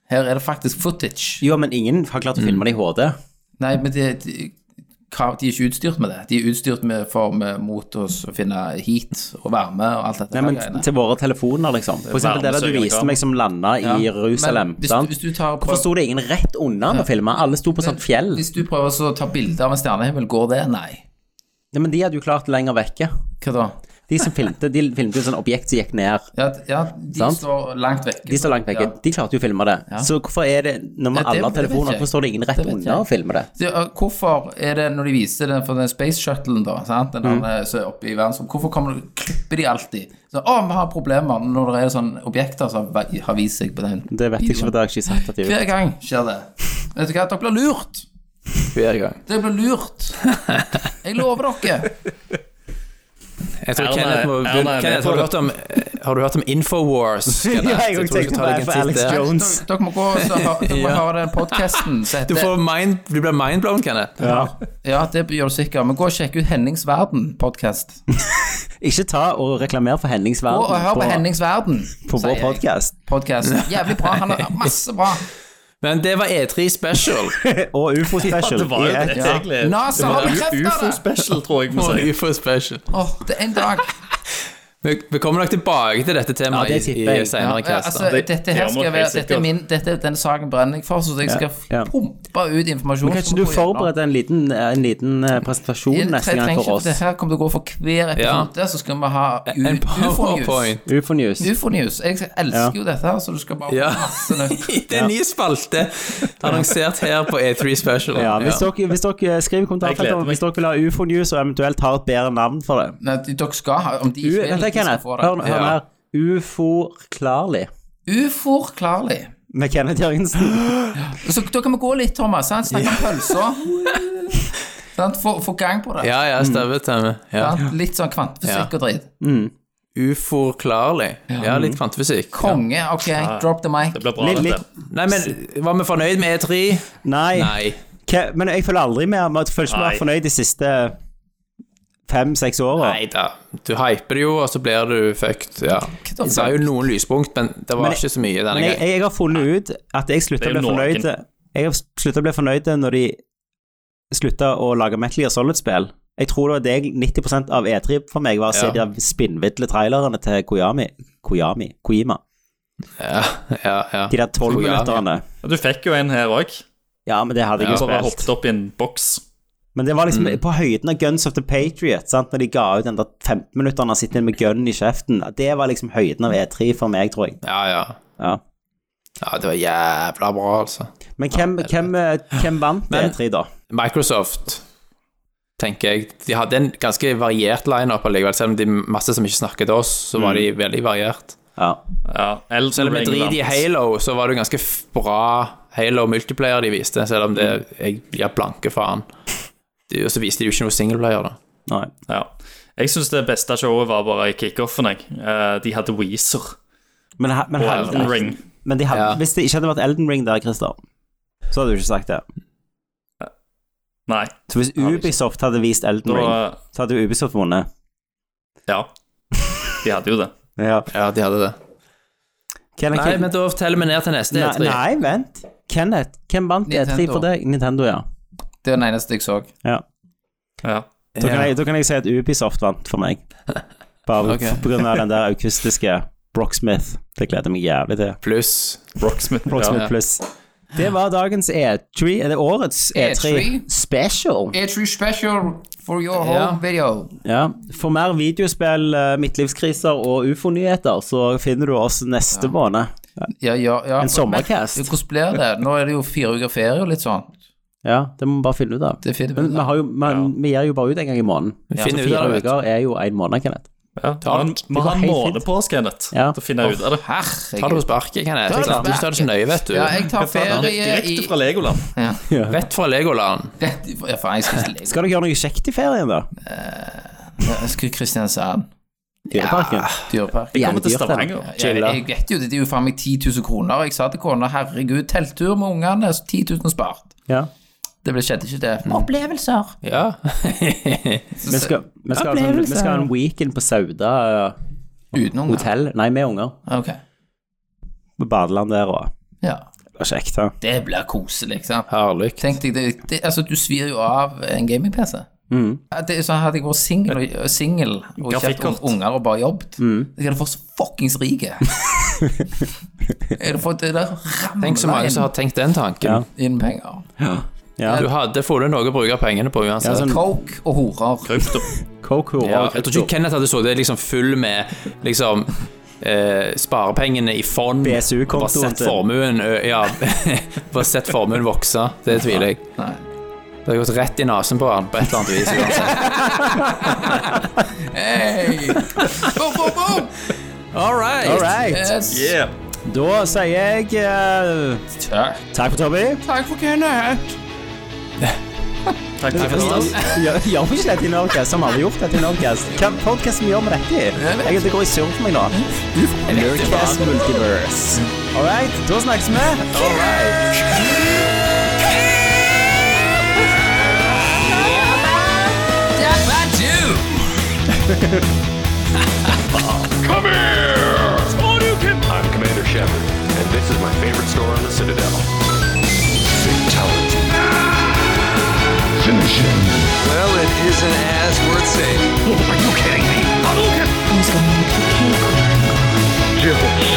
Her er det faktisk footage. Jo, men ingen har klart å Mm. filme det i HD. Nei, men det, de, hva- de er ikke utstyrt med det. De er utstyrt med form mot oss å finne heat og varme og alt dette. Nei, her men greiene. til våre telefoner, liksom. For eksempel det der du varmesøkende viste meg som landa Ja. i Jerusalem. Men hvis, sant? du- hvis du tar på, Hvorfor sto det ingen rett unna med å filme? Alle sto på sånt fjell. Hvis du prøver så å ta bilde av en stjernehimmel, går det? Nei. Nei, men de hadde jo klart lenger vekke. Hva da? De De som filmte, de filmte jo sånn objekt som gikk ned. Ja, ja de Sant? står langt vekke. De står langt vekke. Ja. De klarte jo å filme det. Så hvorfor er det, når man Ja, alle det- har det vet telefoner, jeg. hvorfor står det ingen rett Det vet jeg. under og filmer det? Så, uh, Hvorfor er det når de viser den for den space shuttlen, da, sant? Den andre som er oppe i verdensrommet, hvorfor kommer det, klipper de alltid? Så, å, vi har problemer når det er sånne objekter som har ve- har vist seg på den. Det vet jeg ikke, videoen. for det har jeg ikke sagt at de Hver gang skjer det. Vet du hva, dere blir lurt. hver gang. Dere blir lurt. Jeg lover dere. Jeg tror Erna- Kenneth må Erna er med Kenneth, på har, du det. hørt om, eh, har du hørt om Infowars? Kenneth? Ja, jeg tror tenkte skal ta deg en på titt Alex der. Jones. Dere, dere må gå og så hø- dere må Ja. høre den podkasten som Du, heter får mind, du blir mindblown, Kenneth. Ja, det gjør du sikkert. Men gå og sjekk ut Hennings Verden-podkast. Ikke ta og reklamer for Hennings Gå og hør verden på på, Hennings Verden. på sier vår jeg. podkast. Podcast. Jævlig bra. Han har masse bra. Men det var E3 Special. Og UFO Ja, Special. det var jo i det, ett. Ja. egentlig. NASA har bekreftet det. UFO-special, tror jeg vi må Og si. UFO Special. Åh, det er en dag. Vi, vi kommer nok tilbake til dette temaet Ja, det i, tipper jeg. i senere Ja, cast. altså, dette her Ja, skal men være helt Dette er min Dette er den saken brenner jeg for, så jeg skal ja. pumpe ut informasjon. Kan ikke du forberede en liten, en liten eh, presentasjon neste gang for Det oss? her kommer til å gå for hver episode, så skal vi ha en u- powerpoint. UFO-news. UFO News. UFO-news. Jeg elsker jo dette her, så du skal bare Ja. få masse nøkler. Det er en ny spalte annonsert her på E3 Special. Ja, hvis, Ja. Dere, hvis dere skriver i kommentarfeltet Jeg gleder om- meg. hvis dere vil ha UFO News og eventuelt har et bedre navn for det. Nei, dere skal ha Om de U ikke Vent, vil, da, de skal Kenneth. få Hør nå det. hør nå her. Uforklarlig Uforklarlig. med Kenneth Jørgensen. Så da kan vi gå litt, Thomas. Sant? Snakke om pølser. Sant? Få få gang på det. ja, ja, stemmer, stemmer. Ja. Sant? Litt sånn kvantefysikk og dritt. Uforklarlig. Ja, litt kvantefysikk. Konge. Ok, drop the mic. Det blir bra, Litt- dette. litt- Nei, men var vi fornøyd med E3? Nei. Nei. Ke- Men jeg føler aldri mer Jeg føler ikke mer Nei. fornøyd de siste fem-seks åra. Nei da. Du hyper det jo, og så blir du fucked. Ja. da? Det er jo noen lyspunkt, men det var Men jeg- ikke så mye Men denne jeg, gangen. jeg har funnet ut at jeg slutta å Det er bli jo noen. fornøyd Jeg har slutta å bli fornøyd når de slutta å lage Metal Gear Solid-spill. Jeg tror det var det jeg- 90 av E3 for meg var å se Ja. de der spinnvidle trailerne til Koyami. Koyami? Koima. Ja, ja, ja. De der Koyami. tolvminutterne. Ja, Du fikk jo en her òg. Ja, men det hadde jeg jo Bare spilt. hoppet opp Mm. i en boks. Men det var liksom på høyden av Guns of the Patriot, sant? når de ga ut den der 15 minutter han har sittet med gun i kjeften. Det var liksom høyden av E3 for meg, tror jeg. Ja, ja. Ja. Ja, det var jævla bra, altså. Men hvem, hvem, eh, hvem vant Men- E3, da? Microsoft, tenker jeg De hadde en ganske variert lineup allikevel. Selv om de masse som ikke snakket til oss, så Mm. var de veldig variert. Ja. Ja, Selv om det Elden Ring drit i vant. Halo, så var det jo ganske f- bra Halo multiplayer de viste, selv om det jeg blir blanke faen. De- Og så viste de jo ikke noe singleplayer, da. Nei. Ja. Jeg syns det beste showet var bare i kickoffen. jeg. Eh, De hadde Weezer Men, ha- men, og hadde- Elden Ring. men de hadde, Ja. hvis det ikke hadde vært Elden Ring der, Christer, så hadde du ikke sagt det. Nei, Så hvis Hadde ikke. Ubisoft hadde vist Elden Ring, da så hadde jo Ubisoft vunnet. Ja. De hadde jo det. Ja. Ja, de hadde det. Kenneth, Nei, men da teller vi ned til neste E nei, E3. nei, vent. Kenneth, hvem vant E3 Nintendo. for deg? Nintendo, ja. Det er den eneste jeg så. ja. Ja. Da kan, Ja. jeg, da kan jeg si at Ubisoft vant for meg. Bare Ok. på grunn av den der akustiske Brocksmith. Det gleder jeg meg jævlig til. Pluss Rocksmith. Brocksmith Ja. pluss. Det var dagens E3 Er det årets E E3, E3? special? E3 special for your home Ja. video. Ja. For mer videospill, eh, midtlivskriser og ufo-nyheter, så finner du oss neste måned. Ja, ja, ja. En sommercast. Men Hvordan blir det? Nå er det jo fire uker ferie og litt sånn. Ja, det må vi bare finne ut av. Det finner vi Men ut vi, av. har jo, men, vi gir jo bare ut en gang i måneden. Så Ja, finner ut fire av det, vet uker er jo en måned, Kenneth. Ja. Vi har en- vi går har en helt måned fint. på oss, Kenneth, Ja. til å finne ut av det. Ta det på Herregud. sparket, kan jeg. Ta det på Du tar det så nøye, vet du. Ja, jeg tar ferie i Direkte fra Legoland. Rett fra Legoland. Rett i- Ja, faen, jeg skal til Lego. Skal dere gjøre noe kjekt i ferien, da? Jeg skal til Kristiansand. Dyreparken? Dyrepark. Jeg kommer til Jævlig dyrt, Stavanger. det. Jeg, jeg vet jo det, det er jo faen meg 10 000 kroner. Jeg sa til kona herregud, telttur med ungene, så 10 000 spart. Ja. Det ble, skjedde ikke det. Opplevelser. Ja. Vi skal, vi, skal, altså, vi skal ha en weekend på Sauda eh, Uten unger. hotell. Nei, med unger. Ok. På badeland der og Ja. Det var kjekt, da. Det blir koselig, sant. Herlig. Tenk deg, det, det, altså du svir jo av en gaming-PC. Mm. Ja, Det er sånn Hadde jeg vært singel og, og, single og ikke hatt Grafikkort. un- unger og bare jobbet, Mm. jeg hadde fått så fuckings rik. jeg. Jeg hadde fått det der Tenk så ramla mange som inn, har tenkt den tanken. Ja. inn penger. Ja. Du hadde funnet noe å bruke pengene på uansett. sånn- Coke og horer. Krypto. Coke, horer Ja, og jeg tror krypto. ikke Kenneth hadde så det liksom full med liksom eh, sparepengene i fond. BSU-kontoen Bare sett til- formuen ø, Ja, bare sett formuen vokse. Det tviler jeg. Nei. Det har gått rett i nesen på han på et eller annet vis. uansett. Hey. Boom, boom, boom. All right. All right. Yes. Yeah. Da sier jeg eh, Takk. takk for Tommy. Takk for Kenneth. Takk Gjør til Kristian. gjør vi ikke dette i Nerdcast? Har vi gjort dette i Nerdcast? Hva podkasten gjør vi dette i? Jeg det går i surr for meg nå. Nerdcast Multiverse. All right, da snakkes vi. All right. Come here! I'm Commander Shepard, and this is my favorite store on the Citadel. Fatality. Finish him. Well, it isn't as worth saying. Are you kidding me? Hadouken! Who's going to make the cake? Jill.